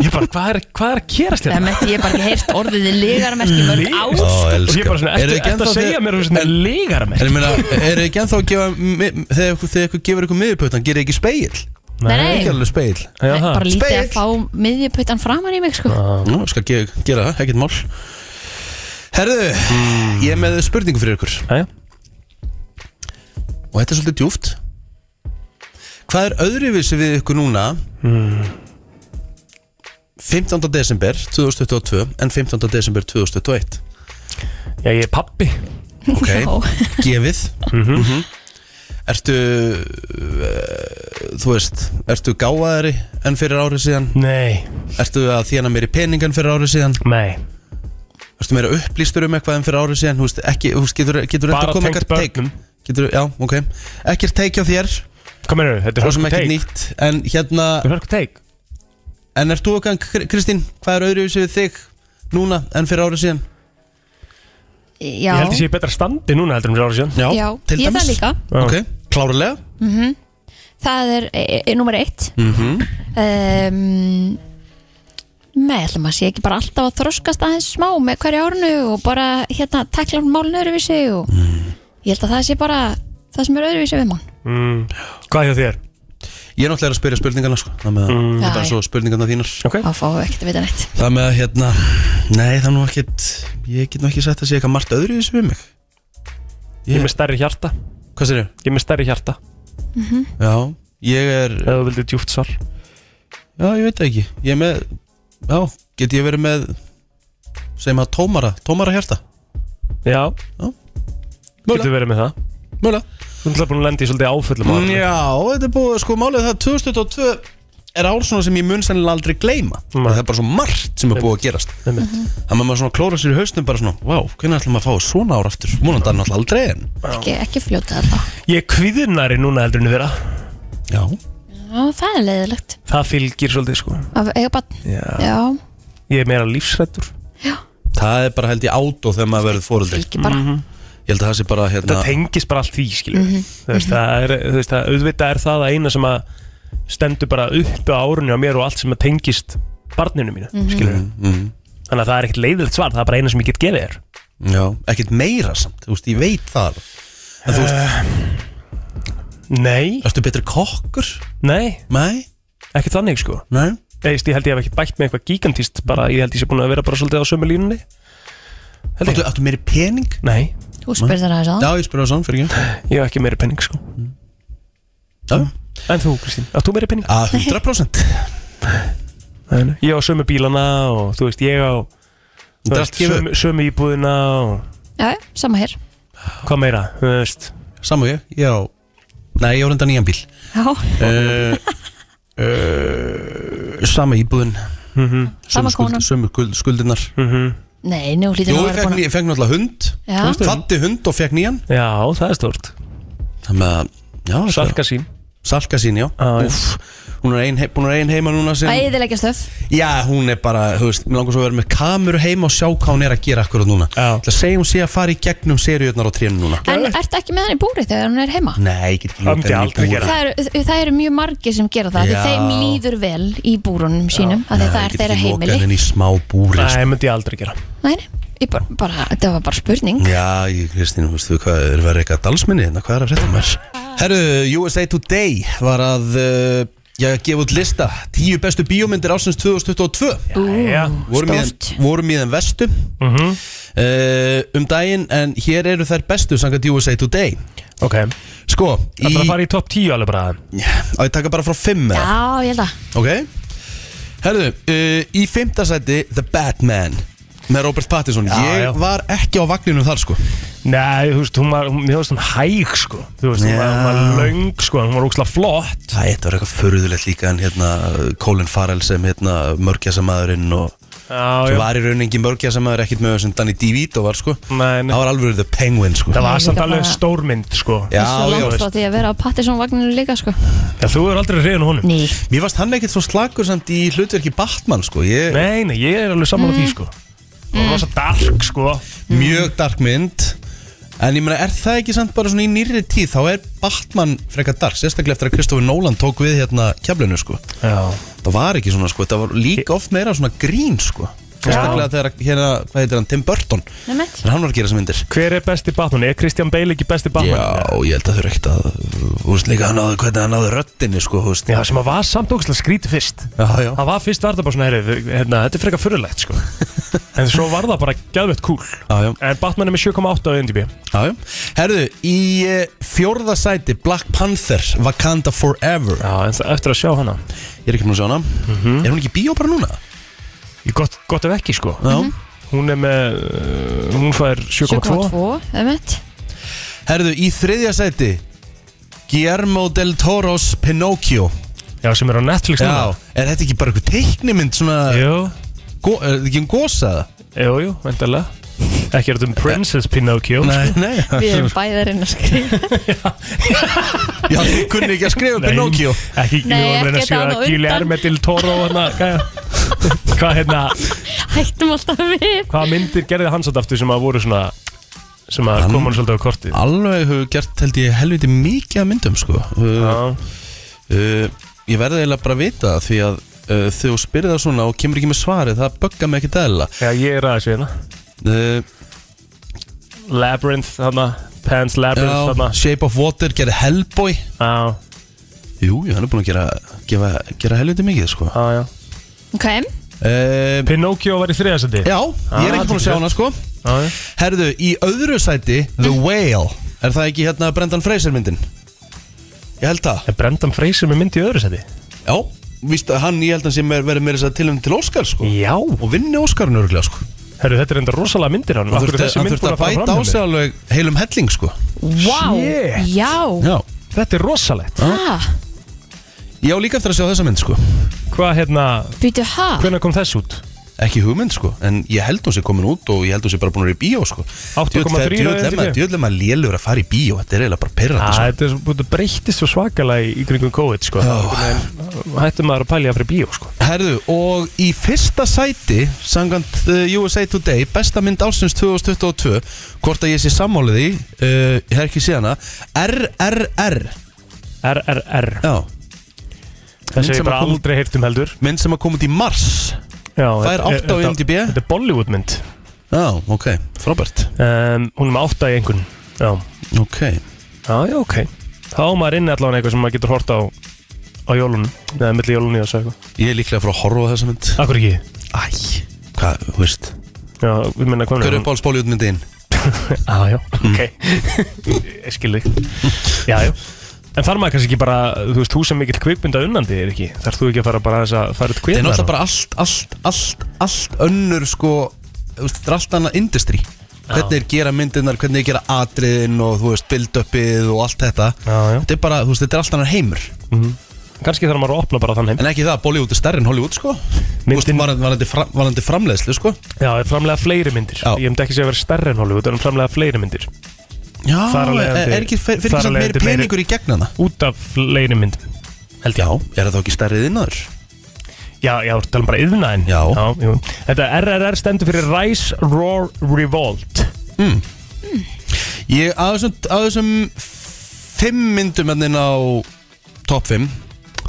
ég bara, hvað er, hvað er að gerast hérna? Það þér? metti ég bara ekki heyrt orðið í leikar að merkja mörg á Ó, og elska. ég bara svona, Eru ertu, ekki ertu ennþá að segja þið- mér að þú er En legaramerki? ég meina, er ekki ennþá að gefa mi- Þegar ykkur- þegar ykkur gefur ykkur miðupötan, gerir ekki speil Nei, Ekki nei, alveg speil Já, það. bara lítið að Spegill. fá miðjuputtan framar í mig sko Nú, skal ge gera það, ekkert mál Herðu, ég er með spurningu fyrir ykkur Jæja. Og þetta er svolítið djúft Hvað er öðruvísi við ykkur núna 15. desember 2022 en 15. desember 2021 já, ég er pappi Ok, Já. gefið Mhm. Ertu uh, Þú veist Ertu gáðari enn fyrir árið síðan nei, Ertu að þjána meiri pening enn fyrir árið síðan nei, Ertu meira upplýstur um eitthvað enn fyrir árið síðan Þú veist, ekki, þú veist, getur, getur Bara þetta komið tengt eitthvað teik börnum. Getur, já, ok Ekkert teik hjá þér, hvað meður, þetta er svo sem hörku ekkert teik nýtt En hérna, þetta er hörku teik en ert þú okkar, Kristín Hvað er öðru við þig núna enn fyrir árið síðan Já, ég held að sé í betra standi núna heldur um fyrir ára síðan já, til ég dæmis það líka Ok, klárlega Það er e, e, nummer eitt mm um, Nei, ætlum að sé ekki bara alltaf að þroskast aðeins smá með hverju árnu og bara hérna tekla hún málun öðruvísi og Mm. ég held að það sé bara það sem er öðruvísi við mann mm. hvað hjá þér? Ég er náttúrulega að spyrja spurningarna sko. Það með að, mm. Já, bara já. svo spurningarna þínar Okay. þá fáum við ekkert að vita neitt Það með að hérna Nei það er nú ekkert Ég get nú ekki sagt að sé eitthvað margt öðru í þessu við mig ég er ég, með stærri hjarta Hvað sér ég? ég er með stærri hjarta, Já Ég er ef þú vildir djúft svar Já ég veit það ekki Ég er með Já Get ég verið með Segjum að tómara Tómara hjarta já, getur Mögulega verið með það Mögulega Þú ætlaði búin að lenda í svolítið áföllum á árinu. Já þetta er búið Sko málið er það 2022 er ár svona sem ég mun sennilega aldrei gleyma Nei. Það er bara svo margt sem er búið að gerast Mhm. Einmitt. Það með maður svona klóra sér í hausnum bara svona Vá, hvernig ætlum maður að fá svona ár aftur? Múnan það er náttúrulega aldrei en ekki, ekki fljóta þetta Ég er kviðunari núna heldur en vera Já Já, það er leiðilegt Það fylgir svolítið sko að eiga bann Já. Já, Ég er meira lífsrættur Það er bara held ég átó þegar maður verður fóruldri ekki bara Ég held að það sé bara Þetta hérna tengist bara allt því skilur mm -hmm. þú, veist, það er, þú veist, það, auðvitað er það að eina sem að stendur bara uppi á árunni á mér og allt sem að tengist barninu mínu, mm Mhm. Mhm. Þannig að það er ekkert leiðilegt svar, það er bara eina sem ég get gefið þér Já, ekkert meira samt, þú veist, ég veit það alveg. En þú veist Nei Ertu betri kokkur? Nei Nei Ekkert þannig sko Nei Eist, Ég held ég hef ekki bætt með eitthvað gigantíst bara, ég held ég sé búin að vera bara svolítið á sömu línunni Áttu, áttu meiri pening? Nei Þú spurðir það þess Já, ég spurði það saman fyrir ekki Ég hef ekki meiri pening sko Já Ah, En þú Kristín, átt þú meiri pening? Að 100% Nei, nei. Ég á sömu bílana og þú veist, ég á þú Þetta er veist, allt gefið sömu, sömu íbúðina og Já, sama hér hvað meira, þú veist Samu ég, ég á Nei, ég á reynda nýjan bíl Já, uh, uh, Sama íbúðin mm -hmm. Sama konan. Sömu skuld, skuldinnar mm -hmm. nei, nú hlýtur Jú, nú að ég vera fekk, búin ný- ég fekk náttúrulega hund Já. Þú veist það? Fatti hund og fekk nýjan Já, það er stort Þannig að já, sko. þetta- Salka Ah. sín Salka sín, já já. Úff, Hún er ein, he- búin að vera ein heima núna að sem Æðilegja stöf Já, hún er bara, þú veist, mér langar svo að vera með kameru heima og sjá hvað hún er að gera akkurat núna Það segjum sé að fara í gegnum seriurnar á trénu núna En ertu ekki með hann í búri þegar hún er heima? Nei, ég get ekki Það látið myndi henni í aldrei búri. gera. Það eru, það eru mjög margir sem gera Já. það því þeim líður vel í búrunum sínum af því Nei, það er þeirra Ég get ekki heimili lokað henni í smá búri sko. Nei, myndi ég aldrei gera Nei, ég bara, bara, þetta var bara spurning Já, ég, Kristín, þú veistu hvað, er verið eitthvað dalsminni hérna, hvað er að frétta mér? Herru, USA Today var að, uh, ég gefa út lista, tíu bestu bíómyndir ásins 2022 Já, vorum í, þeim, vorum í þeim vestu Mhm. uh, um daginn, en hér eru þær bestu samkvæmt USA Today ok Sko, Það er að fara í topp 10 alveg bara á ég taka bara frá fimm eða? Já, ég held að Ok Herðu, uh, í fimmta sæti The Batman með Robert Pattinson Já, Ég já. var ekki á vagninu þar sko Nei, þú veist, hún var, hún, mér veist hún hæg sko Þú veist, hún var, hún var Já. löng sko, hún var ógslag flott Það þetta var eitthvað förðulegt líka en hérna Colin Farrell sem hérna mörgjasamæðurinn og Já, sem já, var í rauninni engin mörgjasamæður ekkit með sem Danny DeVito var sko nei, nei Það var alveg The Penguin sko Það Nei, var samt líka alveg bara- stórmynd sko Já, Svo já, langt veist. frá því að vera á Pattinson-vagninu líka sko Já, þú er aldrei reyðin honum Ný Mér varst hann ekkit svo slagur samt í hlutverki Batman sko Ég, Nei, nei, ég er alveg saman á því sko Hún var svo dark sko Mjög dark mynd En ég meina, er það ekki samt bara svona í nýri tíð þá er Batman frekar dark sérstaklega eftir að Kristofur Nólan tók við hérna kjaflinu sko Já það var ekki svona sko, það var líka oft meira svona grín sko sérstaklega þegar hérna, hvað heitir hann, Tim Burton Nefnt. en hann var að gera sem myndir Hver er besti Batman? Er Kristján Bale ekki besti Batman? Já, ég held að þau eru ekkert að Þú veist líka hann náðu, hvernig hann náðu röddinni sko, þú veist Já, sem að var samt ógæslega skrítið fyrst já, já. Það var fyrst var það bara svona, heyrðu, hérna, þetta er frekar fyrirlegt sko En svo var það bara gæðvett kúl Já, já. En Batman er með 7,8 á NDB Já, já. Herðu, í eh, fjórða sæti Black Panther, Wakanda Forever Já, en það eftir að sjá hana Ég er ekki búin að sjá hana Er hún ekki í bíó bara núna? Ég gott, gott ef ekki sko Já Hún er með, uh, hún fær 7,2 7,2, emmett Herðu, í þriðja sæti Guillermo del Toro's Pinocchio Já, sem er á Netflix Já, er þetta ekki bara eitthvað teiknimynd svona, Jú, go, er þetta ekki um gósaða? jú, jú, vendarlega Ekki er þetta um Princess Pinocchio Nei, nei Við erum bæðarinn að skrifa Já, þið kunni ekki að skrifa Nei, Pinocchio Ekki, Nei, ég var að reyna ekki að skrifa þetta á undan. Guillermo del Toro hana, hvað, hvað hérna Hættum alltaf við Hvaða myndir gerði hans að aftur sem að voru svona sem að Hann- koma hann svolítið á kortið Alveg hefur gert held ég helviti mikið að myndum sko uh, Já, uh, Ég verði eiginlega bara að vita það, því að uh, þegar þú spyrir það svona og kemur ekki með svarið það böggar mig ekki dæla já ég er aðeins við hérna uh, Labyrinth þarna, Pan's Labyrinth já, þarna Shape of Water gerði Hellboy Já, Jú, jú, hann er búin að gera, gefa, gera helviti mikið sko já, já Ok, uh, Pinocchio var í þriðasendi Já, ég Ah, er ekki búin að sjá hana sko já Herðu, í öðru sæti The Whale Er það ekki hérna Brendan Fraser myndin? Ég held það Er Brendan Fraser með mynd í öðru sendi? Já, víst að hann, ég held að hann sem er verið meira þess að tilum til Óskar sko Já og vinni Óskarinn örgulega sko Herru, þetta er enda rosalega myndir hann hann Af hverju er þurfti, þessi hann mynd þurfti búin að bæta á fram hjá sig mér? alveg heilum helling sko wow, Shit. já já. Þetta er rosalegt Ha, ég á líka eftir að sjá þessa mynd sko Hvað hérna, býtu ha hvenær kom þess út? ekki hugmynd sko, en ég held hún sé komin út og ég held hún sé bara búin að vera í bíó sko 8,3 á IMDb. djöðlega maður lélur að fara í bíó þetta er eiginlega bara Æ, perrandi sko. Þetta er svo- þetta breyttist svo svakalega í, í kringum COVID sko. Hættum maður að pælja fyrir bíó sko. herðu, og í fyrsta sæti sangant uh, USA Today besta mynd ásins 2022 hvort að ég sé sammálið í uh, ég hef ekki séð hana RRR RRR já, Þessi hef ég bara aldrei heyrt um heldur Mynd sem að koma út í mars Já, Það er þetta- 8 á þetta- IMDb Þetta er Bollywood mynd Já, ok, frábært um, Hún er með 8 í einhvern Já, ok já, já ok Þá á maður inni allavega eitthvað sem maður getur hort á á jólunum, eða milli jólunni og svo eitthvað Ég er líklega að fara að horfa á þessa mynd Akkur ekki? Æ, hvað, þú veist Já, við minna hvað Hver er uppáhalds Bollywoodmyndin? Já, já, ok Ég skil þig Já, já En þarf maður kannski ekki bara, þú veist, þú sem mikill kvikmynda unnandi er ekki Þarf þú ekki að fara bara aðeins að fara út Það er kvikmynda náttúrulega bara allt, allt, allt, allt önnur sko þú veist, Þetta er allt annað industry Hvernig þeir gera myndirnar, hvernig þeir gera atriðin og þú veist, build-upið og allt þetta já, já. Þetta er bara, þú veist, þetta er allt annar heimur Mhm. Kannski þarf maður að opna bara þann heim En ekki það, Bollywood er stærri en Hollywood sko Myndin... Vist, varandi, varandi, fram, varandi framleiðslu sko Já, er framlega fleiri myndir Ég myndi ekki segja að vera stærri en Hollywood, en framlega fleiri myndir Já, e, Þar af leiðandi- er ekki fyrir þar af þess að meiri leiðandi meiri- peningur í gegnana Út af fleiri myndum Held ég Já, er það þá ekki stærrið innaður? Já, já, við talum bara yðnaðin Já, jú. Þetta RRR stendur fyrir Rise, Roar, Revolt mm. Ég, á þessum, á þessum Fimm myndum ennin á Top 5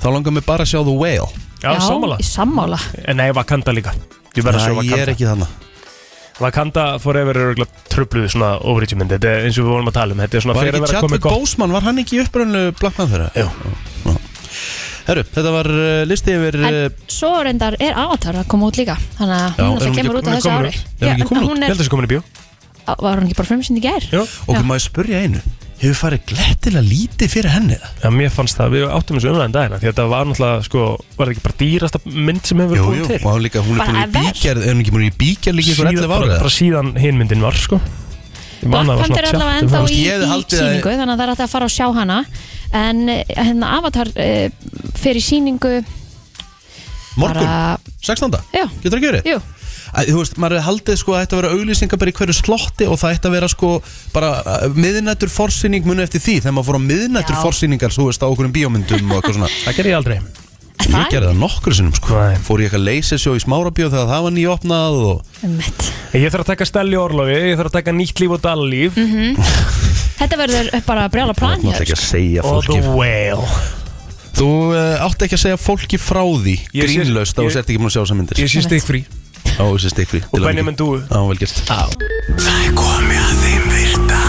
Þá langar mig bara að sjá The Whale Já, sammála. í sammála En Eh, Nei, Vakanda líka Ég verð að sjá Æ, Vakanda ég er ekki þarna Vakanda Forever er örgulega trubluð svona overreach mynd Þetta er eins og við vorum að tala um Þetta er svona Var fyrir ekki að vera að koma Chadwick Boseman, var hann ekki í upprönnu Black Panther? Jú Herru, þetta var uh, listi yfir En uh, svo reyndar er Avatar að koma út líka Þannig að Já, er hún alltaf hún kemur ekki- út á hún er komin þessu ári út? Er hún ekki komin út? Ég held að sé komin í bíó. Á- Var hún ekki bara frumsýnd í gær? Já Ok, maður ég spurja einu Hefur farið glettilega lítið fyrir henni það? Já, mér fannst það Við áttum þessu umræðin dagina Því að þetta var náttúrulega sko Var þetta ekki bara dýrasta mynd sem hefur Jú, búin jú, til og hún líka, hún er Bara búin í ever. bíkjærð Er hún ekki búin í bíkjærð líka í ykkur 11 bara, ára? bara síðan hinmyndin var sko Ég man að það var svona Black Panther er allavega tjatt, ennþá fannst- í, í síningu þannig að það er alltaf að fara og sjá hana en eh, hérna Avatar uh, fyrir síningu Morgun, Bara- 16. Já. Getur það verið? Jú. Æ, Þú veist, maður hefði haldið sko að þetta vera auglýsingar bara í hverju slotti og það ætti að vera sko bara uh, miðnættur forsýning muni eftir því þegar maður fór á miðnættur Já. forsýningar þú veist á okkurum bíómyndum og eitthvað svona Það gerði ég aldrei Ég gerði það nokkur sinnum sko Fór ég eitthvað leysisjó í smárabíó þegar það var nýopnað og... Ég þarf að taka Stelli Orlofi Ég þarf að taka Nýtt líf og Dallíf Mhm. þetta verður bara að brjála plan Þú átt ekki að segja Og fólki The Whale Þú uh, átt ekki að segja fólki frá því Ég sé- Grínlaust þá ég- þú sért ekki múin að sjá þessar myndir Ég sé Stigfrí. Já, ég sé stikfrí Og Benjamin Dúu Já, vel gert Það er komið að þeim virta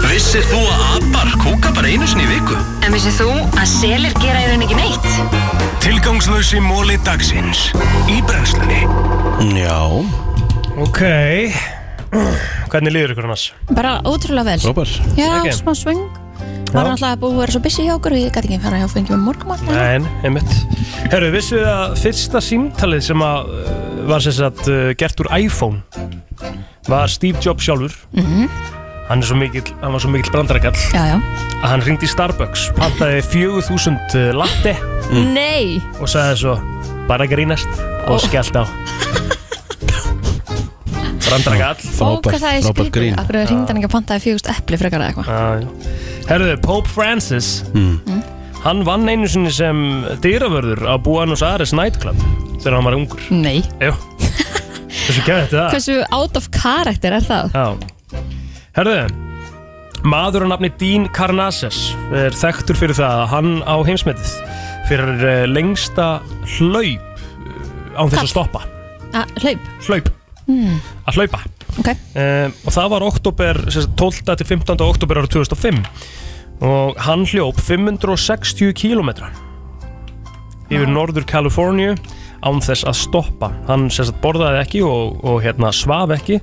Vissir þú að abar kúka bara einu sinni í viku? En vissið þú að selir gera í rauninni ekki neitt? Tilgangslösi móli dagsins Í brennslunni Já Ok Hvernig líður ykkur annars? bara ótrúlega vel Frábær. já, Ekki? smá svöng var Já. náttúrulega búið að vera svo busy hjá okkur og ég gæti ekki fara hjá fengjum um morgumat Nein, einmitt Herru, vissu þið að fyrsta símtalið sem að uh, var sem sagt uh, gert úr iPhone var Steve Jobs sjálfur Mhm. hann, er svo mikill, hann var svo mikill brandarakall já, já að hann ringdi í Starbucks pantaði 4000 latte Mm. nei og sagði svo bara grínast og skellt á Brandarakall og hvað það er skrítið akkur er hringdan ekki að pantaði fjögust epli frekar eða eitthvað Já, Hmm. já. Herðu, Pope Francis Hann vann einu sinni sem dýravörður á Buenos Aires nightclub þegar hann var ungur nei Jú, þessu kemur þetta hversu out of character er það Já. Herðu, maður á nafni Dean Karnases er þekktur fyrir það að hann á heimsmetið fyrir eh, lengsta hlaup eh, án þess að stoppa A, Ah, hlaup Hlaup, mm. að hlaupa ok um, og það var oktober, 12. til 15. oktober árið 2005 og hann hljóp 560 kilometra yfir Norður Kaliforníu án þess að stoppa hann sem sagt borðaði ekki og, og hérna svaf ekki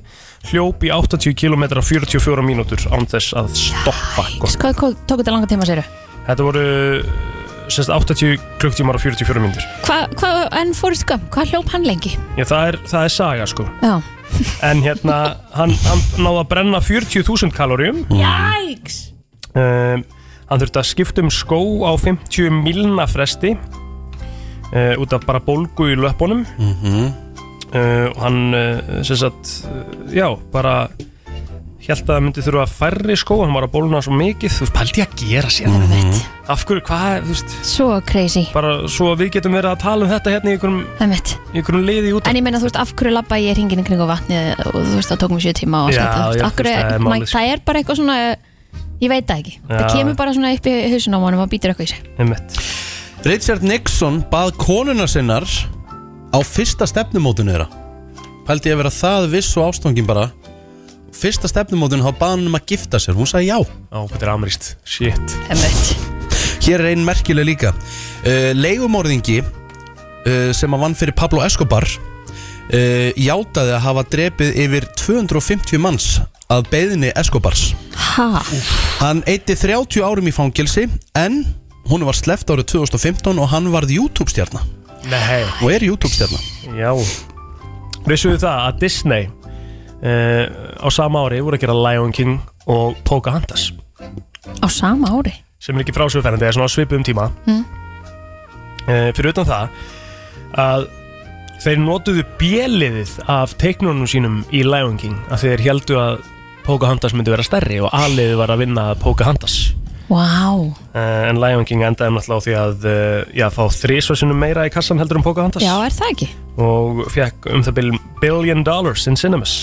hljóp í 80 km 44 mínútur án þess að stoppa sko. Hvað hvað tók þetta langa tíma séru? þetta voru sem sagt 80 klukktímar og 44 mínútur Hvað, hva, en Forrest Gump, hvað hljóp hann lengi? Já, það, er, það er saga sko Já en hérna hann, hann náði að brenna 40.000 kaloríum Jæks um, hann þurfti að skipta um skó á 50 milna fresti uh, út af bara bólgu í löpunum Mhm. uh, og hann uh, sem sagt, uh, já, bara held að það myndi þurfa færri skó hann var að bóluna svo mikið, þú veist, pældi ég að gera sér mm -hmm. af hverju, hvað, þú veist Mhm. Svo crazy bara svo að við getum verið að tala um þetta hérna í einhverjum, Einmitt. í einhverjum liði út En ég meina, þú veist, af hverju labba ég hringin í kring og vatni og þú veist, það tók mér 7 tíma og allt Já, þetta, já, þú veist, af hverju, þú veist, það er maður- málið, sko. það er bara eitthvað svona, ég veit það ekki Já. Það kemur bara svona upp í hausun á mánum og býtir eitthvað í sig einmitt Richard Nixon bað konuna sinnar á fyrsta stefnumótinu þeirra Pældi ég að vera það viss og ástangin bara Fyrsta stefnumótinu þá bað hann um að gifta sér, hún sagði já Á, hvað er amrist, shit Hér er einn merkileg líka uh, Leigumorðingi uh, sem að vann fyrir Pablo Escobar uh, játaði að hafa drepið yfir 250 manns að beðinni Escobars Ha? Hann eitti 30 árum í fangelsi en hún var sleppt árið 2015 og hann varð YouTube-stjarna Nei og er YouTube-stjarna Já Vissuðu það að Disney uh, á sama ári voru að gera Lion King og Pocahontas Á sama ári? sem er ekki frásögferðandi, það er svona á svipum tíma Mm. Eh, fyrir utan það að þeir notuðu bjeliðið af teiknunum sínum í Lion King að þeir heldu að Pocahontas myndi vera stærri og aliðið var að vinna Pocahontas Vá uh, en Lion King endaði náttúrulega á því að uh, já, fá þrísvarsinum meira í kassan heldur um Pocahontas Já, er það ekki? og fekk um það bil- billion dollars in cinemas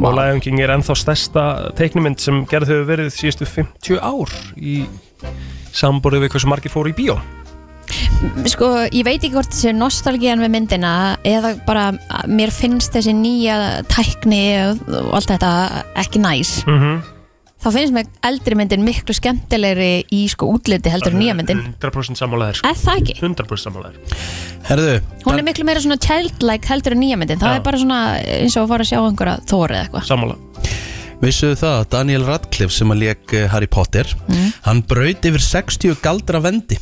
og Lion King er ennþá stærsta teiknumynd sem gerð hefur verið síðustu 50 ár í samborðið við hversu margir fóru í bíó Sko, ég veit ekki hvort þessi nostalgían við myndina eða bara að mér finnst þessi nýja tækni og og allt þetta ekki næs Mhm. þá finnst mér eldri myndin miklu skemmtilegri í sko útliti heldur en nýja myndin 100% sammálaðir Er það ekki? 100% sammálaðir Herðu, Hún er miklu meira svona childlike heldur en nýja myndin það Já. er bara svona eins og að fara að sjá einhverja þóri eða eitthvað sammála Vissuðu það að Daniel Radcliffe sem að lék eh, Harry Potter Mm. hann braut yfir 60 galdra vendi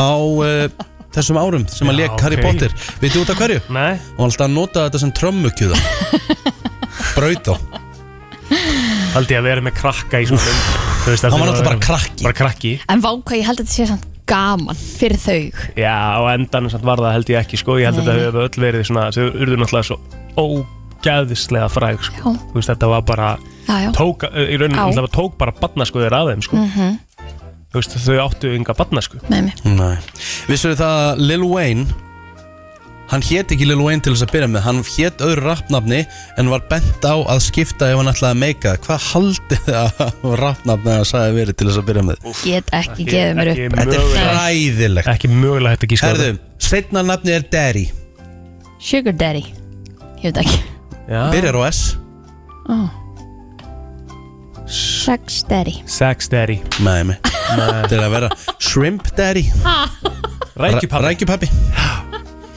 á uh, þessum árum sem að Já, lék Harry ok. Potter Vitið út af hverju? Nei Og alltaf að nota þetta sem trömmukjúða Braut á Haldi ég að vera með krakka í svona mynd Þú veist, Hann þetta var er náttúrulega bara krakki Bara krakki En vá hvað ég held að þetta sé samt gaman fyrir þau Já, á endanum samt var það held ég ekki sko Ég held Nei. að þetta hefur öll verið svona Þau urðu náttúrulega svo ógæðislega fræg sko. Já. Þú veist, þetta var bara Já, já tók, eh, í rauninu, Já. það tók bara barnaskuður að þeim sko. Mhm. Þú veist, þau áttu ynga barnasku Nei, nei. Nei Vissuðu það að Lil Wayne Hann hét ekki Lil Wayne til þess að byrja með Hann hét öðru rappnafni En var bent á að skipta ef hann ætlaði að meika það. Hvað haldið þið að rappnafni að sagði verið til þess að byrja með Get ekki gefið mér upp Þetta er fræðilegt Ekki mögulega hægt að gíska á Herðu, setna nafni er Derry Sugar Daddy Ég veit ekki Ah. Byrjar á S oh. Sex Daddy Sex Daddy Nei, nei Þetta er að vera Shrimp Daddy Rækjupappi Rækjupappi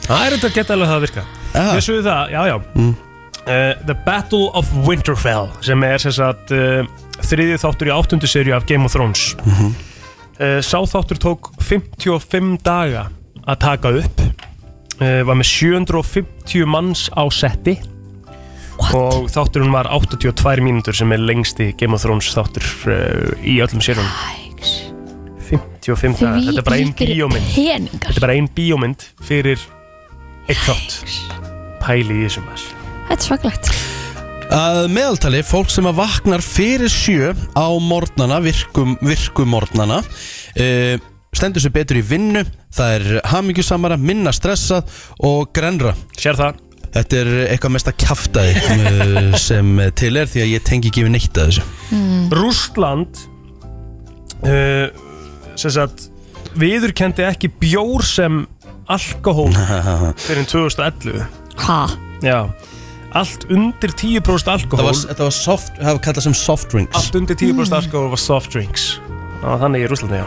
Það er þetta að geta alveg það að virka Ah. Þessu við það, já já Uh, The Battle of Winterfell sem er sem sagt uh, þriðið þáttur í áttundu serju af Game of Thrones uh, Sá þáttur tók 55 daga að taka upp uh, var með 750 manns á setti What? og þátturinn var 82 mínútur sem er lengsti Game of Thrones þáttur uh, í öllum serjum 55 daga, þetta er bara einn Þvílíkir bíómynd peningar. Þetta er bara einn bíómynd fyrir eitt þátt Pæli í þessum þess Þetta er svaklegt Að meðaltali, fólk sem að vaknar fyrir sjö á morgnana, virkum, virkum morgnana uh, stendur sér betur í vinnu, það er hamingjusamara, minna stressað og grenra Sér það Þetta er eitthvað mest að kjafta sem til er því að ég tengi ekki við neitt að þessu mm. Rústland uh, sem sagt viður kendi ekki bjór sem alkohól fyrir 2011 Ha? Já, allt undir 10% alkohól Það var, þetta var soft, það var kallað sem soft drinks Allt undir 10% alkohol var soft drinks Það var þannig í Rússlandi, já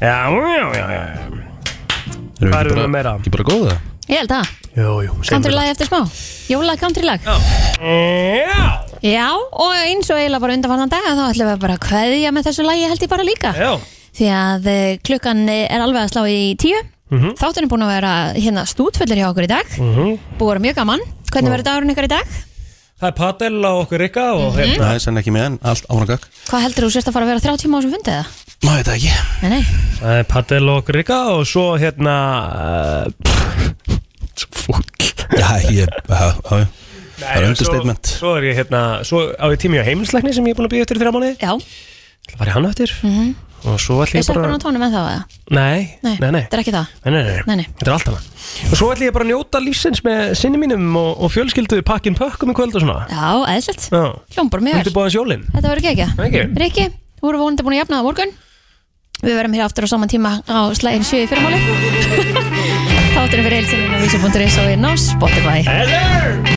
Já, já, já, já Erum Hvað við ekki erum bara- við meira? Ekki bara góða Ég held að Jú, jú, segjum Country við lag eftir smá Jóla country lag Já Já, og eins og eiginlega bara undanfarnan dag þá ætlum við bara að kveðja með þessu lagi held ég bara líka Já Því að eh, klukkan er alveg að slá í tíu Mhm. Þátturinn er búin að vera hérna stútfullur hjá okkur í dag Mhm. Búið að vera mjög gaman Hvernig verður dagurinn ykkar í dag? Það er padel á okkur ykkar og það hérna er senn ekki með en allt ánagak Hvað heldur þú sérst að fara að vera þrjá tíma á þessum fundi eða? Má þetta ekki Nei, nei Það er padel á okkur ykkar og svo hérna uh, Svo fúk Já, ég, já, já, já. það er understatement svo, svo er ég hérna Svo á ég tími á heimilisleikni sem ég er búin að býja eftir í þrjá mánuði Já Það var ég hann eftir mm Og svo ætlum Er ég bara stelpan á tónum en þá eða? Nei, Nei, nei, nei Þetta er ekki það Nei, nei, nei, Nei, nei. þetta er allt annað Og svo ætlum ég bara að njóta lífsins með sinni mínum og, og fjölskyldu pakkin pökkum í kvöld og svona Já, eðslegt Já, Hljómbar mjög vel undirbúðans jólin Þetta verður ekki ekki Ekki. Rikki, þú eru vonandi búin að jafna það á morgun Við verðum hér aftur á saman tíma á slæðin 7 í fyrirmáli Þátturinn fyrir heilsinni á vísi.is og inn á Spotify Hello!